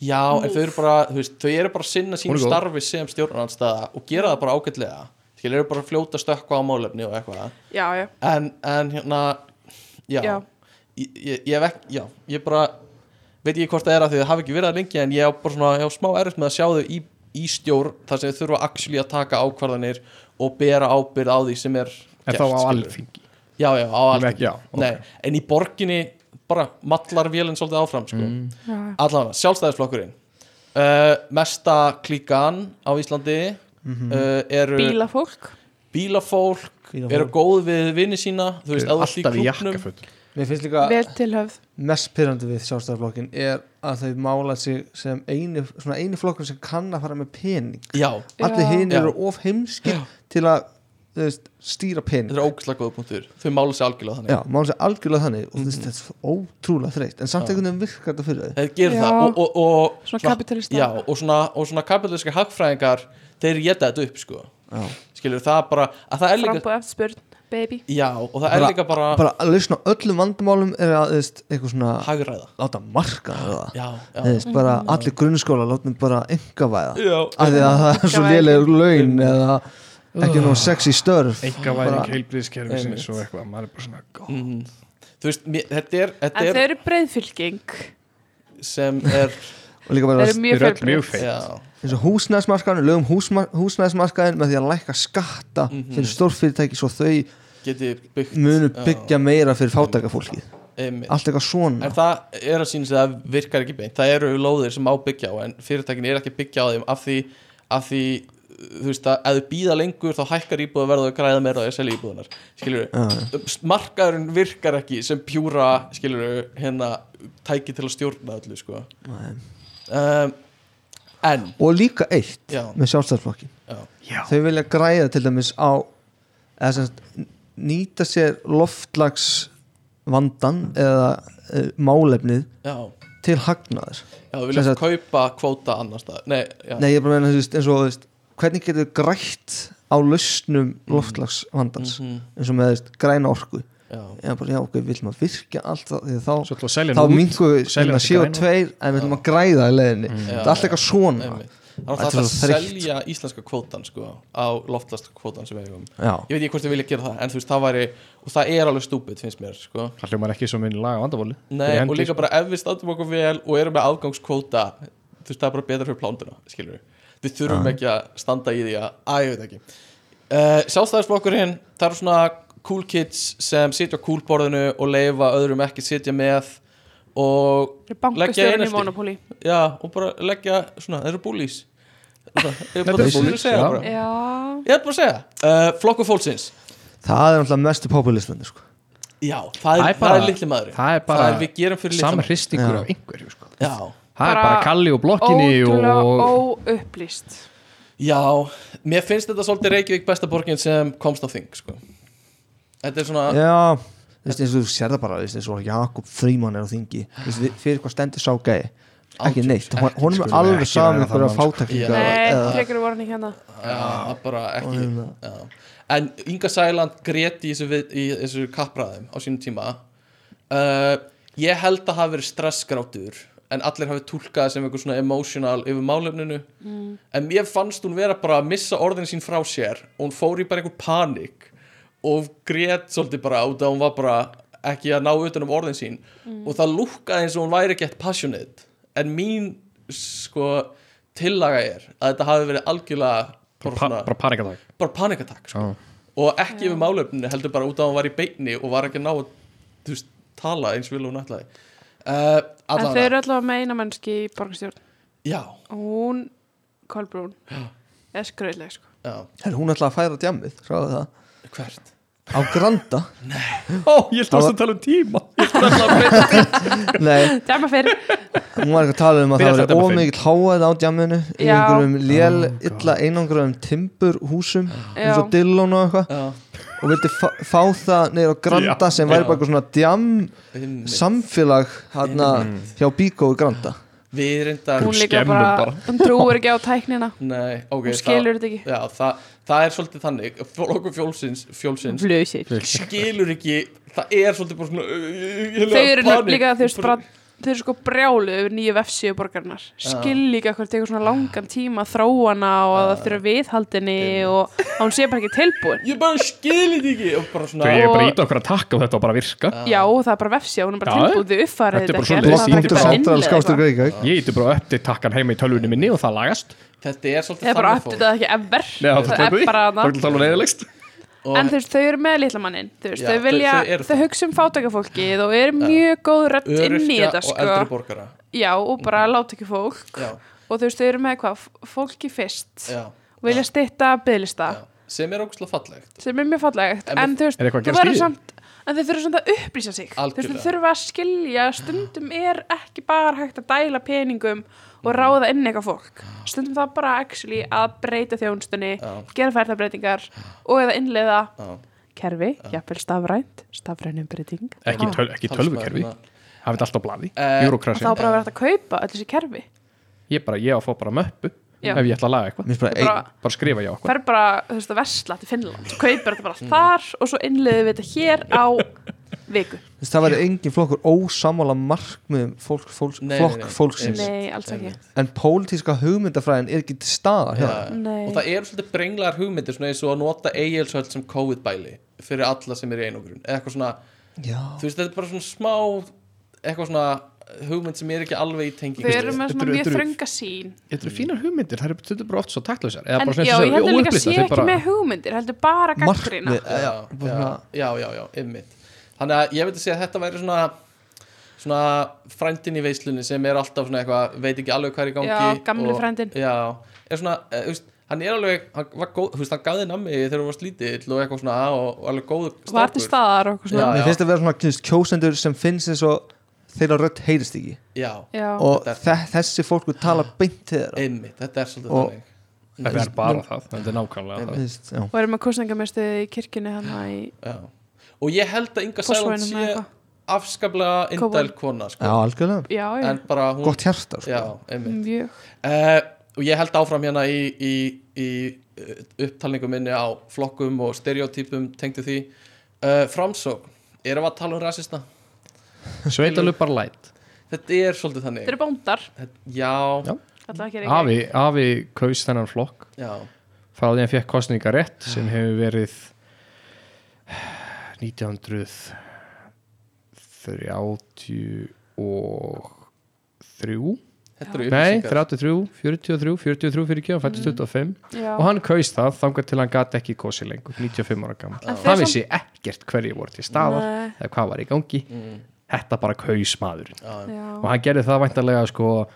Já, en Múf. þau eru bara, þú veist, þau eru bara að sinna sín Hún er góð. starfi sem stjórnarnandstæða og gera það bara ágætlega skilur, eru bara að fljóta stökkva á málefni og eitthvað já, já, en, en hérna já, Já. Ég, ég, ég vekk, já, ég bara veit ekki hvort það er að því það hafi ekki verið að lengi en ég á bara svona, ég á smá erfitt með að sjá þau í, í stjórn þar sem þau þurfa actually að taka ákvarðanir og bera ábyrð á því sem er en þá á skilurðu. alþingi Já, já, á allt vekk- já, ok. En í borginni bara mallar vélinn svolítið áfram sko. Mm. já, já. Allavega, sjálfstæðisflokkurinn uh, Mesta klíkan á Íslandi uh, eru bílafólk bílafólk, Bílafólk. eru góð við vinni sína þú veist, eða þú ert alltaf í klúbbnum- jakkafötum mér finnst líka vel tilhöfð mest pyrrandi við sjálfstæðarflokkin er að þau mála sig sem einu, svona einu flokkur sem kann að fara með pening Já, allir Já. hinn Já. eru of heimski til að þú veist, stýra pening þetta er ógæslega góða punktur þau mála sér algjörlega þannig já, málum sér algjörlega þannig og þú veist, þetta er svo ótrúlega þreytt en samt einhvern veginn virkar þetta fyrir þau þeir gerir Já. það og, og, og, Svona kapítalista. já, og svona, og svona kapitalíska hagfræðingar þeir geta þetta upp sko Já. skilur það bara að það er líka Framboð eftirspurn, baby já og það er líka bara, bara að lausna öllum vandamálum er að, þú veist, eitthvað svona hagræða láta marka það já, já, Þú veist, bara Mm-hmm. allir grunnskóla látum bara engavæða já. af því að það er svo Einkavæðing. lélegur laun eða ekki nú sexy störf enga Bara- væring heilblíðiskerfisins Einmitt. og eitthvað, maður er bara svona góð Mm. þú veist mér, þetta er, þetta En þau er eru breyðfylking sem er og líka Þau bara eru mjög Þau eru öll mjög fjölbreytt feit. já, eins og húsnæðismarkaðin lögum húsma, húsnæðismarkaðin með því að lækka skatta fyrir stórfyrirtæki svo þau geti byggt munu Mhm. já, byggja meira fyrir fátækafólki einmitt. allt eitthvað svona En það er að sína sig að það virkar ekki beint Það eru lóðir sem á byggja á En fyrirtækin er ekki að byggja á þeim Af því, af því þú veist að ef þau býða lengur þá hækkar íbúða verða og græða meira og ég selja íbúðunar skilur markaðurinn virkar ekki sem pjúra skilur hérna tæki til að stjórna öllu sko um, en og líka eitt já, með sjálfstæðarflokkin já, Já. þau vilja græða til dæmis á eða sem sagt, n- nýta sér loftlags vandan eða e, málefnið já, til hagnaðar já, við viljum Sem sagt- kaupa kvóta annars það, nei, já, nei ég er bara að meina þú veist, eins og þú veist, hvernig getur þau grætt á lausnum loftlags vandans Mhm, eins og með þú veist, græna orku já, eða bara já ok, við viljum að virkja allt það því að þá Svo ætlum við að selja þá nú út mingu selja Mm. þessi CO2 en við ætlum að græða í leiðinni þetta er allt eitthvað svona einmitt. þannig Mm. Þetta að er það er að svo þreytt. selja íslenska kvótan sko, á loftlasta kvótan sem við eigum já, ég veit ekki hvort ég vilja gera það en þú veist það væri og það er alveg stúpid finnst mér sko. Það hljómar ekki svo minn laga vandavóli Nei, og líka sko. bara ef við standum okkur vel og erum með afgangskvóta þú veist það er bara betra fyrir plánduna skilur við við þurfum ekki að standa í því að að ég veit ekki uh, sjálfstæðisflokkurinn það eru svona cool kids sem sitja á kúlborðinu og leifa öðrum ekki sitja með og Bankastjórn í einelti. Monopoly já og bara leggja svona þeir eru búlís ég er bara, Þetta eru ég er bullies, að segja já. bara. Já Ég er bara að segja uh, flokkur fólksins það er náttúrulega mestu populismandi sko. Já, það er, Það er það bara- er litli maður það er bara við gerum fyrir litli Saman maður hristingur Já. af einhverju sko. Já, Það er bara kalli og blokkinni Ótrúlega og óupplýst já, mér finnst þetta svolítið Reykjavík besta borgin sem komst á þing sko. Þetta er svona já, já, þú veist eins og þú sér það bara þú veist, eins og Jakob Fríman er á þingi þú veist, við- fyrir hvað stendur sá gæi ekki neitt, Hon- honum er skulum við alveg ekki saman ræða það einhverja mál, sko. fátæklinga Nei, eða- frekar voru hann ekki hérna það er bara ekki hérna. Honum- já. En Inga Sæland grét í þessu, við, í þessu kappræðum á sínum tíma uh, Ég held að hafi verið stressgrátur en allir hafi túlkað það sem einhver svona emotional yfir málefninu en mér fannst hún vera bara að missa orðin sín frá sér og hún fór í bara einhver panik og grét svolítið bara út að hún var bara ekki að ná utan um orðin sín og það lúkkaði eins og hún væri gett passionate en mín sko tillaga er að þetta hafi verið algjörlega bara, Pa- svona, Bara panikatak bara panikatak sko. Já. og ekki yfir málefninu heldur bara út að hún var í beinni og var ekki að ná að þú veist, tala eins vil hún ætlaði uh, En þau allavega, eru allavega meina mennski í borgarstjórn já, Og Hún, Kolbrún Er skröðlega sko já, Herra, hún ætlaði að færa djamið, sáðu það hvert á Granda, Ó, ég held Það var- að tala um tíma nei, Dæma fyrir hún var ekki að tala um að Byrja það þetta var bara of mikill háað á djaminu í Já. einhverjum lél, illa einangraðum timburhúsum, eins og Já. Dillon og eitthvað já, og vildi fá, fá það neyra á Granda sem væri bara eitthvað svona djam einmitt. samfélag hana, Mm. hjá Bíkó í Granda við reyndar Hún líka skemmum bara, bara. hún trúur ekki á tæknina Nei, ok Hún skilur það- þetta ekki. Já, það, það er svolítið þannig Flokkur fjólsins, fjólsins Blöðsir skilur ekki Það er svolítið bara svona uh, Þau eru nefnilega líka þau eru bara Þau eru sko brjálu yfir nýju vefsíu borgarinnar Skil líka hvað tekur svona langan tíma að Þróa hana og að það þurfa viðhaldinni Og að hún sé bara ekki tilbúin Ég bara skilir þetta ekki Og bara Þau svona ég er bara Og- ít okkur að takka og þetta var bara að virka Já, það er bara vefsíu, hún er bara Já, tilbúin Þau uppfæra þetta er þetta bara ekki svoleiðis. eftir það Sýndu Central þarf bara sko. að innleiða skástur eitthvað. Reykjavík Ég ítti bara öpti takkan heima í tölvunni minni og það lagast Þetta er svolítið Það er bara þannig aftur þetta ekki ever Nei, það Það er bara Það er hana ekki tala leiðilegst Og- En þú veist, þau eru með litlamannin Þú veist, Já, þau þau- vilja, þau eru þau það. hugsa um fátækafólkið Og eru mjög góð rödd inn í Öryrkja þetta og eldri sko. borgara Já, og bara láta ekki fólk Já, Og þú veist, þau eru með hvað, fólki fyrst já, vilja stytta byggðlista já Sem er ógustlega fallegt sem er mjög fallegt En en, þú veist, Er eitthvað að þú gerast í verður því? samt en þeir þurfa svona að upplýsa sig Þú veist, þeir Algjörlega. þurfa að skilja að stundum er ekki bara hægt að dæla peningum og ráða inn eitthvað fólk stundum það bara actually að breyta þjónstunni Já. gera færðarbreytingar og eða innleiða Já. kerfi, jafnvel stafrænt stafrænum breyting Ekki, Já. töl, ekki tölvukerfi, Talsmaður, hérna. það veit alltaf blaði Eh, að þá Júrokrasi, bara verður þetta að kaupa öll þessi kerfi ég bara, ég á að fá bara möppu Já. ef ég ætla að laga eitthvað, Mér finnst bara Þetta bara- einn bara skrifa ég á eitthvað fer bara, þú veist, að vesla til Finnland kaupar þetta bara Mm. þar og svo innleiðum við þetta hér á viku Þú veist, Það væri engin flokkur ósamála markmiðum fólk, fólk, Nei, nei, nei. flokk fólksins Nei, alls ekki En pólitíska hugmyndafræðin er ekki til staðar Já. ja. Nei. og það eru svolítið brenglaðar hugmyndir svona eins og að nota eigilsöld sem COVID-bæli fyrir alla sem er í einogrun eða eitthvað svona, Já. þú veist, þetta er bara svona smá eitthvað svona hugmynd sem er ekki alveg í tengi Þau eru með Þetta svona eru- mjög þetta eru- þrönga sín Þetta eru fínar hugmyndir, það eru stundum bara oft svo taktlausar eða En bara svona já, ég sem heldur líka óupplýstar, sé þeir ekki bara- með hugmyndir heldur bara gaggrina Markmið já, Já, bara já, svona- já, já, já, ymmit þannig að ég veit að segja að þetta væri svona svona frændin í veislunni sem er alltaf svona eitthvað, veit ekki alveg hvað er í gangi Já, gamli og- frændinn. já, er svona, eh, þú veist, hann er alveg hann var góð, þú veist, hann gafði nammi þegar hún var slítill og eitthvað svona, og, og alveg góð Var til staðar og eitthvað svona Já, já. Mér finnst það að vera svona kynst kjósendur sem finnst eins og þeirra rödd heyrist ekki já, Já, og þetta er- þe þessi fólku tala beint til þeirra ymmit, þetta er svolítið Og- þannig Þetta er bara það, þetta er nákvæmlega Mér það finnst- já. og erum með kostningamestuði í kirkjunni hann í Já. og ég held að Inga Sæland sé Fossvoginum eða eitthvað afskaplega indæl Kópavogi. kona já, sko. algjörlega Já, já, en bara hún Gott hjarta sko. já, einmitt. mjög Eh, og ég held áfram hérna í, í, í eh, upptalningu minni á flokkum og stereotypum tengdu því uh, framsókn, erum við að tala um rasisna Sveitalöf bara læt þetta er svolítið þannig Þeir eru bóndar, þetta, já, Já. alltaf ekki Afi, afi kaus þennan flokk já, frá því hann fekk kostninga rétt sem hefur verið 1933 þetta eru Nei, upplýsingar 33, 43, 43, 40 hann Mhm. fættist 25 Já, og hann kaus það þangar til hann gat ekki kosi lengur 95 ára gammal, En þeir hann samt- vissi ekkert hverju voru til staðar Nei. eða hvað var í gangi Mm, þetta bara kaus maður og já, hann gerði það væntanlega sko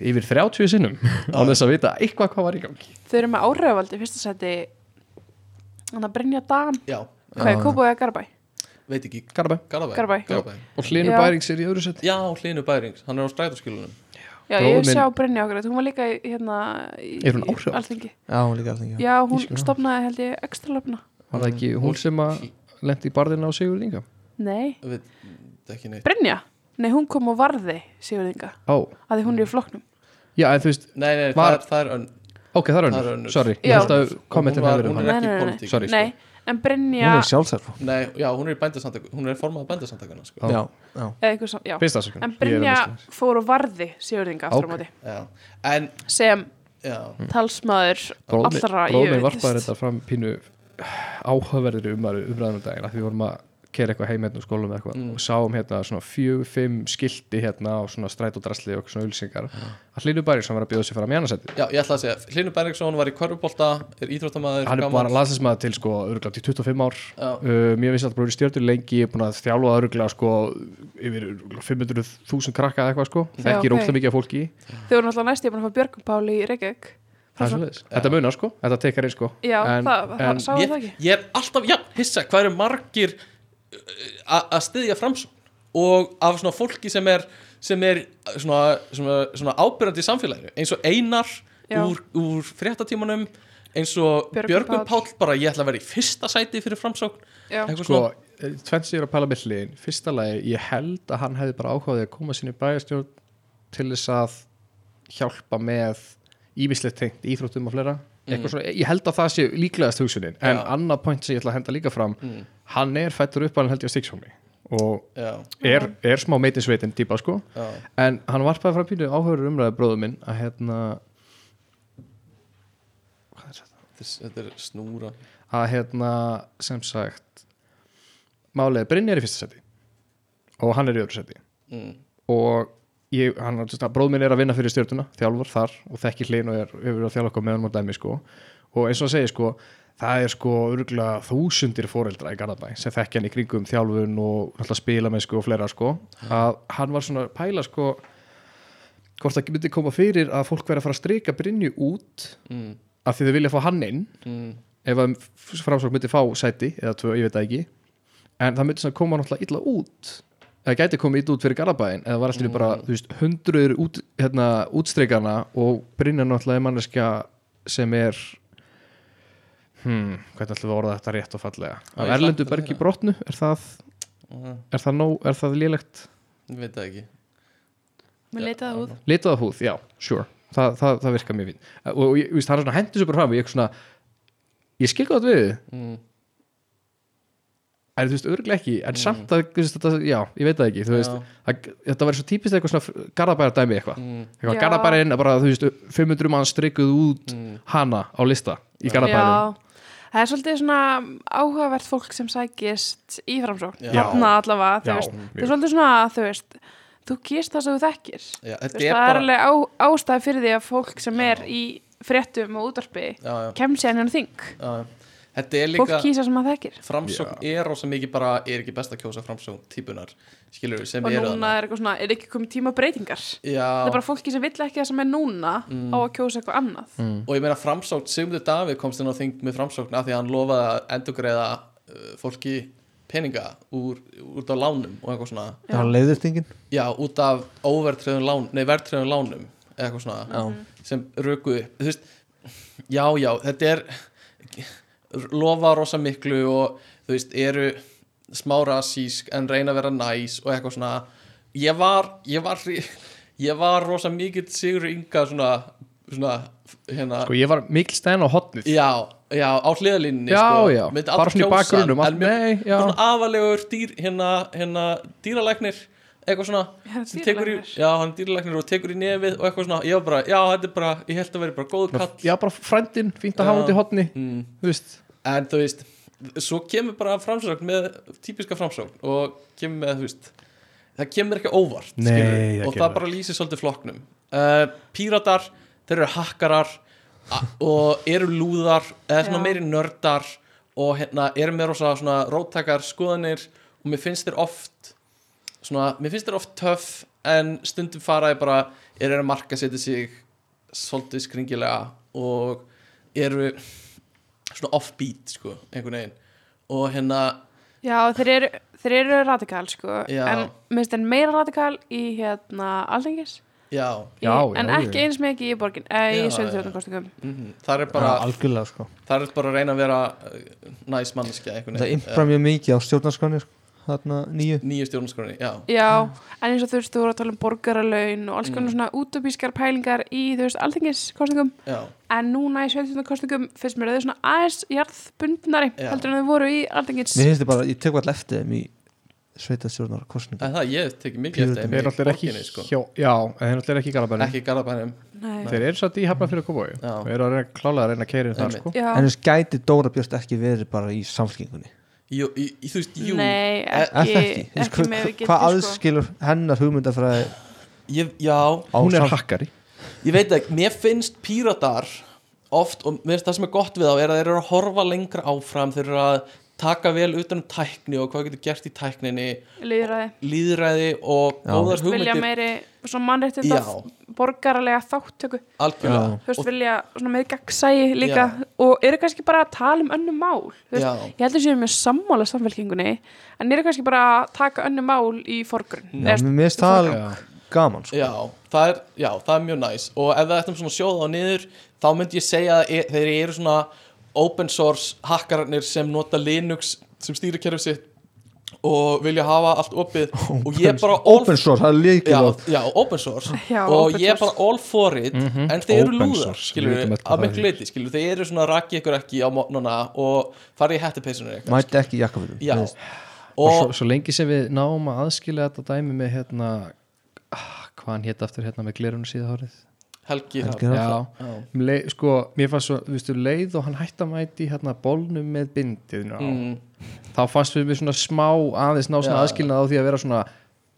yfir 30 sinnum á þess að vita eitthvað hvað var í gangi þau eru með áhrifaldi fyrsta seti Þannig að Brynja Dan já, Hvað er Kópói eða Garabæ? veit ekki, Garabæ Garabæ Garabæ. og Hlynur Já. Bærings er í öðru sett já, Hlynur Bærings, hann er á stræðarskilunum Já, Bróðir ég minn- sjá Brynja okkur Hún var líka í, hérna í, Er hún áhrifavald? Alþingi. já, hún líka alveg já. Já, hún stopnaði held ég ekstra löfna var það ekki hún sem að lendi í barðina á Sigurð Inga Nei, veit þetta ekki neitt Brynja Nei, hún kom og varði Sigurðinga ó, að því hún Mm. er í flokknum já en þú veist nei, nei, það Var- er, það er ön, ok það er Það er önnur, önnur. sorry Já. ég held að kommentin Hún var- hefur verið hún um er hana ekki í nei, nei, pólitík, sorry, nei. sko. nei, en Brynja hún er sjálfsæð nei, já, hún er í bændasamtök hún er formað bændasamtökana sko. já, já. eða einhver sam- já. finnst það svo en Brynja fór og varði Sigurðinga aftur á Ok. Mm. móti já, en, sem já talsmaður allra bróðin jöfnist. varpaði þetta fram pínu áhugaverðir umræðum dagina um því við vorum að kera eitthvað heim hérna úr skólum eða eitthvað og sáum hérna svona fjög, fimm skilti hérna á svona stræt og drasli og svona ulsingar að Hlynur Bærings hann var að bjóða sig fram í annarsætti Já, ég ætla að segja, Hlynur Bergsson var í körfubolta, er íþróttamæður hann er bara landslæsmaður til sko örgulega til 25 ár uh, mér finnst alltaf bara í stjórnur lengi ég er búin að þjálfa örgulega sko yfir örugglega 500.000 krakka eða eitthvað sko Já, þekkir ok. óglega mikið af fólki í. þau voru náttúrulega næst ég búin að fá Björgum Páli í Reykjavík Það er Frá- svoleiðis. þetta munar sko, þetta tekar einn sko já, En- það, það en- sáu ég, það ekki ég er alltaf, já, hissa, hvað eru margir uh, a- að styðja framsókn og af svona fólki sem er sem er uh, svona, svona, svona ábyrjandi í samfélaginu, eins og Einar Já. úr, úr fréttatímanum eins og Björgvin Björgum Páll. Páll bara ég ætla að vera í fyrsta sæti fyrir framsókn já, eitthvað sko, svona, tvennt sem ég er að pæla með hliðin fyrsta lagi, ég held að hann hefði bara ákváðið að koma sinni bæjarstjórn til þess að hjálpa með ímislegt tengt íþróttum og fleira mm. svona, ég held að það sé líklegast hugsunin Mhm. en Já. annað point sem ég ætla að henda líka fram Mm. hann er fættur upp að hann held ég að stíksómi og já, er, er smá meitinsveitin típa sko já, en hann varpaði frá pínu áhörur umræði bróðum minn að hérna hvað er þetta? Þess, þetta er snúra að hérna sem sagt málið er Brynjar í fyrsta seti og hann er í öðru seti mm, og ég, hann, bróð minn er að vinna fyrir stjórnuna þjálfur þar og þekki hlinn og er hefur verið að þjálfa okkur með hann og dæmi sko og eins og að segja sko, það er sko örgulega þúsundir foreldra í Garðabæ sem þekki hann í kringum þjálfun og náttúrulega spila með sko og fleira sko að hann var svona að pæla sko hvort það myndi koma fyrir að fólk verið að fara að streika Brynju út mm, af því þau vilja fá hann inn mm, ef að framsókn myndi fá sæti eða tvö, ég veit það ekki en það myndi svona koma náttúrulega illa út það gæti komið illa út fyrir Garabæin eða var alltaf Mm. bara, þú veist, hundruður út, hérna, útstreikana og Brynjar náttúrulega er manneskja sem er hmm, hvernig ætlum við að orða þetta rétt og fallega Já, af ég Erlendu fatta Bergi þetta. Brotnu, er það er það nóg, er það lélegt mm, Ég veit það ekki Mér leitaði það út litaða húð, já, sure það, það, það virka mjög fín og, og ég, þú veist, það er svona hendur sem bara fram og ég er svona, ég skil gott við þið mm. en þú veist, örglega ekki, en samt að, þú veist, þetta, já, ég veit það ekki, þú veist Mm. Já. að, þetta verður svo típist eitthvað svona garðabæra dæmi eitthvað, Mm. eitthvað Já. garðabærin er bara, þú veist, 500 mann strikuð út Mm. hana á lista í garðabærin, Já, það er svolítið svona áhugavert fólk sem sækist í framsókn, Já. hafna allavega þú Já, veist, mjög. það er svolítið svona, þú veist þú kýrst það sem þú þekkir þú Já, veist, þetta það er er bara alveg á, ástæð fyrir því að fólk sem er í fréttum og útvarpi já, já, kemst sér hérna þing, já, já. Þetta er fólk líka kýsa sem það þekkir Framsókn er rosa mikið bara er ekki best að kjósa framsókn típunar skilur sem og eru núna er eitthvað svona, er ekki komið tíma breytingar það er Já, Mm. bara fólki sem vill ekki það sem er núna á að kjósa eitthvað annað Mm. og ég meina framsókn Sigmundur Davíð komst inn á þing með framsókn af því að hann lofaði að endurgreiða uh, fólki peninga úr, út af lánum og eitthvað svona það var leiðurtingin Já, út af óvertröðum lán, nei, vertröðum lánum eða eitthvað svona Mhm. sem röku upp Þú veist, já, já, þetta er lofa rosa miklu og þú veist, eru smá rasísk en reyna að vera næs og eitthvað svona ég var, ég var ég var rosa mikill sigur ynga svona, svona hérna, sko, ég var mikil stæðan á hotnið já, já, á hliðalínni já, sko, já, myndi aldrei bara svona í kjósa, bakgrunum en allt, mér- nei, já, svona afalegur dýr, hérna, hérna dýralæknir, eitthvað svona Hann er sem tekur í, dýralæknir. já, hann er dýralæknir og tekur í nefið og eitthvað svona, ég var bara, já, þetta er bara ég held að vera bara góð kall já, bara frændin fínt að hafa Já. út í hotni, mm. þú veist en þú veist, svo kemur bara framsókn með, típiska framsókn og kemur með, þú veist það kemur ekki óvart, Nei, skilurðu, það og kemur það bara lýsir svolítið flokknum uh, píratar, þeir eru hakkarar a- og eru lúðar eða svona Já. meiri nördar og hérna eru með rosa svona róttakar skoðanir og mér finnst þér oft svona, mér finnst þér oft töff en stundum faraði bara eru að marka setja sig svolítið skringilega og eru svona offbeat sko, einhvern veginn og hérna, Já, þeir eru, þeir eru radikal sko, Já. en minnst en meira radikal í hérna alþingis já í, Já, já, en já. ekki eins mikið í borgin eh, Já, í já, já. sveitarstjórnarkostingum mm það er bara Já, algjörlega sko Það er bara að reyna að vera uh, næs manneskja einhvern það impra mjög mikið á stjórnarskránir þarna nýju Eh, Nýju stjórnarskroni, já já, en eins og þú veist, þú voru að tala um borgaralaun og alls konar Mm. svona útubískar pælingar í þú veist alþingiskostingum Já, en núna í sveitarstjórnarkostingum finnst mér að þau svona aðeins jarðbundnari Já. heldur en þau voru í alþingis mér finnst þið bara, ég tek alltaf eftir þeim í sveitastjórnar það er það, ég tekið mikið Pírötum. eftir þeim í þeir náttúrulega ekki, borginni, sko. hjá, já, en þeir náttúrulega ekki í garðabærin Ekki í garabænum Nei. þeir eru satt í hafnafyrir kópói Já. og eru að reyna klálega að reyna að keira það, Einmitt. sko já, en þess gæti Dóra Björst ekki verið bara í samfélkingunni Jú, í, í, þú veist, jú Eh, nei, Er er það ekki e- ekki? Þú veist, ekki með hva- hvað við getum sko aðskilur hennar hugmyndafræði ég, Já, á hún er samfylkingunni? hakkari ég veit ekki, mér finnst píratar oft, og mér finnst það sem er gott við þá er að þeir eru að horfa lengra áfram þeir eru að taka vel utan um tækni og hvað getur gert í tækninni líðræði, líðræði og Já. góðar vilja hugmyndir meiri svona mannréttinda Já. borgaralega þáttöku algjörlega þú veist, og, vilja svona með gegnsæi líka Já. og eru kannski bara að tala um önnum mál þú veist, Já. ég heldur sér með sammála samfélkingunni en eru kannski bara að taka önnum mál í forgrunn Já, mér finnst það alveg gaman sko. já, það er, já, það er mjög næs og ef það eftir svona sjóða á niður þá myndi ég segja að e- þeir eru svona open source hackararnir sem nota Linux sem stýrikerfi sitt og vilja hafa allt opið og ég er bara all open source, það er já, líkilvægt já, open source Já, og open ég er bara source. all for it en þeir eru Mhm. Open lúðar, source, skilur við við vitum öll hvað að það miklu leiti, skilur þeir eru svona rakið ykkur ekki á mótnana og farið í hættupeysunir eitthvað mæti ekki í jakkafutum já, Mér finnst- og og svo, svo lengi sem við náum að aðskilja þetta dæmi með hérna ah, hvað hann hétt aftur hérna með glerunum síðahárið Helgi Helgi Hrafn. Hrafn. já, Um Mm. leið, sko, mér fannst svo, þú veistu, leið og hann hætti að mæti hérna bólnum með bindið Mm, þá fannst við mér svona smá aðeins ná Já. svona aðskilnað á því að vera svona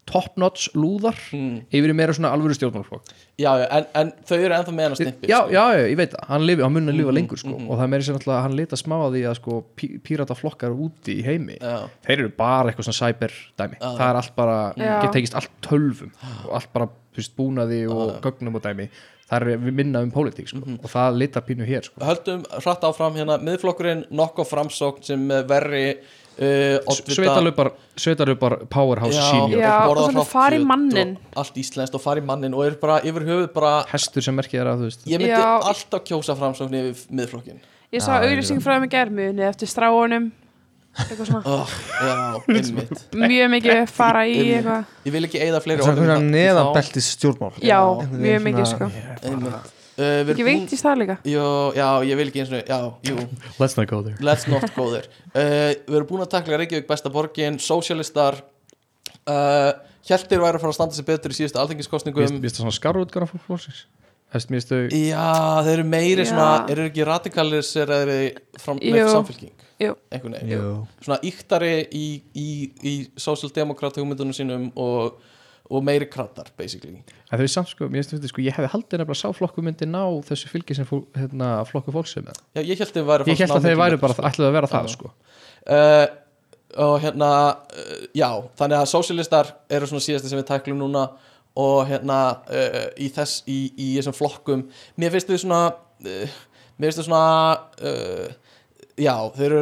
top notch lúðar Mm. yfir í meira svona alvöru stjórnmálflokk já, já, en, en þau eru ennþá með sko. hann að já, snippi já, já, ég veit það, hann, lifi, hann munið að Mhm, lifa lengur sko, og það er meira sér náttúrulega að hann lita smá að því að sko, pí, pírata flokkar úti í heimi Já. þeir eru bara eitthvað svona cyber dæmi Já. það er allt bara, Já. get tekist allt tölvum og allt bara þú veist, búnaði og gögnum og dæmi, það er við minna um pólitík sko, Mhm. og það litar pínu hér sko. höldum hratt áfram hérna miðflokkurinn nokko framsókn sem með verri sveitalöpar, sveitalöpar powerhouse Já, senior Já, borða og svona hrátt fara í kjöt og manninn. allt íslenskt og fara í mannin og er bara yfir höfuð bara hestur sem merkið er að þú veist ég myndi Já. alltaf kjósa framsókn yfir miðflokkin Ég sá Já, ég auglýsing frá þeim í germiðunni eftir stráunum eitthvað svona oh, já, einmitt mjög mikið fara í eitthvað ég vil ekki eigða fleiri Það er orðum í hvernig það- í þá. neðanbeltis stjórnmál Já, einhvern veginn mjög mikið sko svona- einmitt uh, við Ekki erum búin veit í stað líka Jó, já, ég vil ekki eins og já, jú, Let's not go there let's not go there uh, Við erum búin að takla Reykjavík besta borgin Socialistar uh, Hjaltir væri að fara að standa sig betur í síðustu Mér alþingiskostningum finnst það svona skarrútgara fólk flóksins Þess, mér finnst þau Já, þeir eru meiri Já. svona, eru þeir ekki radikalir sér að þeir eru fram með Jú. samfélking Jú. Einhvern veginn Jú. Svona íktari í, í, í socialdemokrat hugmyndunum sínum og, og meiri krattar, basically að þau samt sko, mér finnst þau sko, ég hefði haldið nefnilega að sá flokku myndi ná þessu fylgi sem fólk, hérna, flokku fólk sem er Já, ég held þeir væri Ég held að þau væri bara, ætlaði að vera það Já. sko uh, og hérna uh, já, þannig að sósialistar eru svona síðasti sem við tæklum núna og hérna uh, í þess í, í þessum flokkum, mér finnst þau svona uh, mér finnst þau svona uh, já, þau eru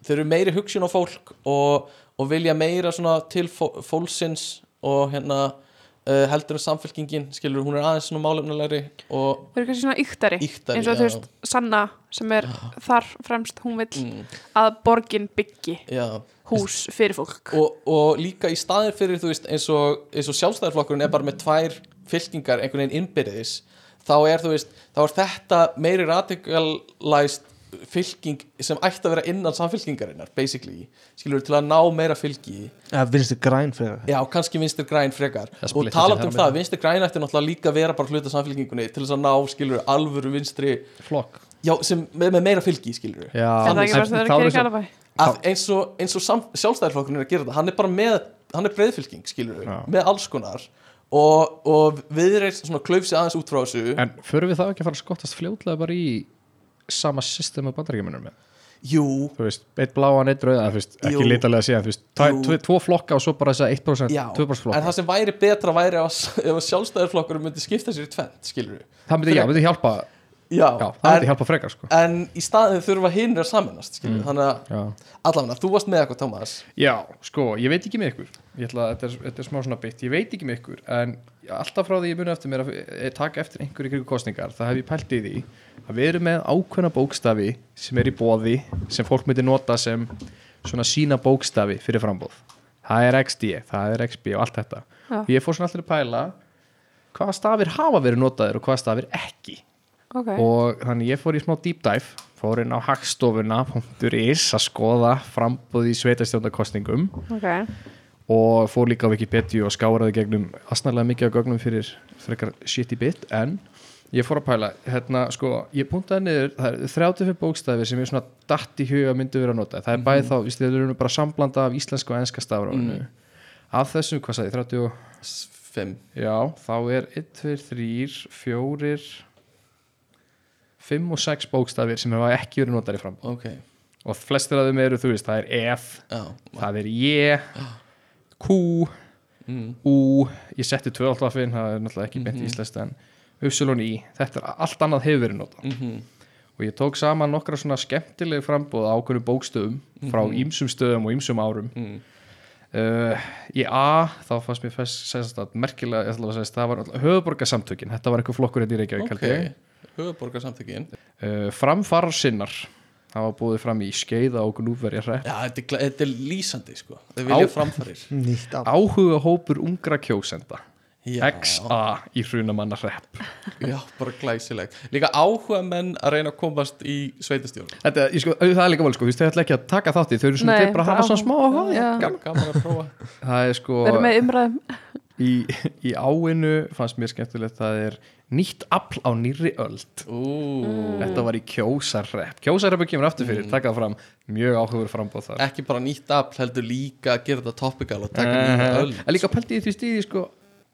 þau eru meiri hugsun á fólk og, og vilja meira svona til fó, fólksins og hérna uh, heldur en samfélkingin, skilur hún er aðeins svona málefnilegri og Þau eru kannski svona yktari Ýktari, eins og já. þú veist Sanna sem er þar fremst hún vill mm, að borgin byggi já hús fyrir fólk og, og líka í staðin fyrir þú veist eins og, eins og sjálfstæðarflokkurinn er bara með tvær fylkingar einhvern veginn innbyrðis þá er þú veist, þá er þetta meiri radikalæst fylking sem ætti að vera innan samfylkingarinnar basically, skilur til að ná meira fylgi Eða vinstu græn fyrir já, kannski vinstir græn frekar Það og splittar talat sig um þar það, vinstir græn ætti náttúrulega líka að vera bara hluta samfylkingunni til þess að ná, skilur, alvöru vinstri Flokk já, sem, með, með meira fylgi, skilur Já, En það er ekki bara sem það er að gera í það Galabæ að eins og, eins og sam, sjálfstæðarflokkurinn er að gera þetta hann er bara með, hann er breyðfylking skilur við, Já. með alls konar og, og við reist svona klaufsi aðeins út frá þessu En förum við þá ekki að fara að skottast fljótlega bara í sama system að bandaríkjumunum með jú, þú veist, eitt bláan, eitt rauðan þú veist, Jú. ekki litalega síðan, þú veist, Jú. tvo- tvo- tvo flokka og svo bara þess að 1% já, 2% en flokka, það sem væri betra væri ef, að- ef að sjálfstæðarflokkurinn myndi skipta sér í tvent skilur við, það myndi, já, myndi hjálpa já, já, það myndi en, hjálpa Mm. frekar, sko en í staðin þurfa hinn að saminast skilur við, þannig að já. allavega, þú varst með eitthvað Thomas já, sko, ég veit ekki með ykkur ég ætla að þetta er, þetta er smá svona bit, ég veit ekki með ykkur en alltaf frá því ég muni eftir mér að eh, taka eftir einhverju krigu kostningar, það hef ég pælt í því að við erum með ákveðna bókstafi sem er í bóði, sem fólk myndi nota sem svona sína bókstafi fyrir frambóð, það er XD það er XB og allt þetta Já. ég fór svona allir að pæla hvaða stafir hafa verið notaðir og hvaða stafir ekki Ok, og þannig ég fór í smá deep dive fór inn á hagstofuna.is að skoða frambúð í sveitastjóndakostningum ok og fór líka á Wikipedia og skáraði gegnum asnarlega mikið af gögnum fyrir frekar shitty bit en ég fór að pæla hérna sko, ég puntaði niður það er 35 bókstafir sem ég svona datt í huga myndu verið að nota það er bæði þá, víst, þeir eru bara samblanda af íslenska og enska stafur mm. af þessum, hvað sagði, ég, 30 og fimm, Já, þá er 1, 2, 3, 4 5 og 6 bókstafir sem hefa ekki verið notar í fram ok og flestir af þeim eru, þú veist, það er F já, það er J Q, mm. U ég setti 2 alltaf inn, það er náttúrulega ekki beint mm Mhm. íslenskt en Y, I þetta er allt annað hefur verið notað Mm og ég tók saman nokkra svona skemmtilegu frambúð á okkur bókstöfum frá Mhm. ýmsum stöðum og ýmsum árum Mm. Uh, í A þá fannst mér fæst sérst að merkilega, ég ætla að segja, það var náttúrulega höfuborgarsamtökin, þetta var einhver flokkur hérna í ok Reykjavík held ég. höfuborgarsamtökin uh, framfarsinnar það var búið fram í skeiða og gnúverja hrepp já, þetta er, gla- þetta er lýsandi sko þau vilja Á- framfarir Nýtt af áhuga hópur ungra kjósenda Já. XA í hrunamanna hrepp Já, bara glæsileg Líka áhuga menn að reyna að komast í sveitastjórn þetta, ég sko, það er líka vel sko, þú veist, þau ætla ekki að taka þátti þau eru svona Nei, þeir bara að hafa bara svona smá áhuga áhuga, já. gaman. Gaman að prófa það er sko Verður með umræðum í, í áinu fannst mér skemmtilegt það er nýtt afl á nýrri öld Mm. Ú, þetta var í kjósarrepp kjósarreppu kemur aftur fyrir, mm. taka það fram mjög áhugur frambóð þar Ekki bara nýtt afl heldur líka að gera þetta topical og taka Eh, nýja öll en líka pælti ég því stíði sko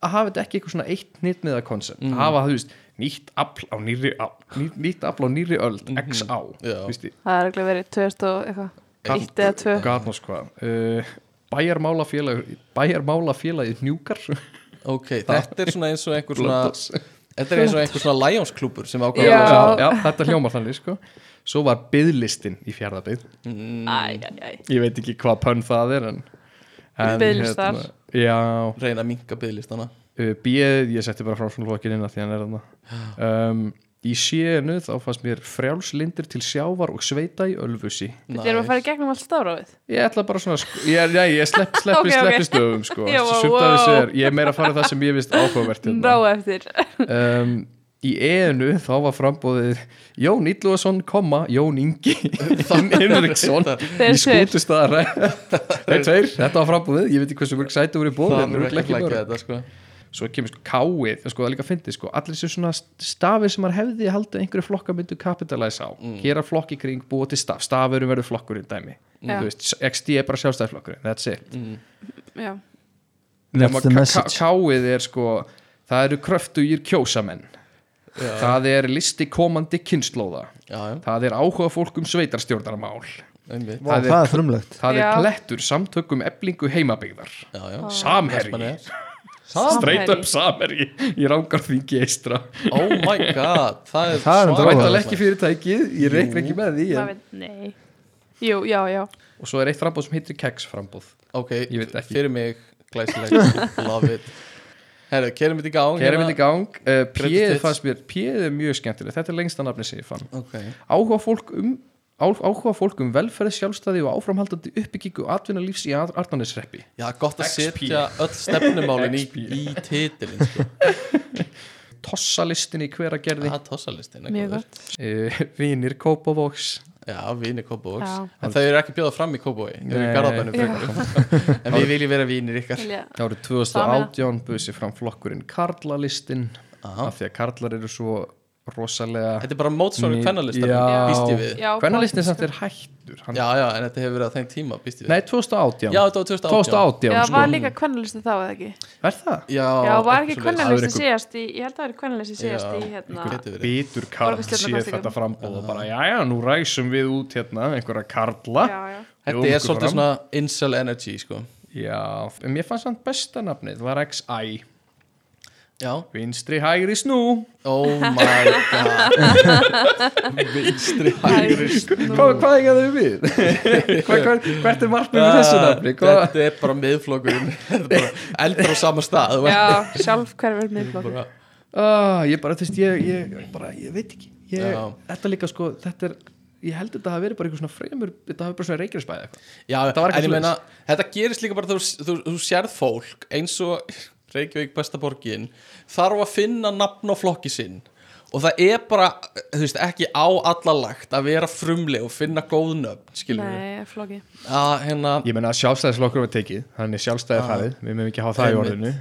að hafa þetta ekki eitthvað svona eitt nýtmiða koncept mm. hafa þú veist nýtt afl á nýrri á- ný, nýtt afl á nýrri öld x á Já. Það er alveg verið 2000 og eitthvað Eitt eða tvö gatnós hvað uh, bæjarmálafélagi bæjarmálafélagi njúkar Ok, þetta er svona eins og einhver svona Blöndos. Þetta er eins og einhver svona Lions klúpur sem ákvæða Já. já, þetta hljómar þannig sko svo var byðlistin í fjárðabyð Mm. Æ, æ, æ. ég veit ekki hvað pönn það er en, en Biðlistar. hérna, já, reyna að minka byggðlistana uh, B, ég setti bara frá svona flokkin inn að því hann er þarna um, í sénu þá fannst mér frjálslindir til sjávar og sveita í ölfusi Við erum að fara í gegnum allt stafrófið ég ætla bara svona sk- ég, er- nei, ég slepp, Ok, sleppi, ok. sleppi stöfum sko. Já, Sumt wow. af þessu er, ég er meira að fara í það sem ég vist áhugavert hérna. Ná eftir um, í ENU þá var frambóðið Jón Illuðarsson, komma, Jón Ingi Inriksson í Þeir sér skútustaðar þeir tveir, þetta var frambóðið, ég veit ekki hversu mörg sæti voru í bóðið, það verður ekki flækja þetta sko svo kemur sko káið sko, það er líka fyndið sko, allir þessu svona stafir sem maður hefði haldið að einhverju flokka myndu kapitalæs á, mm. gera flokk í kring búa til staf, stafurum verður flokkurinn dæmi Já. þú veist, XD er bara sjálfstæðflokkurinn that's it, Mm. Já, That's the Nema message káið er sko það eru kröftugir kjósamenn það er listi komandi kynnslóða já, já, það er áhuga fólk um sveitarstjórnarmál einmitt Vá, það er- Það er frumlegt Já. það er klettur samtökum eblingu heimabyggðar já, já samherji, Vestmannaeyjar. straight Samherji. up samherji í rángarþingi eistra oh my god, það er Það er enda svakalegt. Væntalega ekki fyrirtækið, ég reikna ekki með því maður en... veit, nei Jú, já, já Og svo er eitt frambóð sem heitir keks frambóð ok, Ég veit ekki. fyrir mig glæsilegt, love it herru, kerum við í gang hérna? Kæra myndi gang, uh, P Credit. fannst mér P er mjög skemmtileg, þetta er lengsta nafni sem ég fann gang ok, Áhuga fólk um á- Áhuga fólk um velferð, sjálfstæði og áframhaldandi uppbyggingu atvinnalífs í Arnanesreppi já, gott að XP. setja öll stefnumálin í, XP. í titilin sko, Tossalistin í hvera gerði það er tossalistin Mjög gott uh, Vinir Kópavóks já, vinir Kópavóks Já. en þau eru ekki bjóða fram í Kópavogi, þau eru í Nei. Garðabænum Já. frekar. sko. en við viljum vera vinir ykkar Vilja- Það voru 2018 busi fram flokkurinn Karlalistin Aha. af því að karlar eru svo rosalega þetta er bara mótsvara Ný- kvennalistar Já. býst ég við Já, Kvennalistin samt er hættur hann, já, já, en þetta hefur verið á þeim tíma býst ég við Nei, 2018 já, þetta var 2018 2018 Já, sko. var líka kvennalisti þá eða ekki Er það? já, Já, var ekki eitthvað svoleiðis. Það er kvennalisti einhver- síðast í Ég held að það er kvennalisti síðast í hérna Geti verið. Bítur karl Borgarstjórnarkosningum. séð þetta frambóð og bara, jæja, nú ræsum við út hérna einhverja karla Já, já Þetta Jómfrú er svolítið fram. svona incel energy sko. Já, en mér fannst hann besta nafnið, var XI Já, Vinstri hægri snú oh my god Vinstri hægri Hvað, hvað er það við? hvað, hvað, hvert er markmið með þessu nafni? Hvað? Þetta er bara miðflokkurinn Þetta er bara eldur á sama stað þú veist. Já, sjálf hverfur miðflokk Bara- Ah, ég bara, þú veist, ég, ég, bara, ég veit ekki ég, Já. Þetta líka, sko, þetta er ég held að þetta hafi verið bara eitthvað svona fremur þetta hafi bara svona reykjarsbæði eitthvað Já, Það var en ekki ég svoleiðis. meina Þetta gerist líka bara þú, þú, þú sérð fólk eins og Reykjavík besta borgin þarf að finna nafn á flokki sinn og það er bara, þú veist, ekki á allalagt að vera frumleg og finna góð nöfn, skilur við Nei, flokki að hérna, Ég meina að sjálfstæðisflokkur var tekið, þannig sjálfstæði farið, við meðum ekki hafa það í Einmitt. orðinu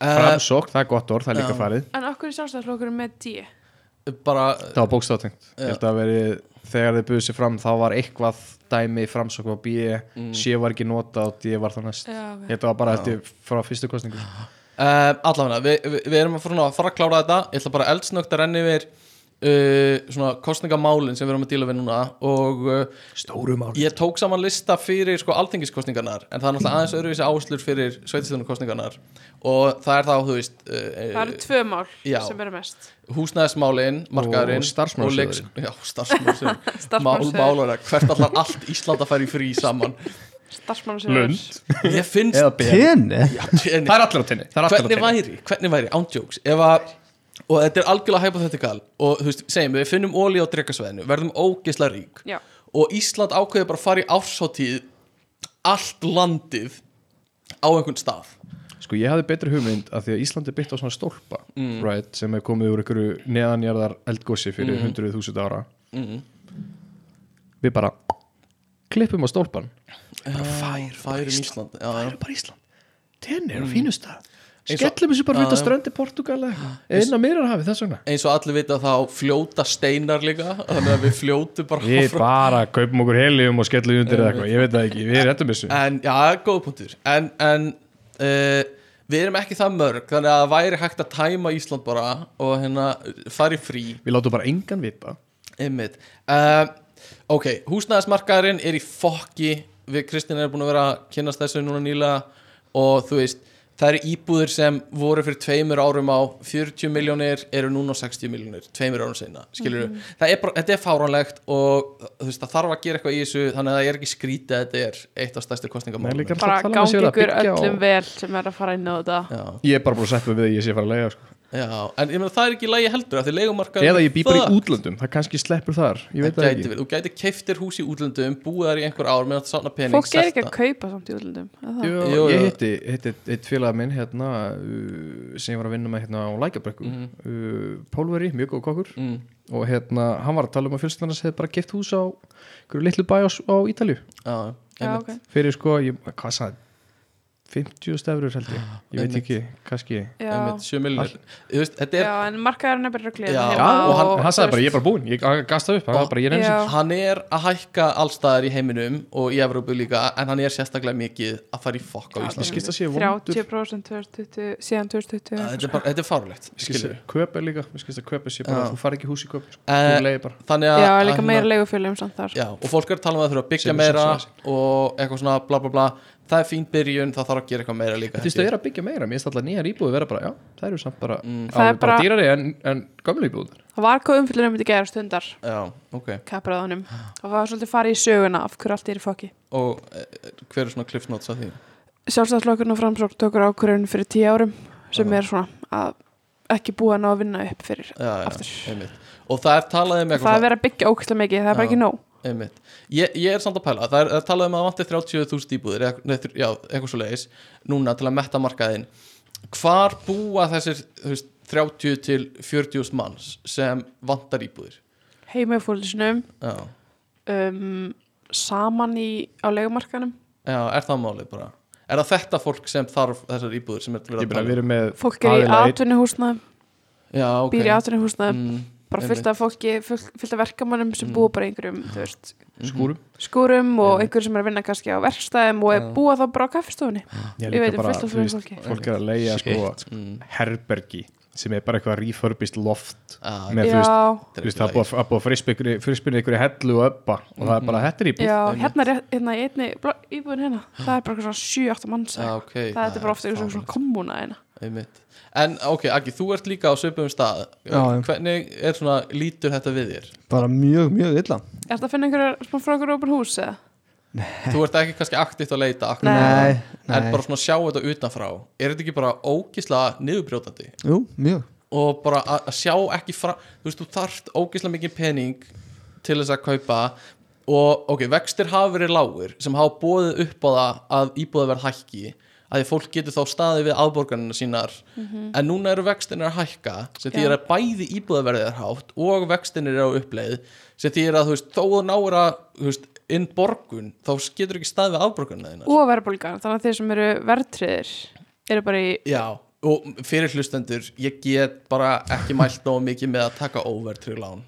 Eh, Framsókn, það er gott orð, það er líka já. farið En okkur er sjálfstæðsflokkur með D eh, bara Það var bókstáttengt, ég held að veri þegar þið buðu sér fram, þá var eitthvað dæmi framsókn var B, Mm. C var ekki nota og D var það næst Já, ok. Þetta var bara eftir frá fyrstu kostningu Uh, allavega, við vi, vi erum að fara, að fara að klára þetta Ég ætla bara eldsnögt að renna yfir uh, svona kostningamálin sem við erum að díla við núna og uh, Stóru mál ég tók saman lista fyrir sko alþingiskostningarnar en það er náttúrulega aðeins öðruvísi áslur fyrir sveitistunarkostningarnar og það er þá, þú veist Það uh, eru tvö mál já. sem eru mest húsnæðismálin, markaðurinn Og starfsmannasjóðurinn. leiks- Já, starfsmálsjóðurinn Mál, Starfsmannasjóður. málana, hvert allar allt Ísland að færi frí saman Starfsmann sem er Ég finnst Eða B Tenni? Já, en- Það er allir á tenni, það er allir á hvernig tenni væri, hvernig væri, ándjóks ef að, og þetta er algjörlega hypothetical og þú veist, segjum við, við finnum ólí á drekasveðinu, verðum ógisla rík Já. og Ísland ákveði bara að fara í árshátíð allt landið á einhvern stað Sko ég hafði betri hugmynd að því að Ísland er byggt á svona stólpa Mm. right, sem er komið úr einhverju neðanjarðar eldgósi fyrir Mm. 100.000 ára Við bara klippum á stólpan bara fær, Ah, færum Ísland, Já, Mm. bara Ísland Tenni er á fínu stað Eins og- Skellum þessu bara Já, fyrir að já. ströndi Portugala inn á Mýrarhafi þess vegna eins og allir vita þá fljóta steinar líka þannig að við fljótu bara Við áfram. bara kaupum okkur helium og skellum undir eða eitthvað, ég veit það ekki, við rettum þessu en, já, góð punktur en, en uh, við erum ekki það mörg þannig að það væri hægt að tæma Ísland bara og hérna fara í frí Við látum bara engan vita Einmitt uh, Ok, húsnæðismarkaðurinn er í fokki Við Kristina erum búin að vera að kynast þessu núna nýlega Og þú veist það eru íbúðir sem voru fyrir tveimur árum á 40 miljónir eru núna á 60 miljónir tveimur árum seinna, skilur mm Mhm. er bara, þetta er fáránlegt og þú veist, það þarf að gera eitthvað í þessu þannig að það er ekki skrítið að þetta er eitt af stærstu Nei, kostningamálum líka bara alltaf tala um að gangi sé verið að ykkur byggja og- öllum vel sem er að fara inn á þetta Já, Ég er bara búin að seppu við að ég sé að fara að leiða sko. já, en ég meina það er ekki lægi heldur af því leigumarkaður Eða ég býpar í Fuck. útlöndum, það kannski sleppur þar Ég veit Það það gæti ekki verið, þú gæti keiftir hús í útlöndum búið þar í einhver ár meðan það sána pening fólk er selt ekki að það. kaupa samt í útlöndum er það? Jú, Jú, Ég jú. hitti, hitti eitt félag minn hérna, uh, sem ég var að vinna með hérna á Lækjabrekku Mhm. mm uh, Pólveri, mjög góð kokkur mm. og hérna, hann var að tala um að fjölstunarnas hefði bara gift hús á einhverju litlu bæ á, á Ítalju Já, Já, einmitt. ok. fyrir sko, ég, hvað sagði hann? 50 stefrur held ég, ég veit Einmitt. ekki kannski, Já. einmitt, 7 miljonir Þú veist, þetta er, já, en markaðurinn er bara ruglið Já. já, og hann, hann sagði bara ég er bara búinn, ég gasta upp, hann Og- var bara ég er eins Já. og hann er að hækka allstaðar í heiminum og í Evrópu líka, en hann er sérstaklega mikið að fara í fokk á Já, Íslandi skil- skist að sé vondur 30% 2020, síðan 2020 Þetta er bara- þetta er fárlegt, skist skilur að köp er líka, skist að köp er sé bara Já. þú fari ekki í hús í köp, sko, Eh, þú leiði bara Þannig að já, að líka hérna- meira leigufélum samt þar Já, og fólk er að tala um að það þurfa að byggja Sem er meira sexualizing. og eitthvað svona bla bla bla það er fín byrjun, það þarf að gera eitthvað meira líka Þú veist að vera að byggja meira, mér finnst alltaf nýjar íbúðu vera bara, já, það eru samt bara, Mm. það Það er er bara bara- dýrari en, en gamlu íbúður. það var hvað um umfyllunum myndi gera stundar Já, ok kapraðanum Ah. og það var svolítið farið í söguna af hverju allt er í fokki Og eh, hver er svona cliff notes að því? sjálfstæðslokkurinn og framsókn tókur ákvörðun fyrir tíu árum sem Ah. Já. er svona að ekki búa ná að vinna upp fyrir Já, aftur já, einmitt Og það er talað um það eitthvað er verið að byggja ókvæmlega mikið, það er bara Já. ekki nóg Einmitt. Ég, ég er samt að pæla, það er, það er talað um að það vanti 30.000 íbúðir, eða- nei, þr- já, eitthvað svo leiðis núna til að metta markaðinn hvar búa þessir þú veist, 30 til 40 manns sem vantar íbúðir heimafólisinum já, um, saman í, á legumarkanum já, er það málið bara er það þetta fólk sem þarf þessar íbúðir sem er til um? Ég byrja að vera með fólk er í aðila einn- atvinnuhúsnaðum já, ok býr í atvinnuhúsnaðum, mm, bara fullt af fólki fullt, fullt af verkamannum sem Mm. búa bara í einhverjum þú veist, skúrum. skúrum og Einmitt. einhverjum sem er að vinna kannski á verkstæðum og er Já. búa þá bara á kaffistofunni ég Ég, líka veit um fullt af þú fyrir veist, fólki fólk er að leia Shit. sko mm, herbergi sem er bara eitthvað refurbished loft. að, Með- þú veist, já, Ah, þetta Þú er veist, ekki það er búið að- að búið að frispinni ykkur í hellu og öppa og það er bara, þetta er íbúð. já einmitt. hérna, rétt- hérna í einni blá- íbúðin hérna það er bara eitthvað svona 7-8 manns Já, það, Ah, ok, það er bara ofta eitthvað svona kommuna hérna einmitt. en ok, Aggi, þú ert líka á söpum stað Já, já. hvernig er svona, lítur þetta við þér? bara mjög, mjög illa er þetta að finna einhverjar svona frá einhverju open hús eða? þú ert ekki kannski aktivt að leita akkur nei, nei, en bara svona sjá þetta utanfrá er þetta ekki bara ógislega niðurbrjótandi jú, mjög og bara að að sjá ekki frá þú veist, þú þarft ógislega mikið pening til þess að kaupa og ok, vextir hafa verið lágur sem hafa bóðið upp á það að íbúða verð hækki að því fólk getur þá staðið við afborgarnina sínar en núna eru vextinir að hækka sem því Já. er að bæði íbúðaverðið er hátt og vextinir eru á uppleið sem því er að þú veist, þó þú náir að þú veist, inn borgun, þá getur ekki staðið við afborgarnina þínar og verðbólgan, þannig að þeir sem eru verðtriðir eru bara í Já, og fyrir hlustendur ég get bara ekki mælt nógu mikið með að taka overtrygg lán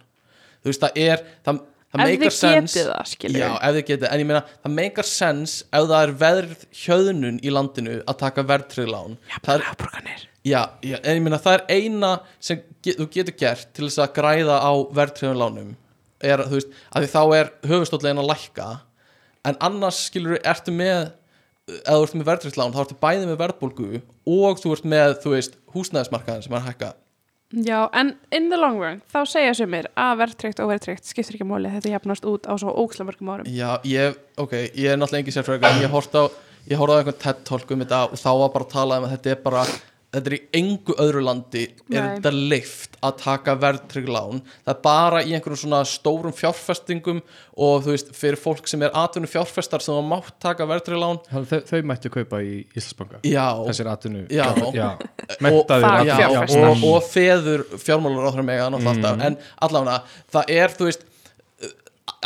þú veist, það er það, það ef þið meikar sens getið það, skilur Já, ef þið getið, en ég meina það meikar sens ef það er verð hjöðnun í landinu að taka verðtrygg lán Það er- afborganir já, já, en ég meina það er eina sem get, þú getur gert til þess að græða á verðtrygg lánum er, þú veist, að því þá er höfustóllin að lækka en annars skilur þú, ertu með eða þú ert með verðtrygglán, þá ertu bæði með verðbólgu og þú ert með, þú veist, húsnæðismarkaðin sem er að hækka Já, en in the long run, þá segja sumir að verðtryggt og verðtryggt skiptir ekki máli, þetta jafnast út á svo ókslega mörgum árum. Já, ég, ok, ég er náttúrulega engin sérfræðingur en ég horfði á, ég horfði á einhvern TED-tólk um þetta og þá var bara að tala um að þetta er bara þetta er í engu öðru landi er Nei. þetta leift að taka verðtrygglán það er bara í einhverjum svona stórum fjárfestingum og þú veist, fyrir fólk sem er atvinnum fjárfestar sem það mátt taka verðtrygglán Þannig að Þau, þau mættu kaupa í Íslandsbanka. Já, Þessir atvinnu. Já. já. og, Menntaðir Það- já, atvinnu- fjárfestar. og, og feður fjármálar áþra mega mm. alltaf, en allavega það er þú veist uh,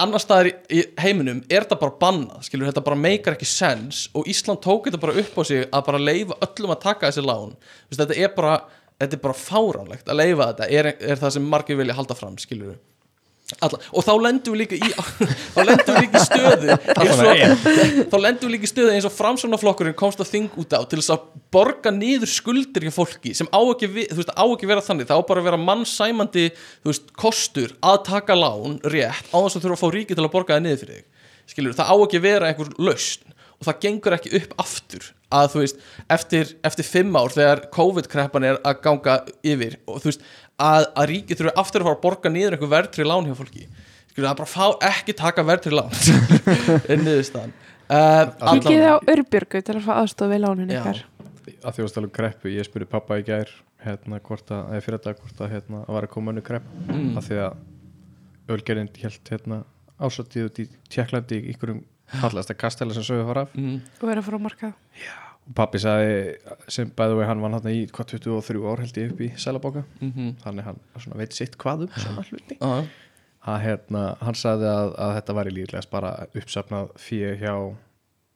annars staðar í- í heiminum er þetta bara bannað, skilur þetta bara meikar ekki sens og Ísland tók þetta bara upp á sig að bara leifa öllum að taka þessi lán Þú veist, þetta er bara, þetta er bara fáránlegt að leifa þetta, er, er það sem margir vilja halda fram, skilur við Alla, og þá lendum við líka í þá lendum við líka í stöðu eins og, þá lendum við líka í stöðu eins og framsóknarflokkurinn komst að þing út á til þess að borga niður skuldir hjá fólki sem á ekki, vi- þú veist, á ekki vera þannig það á bara að vera mannsæmandi þú veist, kostur að taka lán rétt á þess að þurfa að fá ríki til að borga það niður fyrir þig skilur, það á ekki að vera einhver lausn og það gengur ekki upp aftur að þú veist, eftir, eftir fimm ár þegar COVID-kreppan er að ganga yfir og þú veist, að, að ríkið þurfi aftur að fara að borga niður einhver verðtri lán hjá fólki Skilur, að bara fá ekki taka verðtri lán er niðurstaðan uh, Kikið á Örbjörgu til að fá aðstofa við lánin Já. ykkar að því að stala um kreppu, ég spurði pappa í gær hérna hvort að, eða fyrir þetta hvort að hérna að var að koma önnu krepp mm. að því að ölgerinn held hérna ásatíð út í Tjekklandi í einhverjum fallasta kastæla sem sögur fara af mm, og vera frá markað og pappi sagði sem bæðu vegi hann vann hann í hvað 23 ár held ég upp í Sælabóka mm -hmm, þannig hann svona veit sitt hvað um svona hluti á, að hérna, hann sagði að, að þetta væri líklegast bara uppsafnað fyrir hjá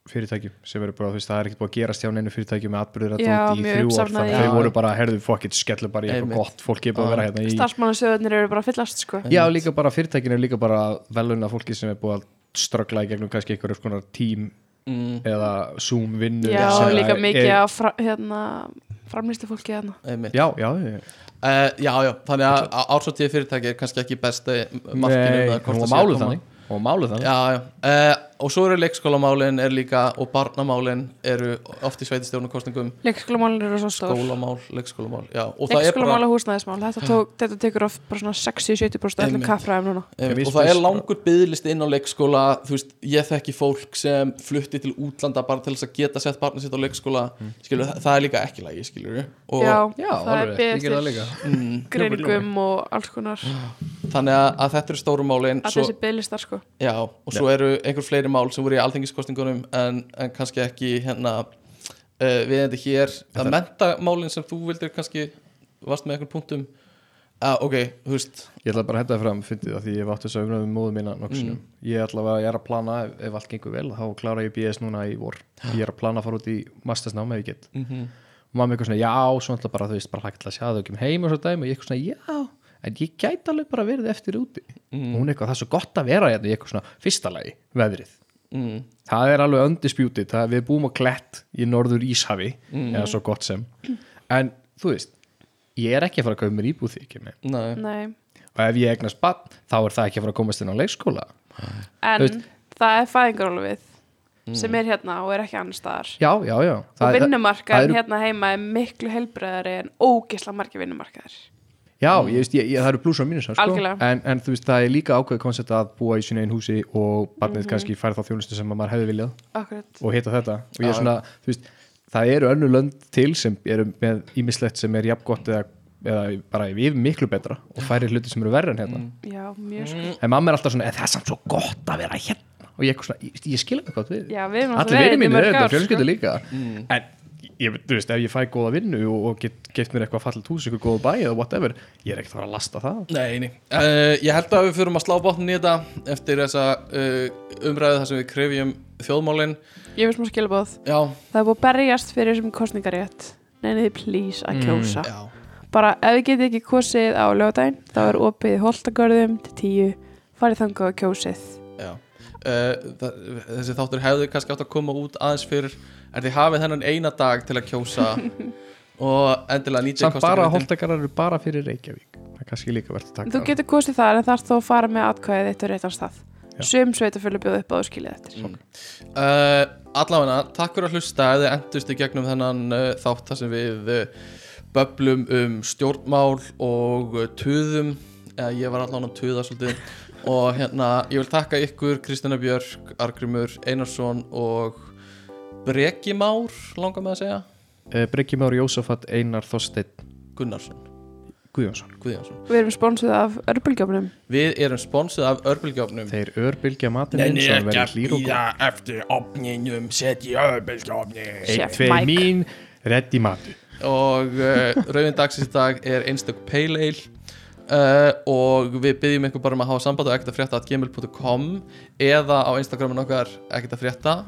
fyrirtækjum sem eru bara, þú veist, það er ekkert búið að gerast hjá neinu fyrirtækjum með atbyrður að Já, tóti í mjög þrjú ár uppsafnað þannig í- þau voru bara, herðu, fokkitt, skellu bara í Einmitt. eitthvað gott, fólki er bara að vera hérna í starfsmannasjóðunir eru bara að fyllast sko Já, líka bara fyrirtækinu er líka bara velunna fólki sem er búið að ströggla í gegnum kannski einhverjum skonar tím mm, eða Zoom vinnu já, sem líka er- mikið er- af fra, hérna, framlýstu fólki hérna einmitt. Já, já, já Uh, já, já, þannig að ársóttíð fyrirtæki er kannski ekki besta markinu Nei, um það hvort hún var það sé að máluð koma. þannig Hún var máluð þannig Já, já, uh, og svo eru leikskólamálin er líka, og barnamálin eru oft í sveitistjórnarkostningum leikskólamálin eru svo stór skólamál, leikskólamál já, og það er leikskólamál bara, og húsnæðismál þetta, tók, þetta tekur of bara svona 60-70% af öllum Einmitt. kaffræðum núna um, Ég og víst- það er víst- langur byðlist inn á leikskóla þú veist, ég þekki fólk sem flutti til útlanda bara til þess að geta sett barnið sitt á leikskóla, skilur, það, það er líka ekki lægi, skilur, og já, Já, það er alveg, ég gerði það beðið líka mm, greiningum og alls konar þannig að, að þetta eru stóru málin að svo, þessi bygglistar sko já, og svo eru einhver fleiri mál sem voru í alþengiskostningunum en, en kannski ekki hérna uh, við þetta hér það mentamálin sem þú vildir kannski varst með einhvern punktum uh, ok, þú veist Ég ætla bara að henda það fram, fyndið að því ég hef átt þess að umræðum móðu mína nokkusinum. Mm. Ég ætla að ég er að plana ef, ef allt gengur vel, þá klára ég BS núna í vor. Ah. Ég er að plana að fara út í mastersnám ef ég get. mm -hmm. Og mamma eitthvað svona, já, svo ætla bara, þú veist, bara hægt að sjá þau ekki um heim og svo dæmi. Og Ég eitthvað svona, já, en ég gæti alveg bara verið eftir úti. Mm. Hún eitthvað, það er svo gott að vera hérna, ég eitthvað svona, fyrsta lagi, veðrið. Mm, Það er alveg undisputed, það, við búum á klett í norður Íshafi, Mm. eða svo gott sem. En, þú veist, ég er ekki að fara að kaupa mér íbúð því ekki nei, Nei. og ef ég eignast bann þá er það ekki að fara að komast inn á leikskóla en Þú veist- það er fæðingarólfið sem er hérna og er ekki annar staðar já, já, já og það, það vinnumarkaðin eru- hérna heima er miklu helbreðari en ógisla margir vinnumarkaðar já, ég veist, ég, ég, það eru pluss og mínus sko. Algjörlega. en, en þú veist, það er líka ákveðið koncept að búa í sín einn húsi og barnið Mhm. kannski fær þá þjónustu sem að maður hefði viljað akkurat, og hitta þetta og ég Já. er svona, þú veist, það eru önnur lönd til sem eru með ímislegt sem er jafn gott eða, eða bara við miklu betra og færi hluti sem eru verri en hérna já, mjög sko en mamma er alltaf svona, "En það er samt svo gott að vera hérna og ég, eitthvað svona, ég, ég skil ekki hvað við já, við erum allir vinið mínir er þetta, fjölskyldu sko. líka Mm. en ég, þú veist, ef ég fæ góða vinnu og, og get, get mér eitthvað fallit hús, eitthvað góða bæ eða whatever, ég er ekkert að fara að lasta það nei, nei. Uh, ég held að við fyrum að slá botnin í þetta eftir þessa uh, umræðu þar sem við krefjum þjóðmálin ég veist maður skilabóð já, það er búið að berjast fyrir þessum kostningarétt neina þið please Mm, að kjósa já, bara ef þið getið ekki kosið á lögadaginn þá er opið holtagörðum til tíu farið þangað og kjósið já. Uh, það, þessi þáttur hefðu kannski átt að koma út aðeins fyrir en þið hafið þennan eina dag til að kjósa og endilega nýtið samt bara kosningaréttinn. holdakarar eru bara fyrir Reykjavík það er kannski líka verðt að taka þú það. getur kosið þar en þarf þó að fara með atkvæðið eitt og réttan stað Já. sum sveitafölu bjóð upp á þú skiljið eftir uh, Mm. Allavega, takk fyrir að hlusta ef þið endust í gegnum þennan uh, þátt þar sem við uh, böblum um stjórnmál og uh, tuðum eða ég var allavega að tuða svolítið og hérna, ég vil þakka ykkur Kristina Björk, Argrimur Einarsson og Breki Már, langar með að segja Eh, Breki Már Jósafat, Einar Þorsteinn Gunnarsson, Guðjónsson Guðjónsson við erum sponsuð af örbulgjöfnum Við erum sponsið af Örbylgjófnum þeir örbylgja matinn sem verður hlýr og góð eftir opninum setji öðbelskofni ein, Chef tvei Mike. mín, reddi matu og uh, rauðin dagsins í dag er einstök pale ale uh, og við byggjum ykkur bara um að hafa samband á ekkertafrétta.gmail.com eða á Instagramin okkar ekkertafrétta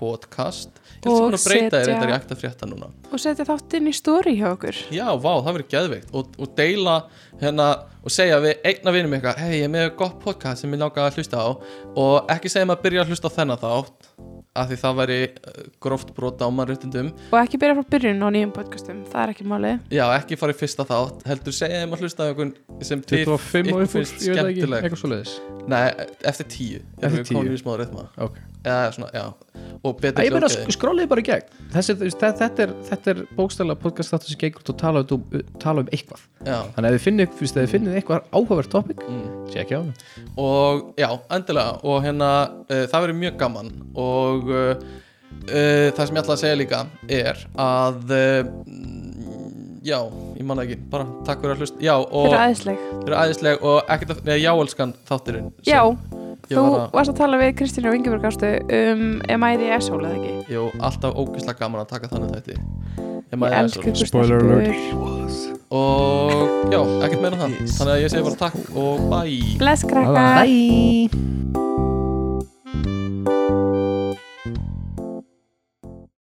podcast ég er Og búin að breyta þér setja- eitthvað í ekkertafrétta núna og setja þátt inn í stóri hjá okkur já, vá, það verður geðveikt og, og deila hérna og segja við einna vinum ykkar hei, ég er með gott podcast sem ég langar að hlusta á og ekki segja maður að byrja að hlusta á þennan þátt af því það væri uh, gróft brota á mannréttindum og ekki byrja frá byrjun á nýjum podcastum það er ekki máli Já, ekki fara í fyrsta þátt Heldur segja þeim að hlusta á einhvern sem þið- 25 ykkur og uppur, finnst ég veit það ekki, skemmtileg. eitthvað svo leiðis Nei, eftir tíu Erum Eftir við komin tíu. í smá reyðma ok, Eða svona, já og betri Ég meina, hljóðgæði. sk- skrollið bara í gegn Þessi, þú veist, þe- þetta, er, þetta er bókstæðlega podcast þáttu sem gengur út og tala um, tala um eitthvað Já. Þannig að þið finnið, þú veist, ef þið finnið eitthvað áhugavert topic Mm. sé ekki á það og já, endilega og hérna, uh, það verður mjög gaman og uh, uh, það sem ég ætla að segja líka er að uh, mm, já, ég manna ekki, bara takk fyrir að hlusta já, og Þetta er aðeinsleg. þeir eru æðisleg og ekkert að, neða, jáelskan þátturinn sem Já, ég þú var að, varst að tala við Kristínu og Ingeborg ástu um MIDI S-hól eða ekki. jú, alltaf ógeðslega gaman að taka þannig þætti Ég Ég maður aðeins elsku ykkur Spoiler alert. stelpur. og já, ekkert meira um það þannig að ég segi bara takk og bye Bless krakkar. Bye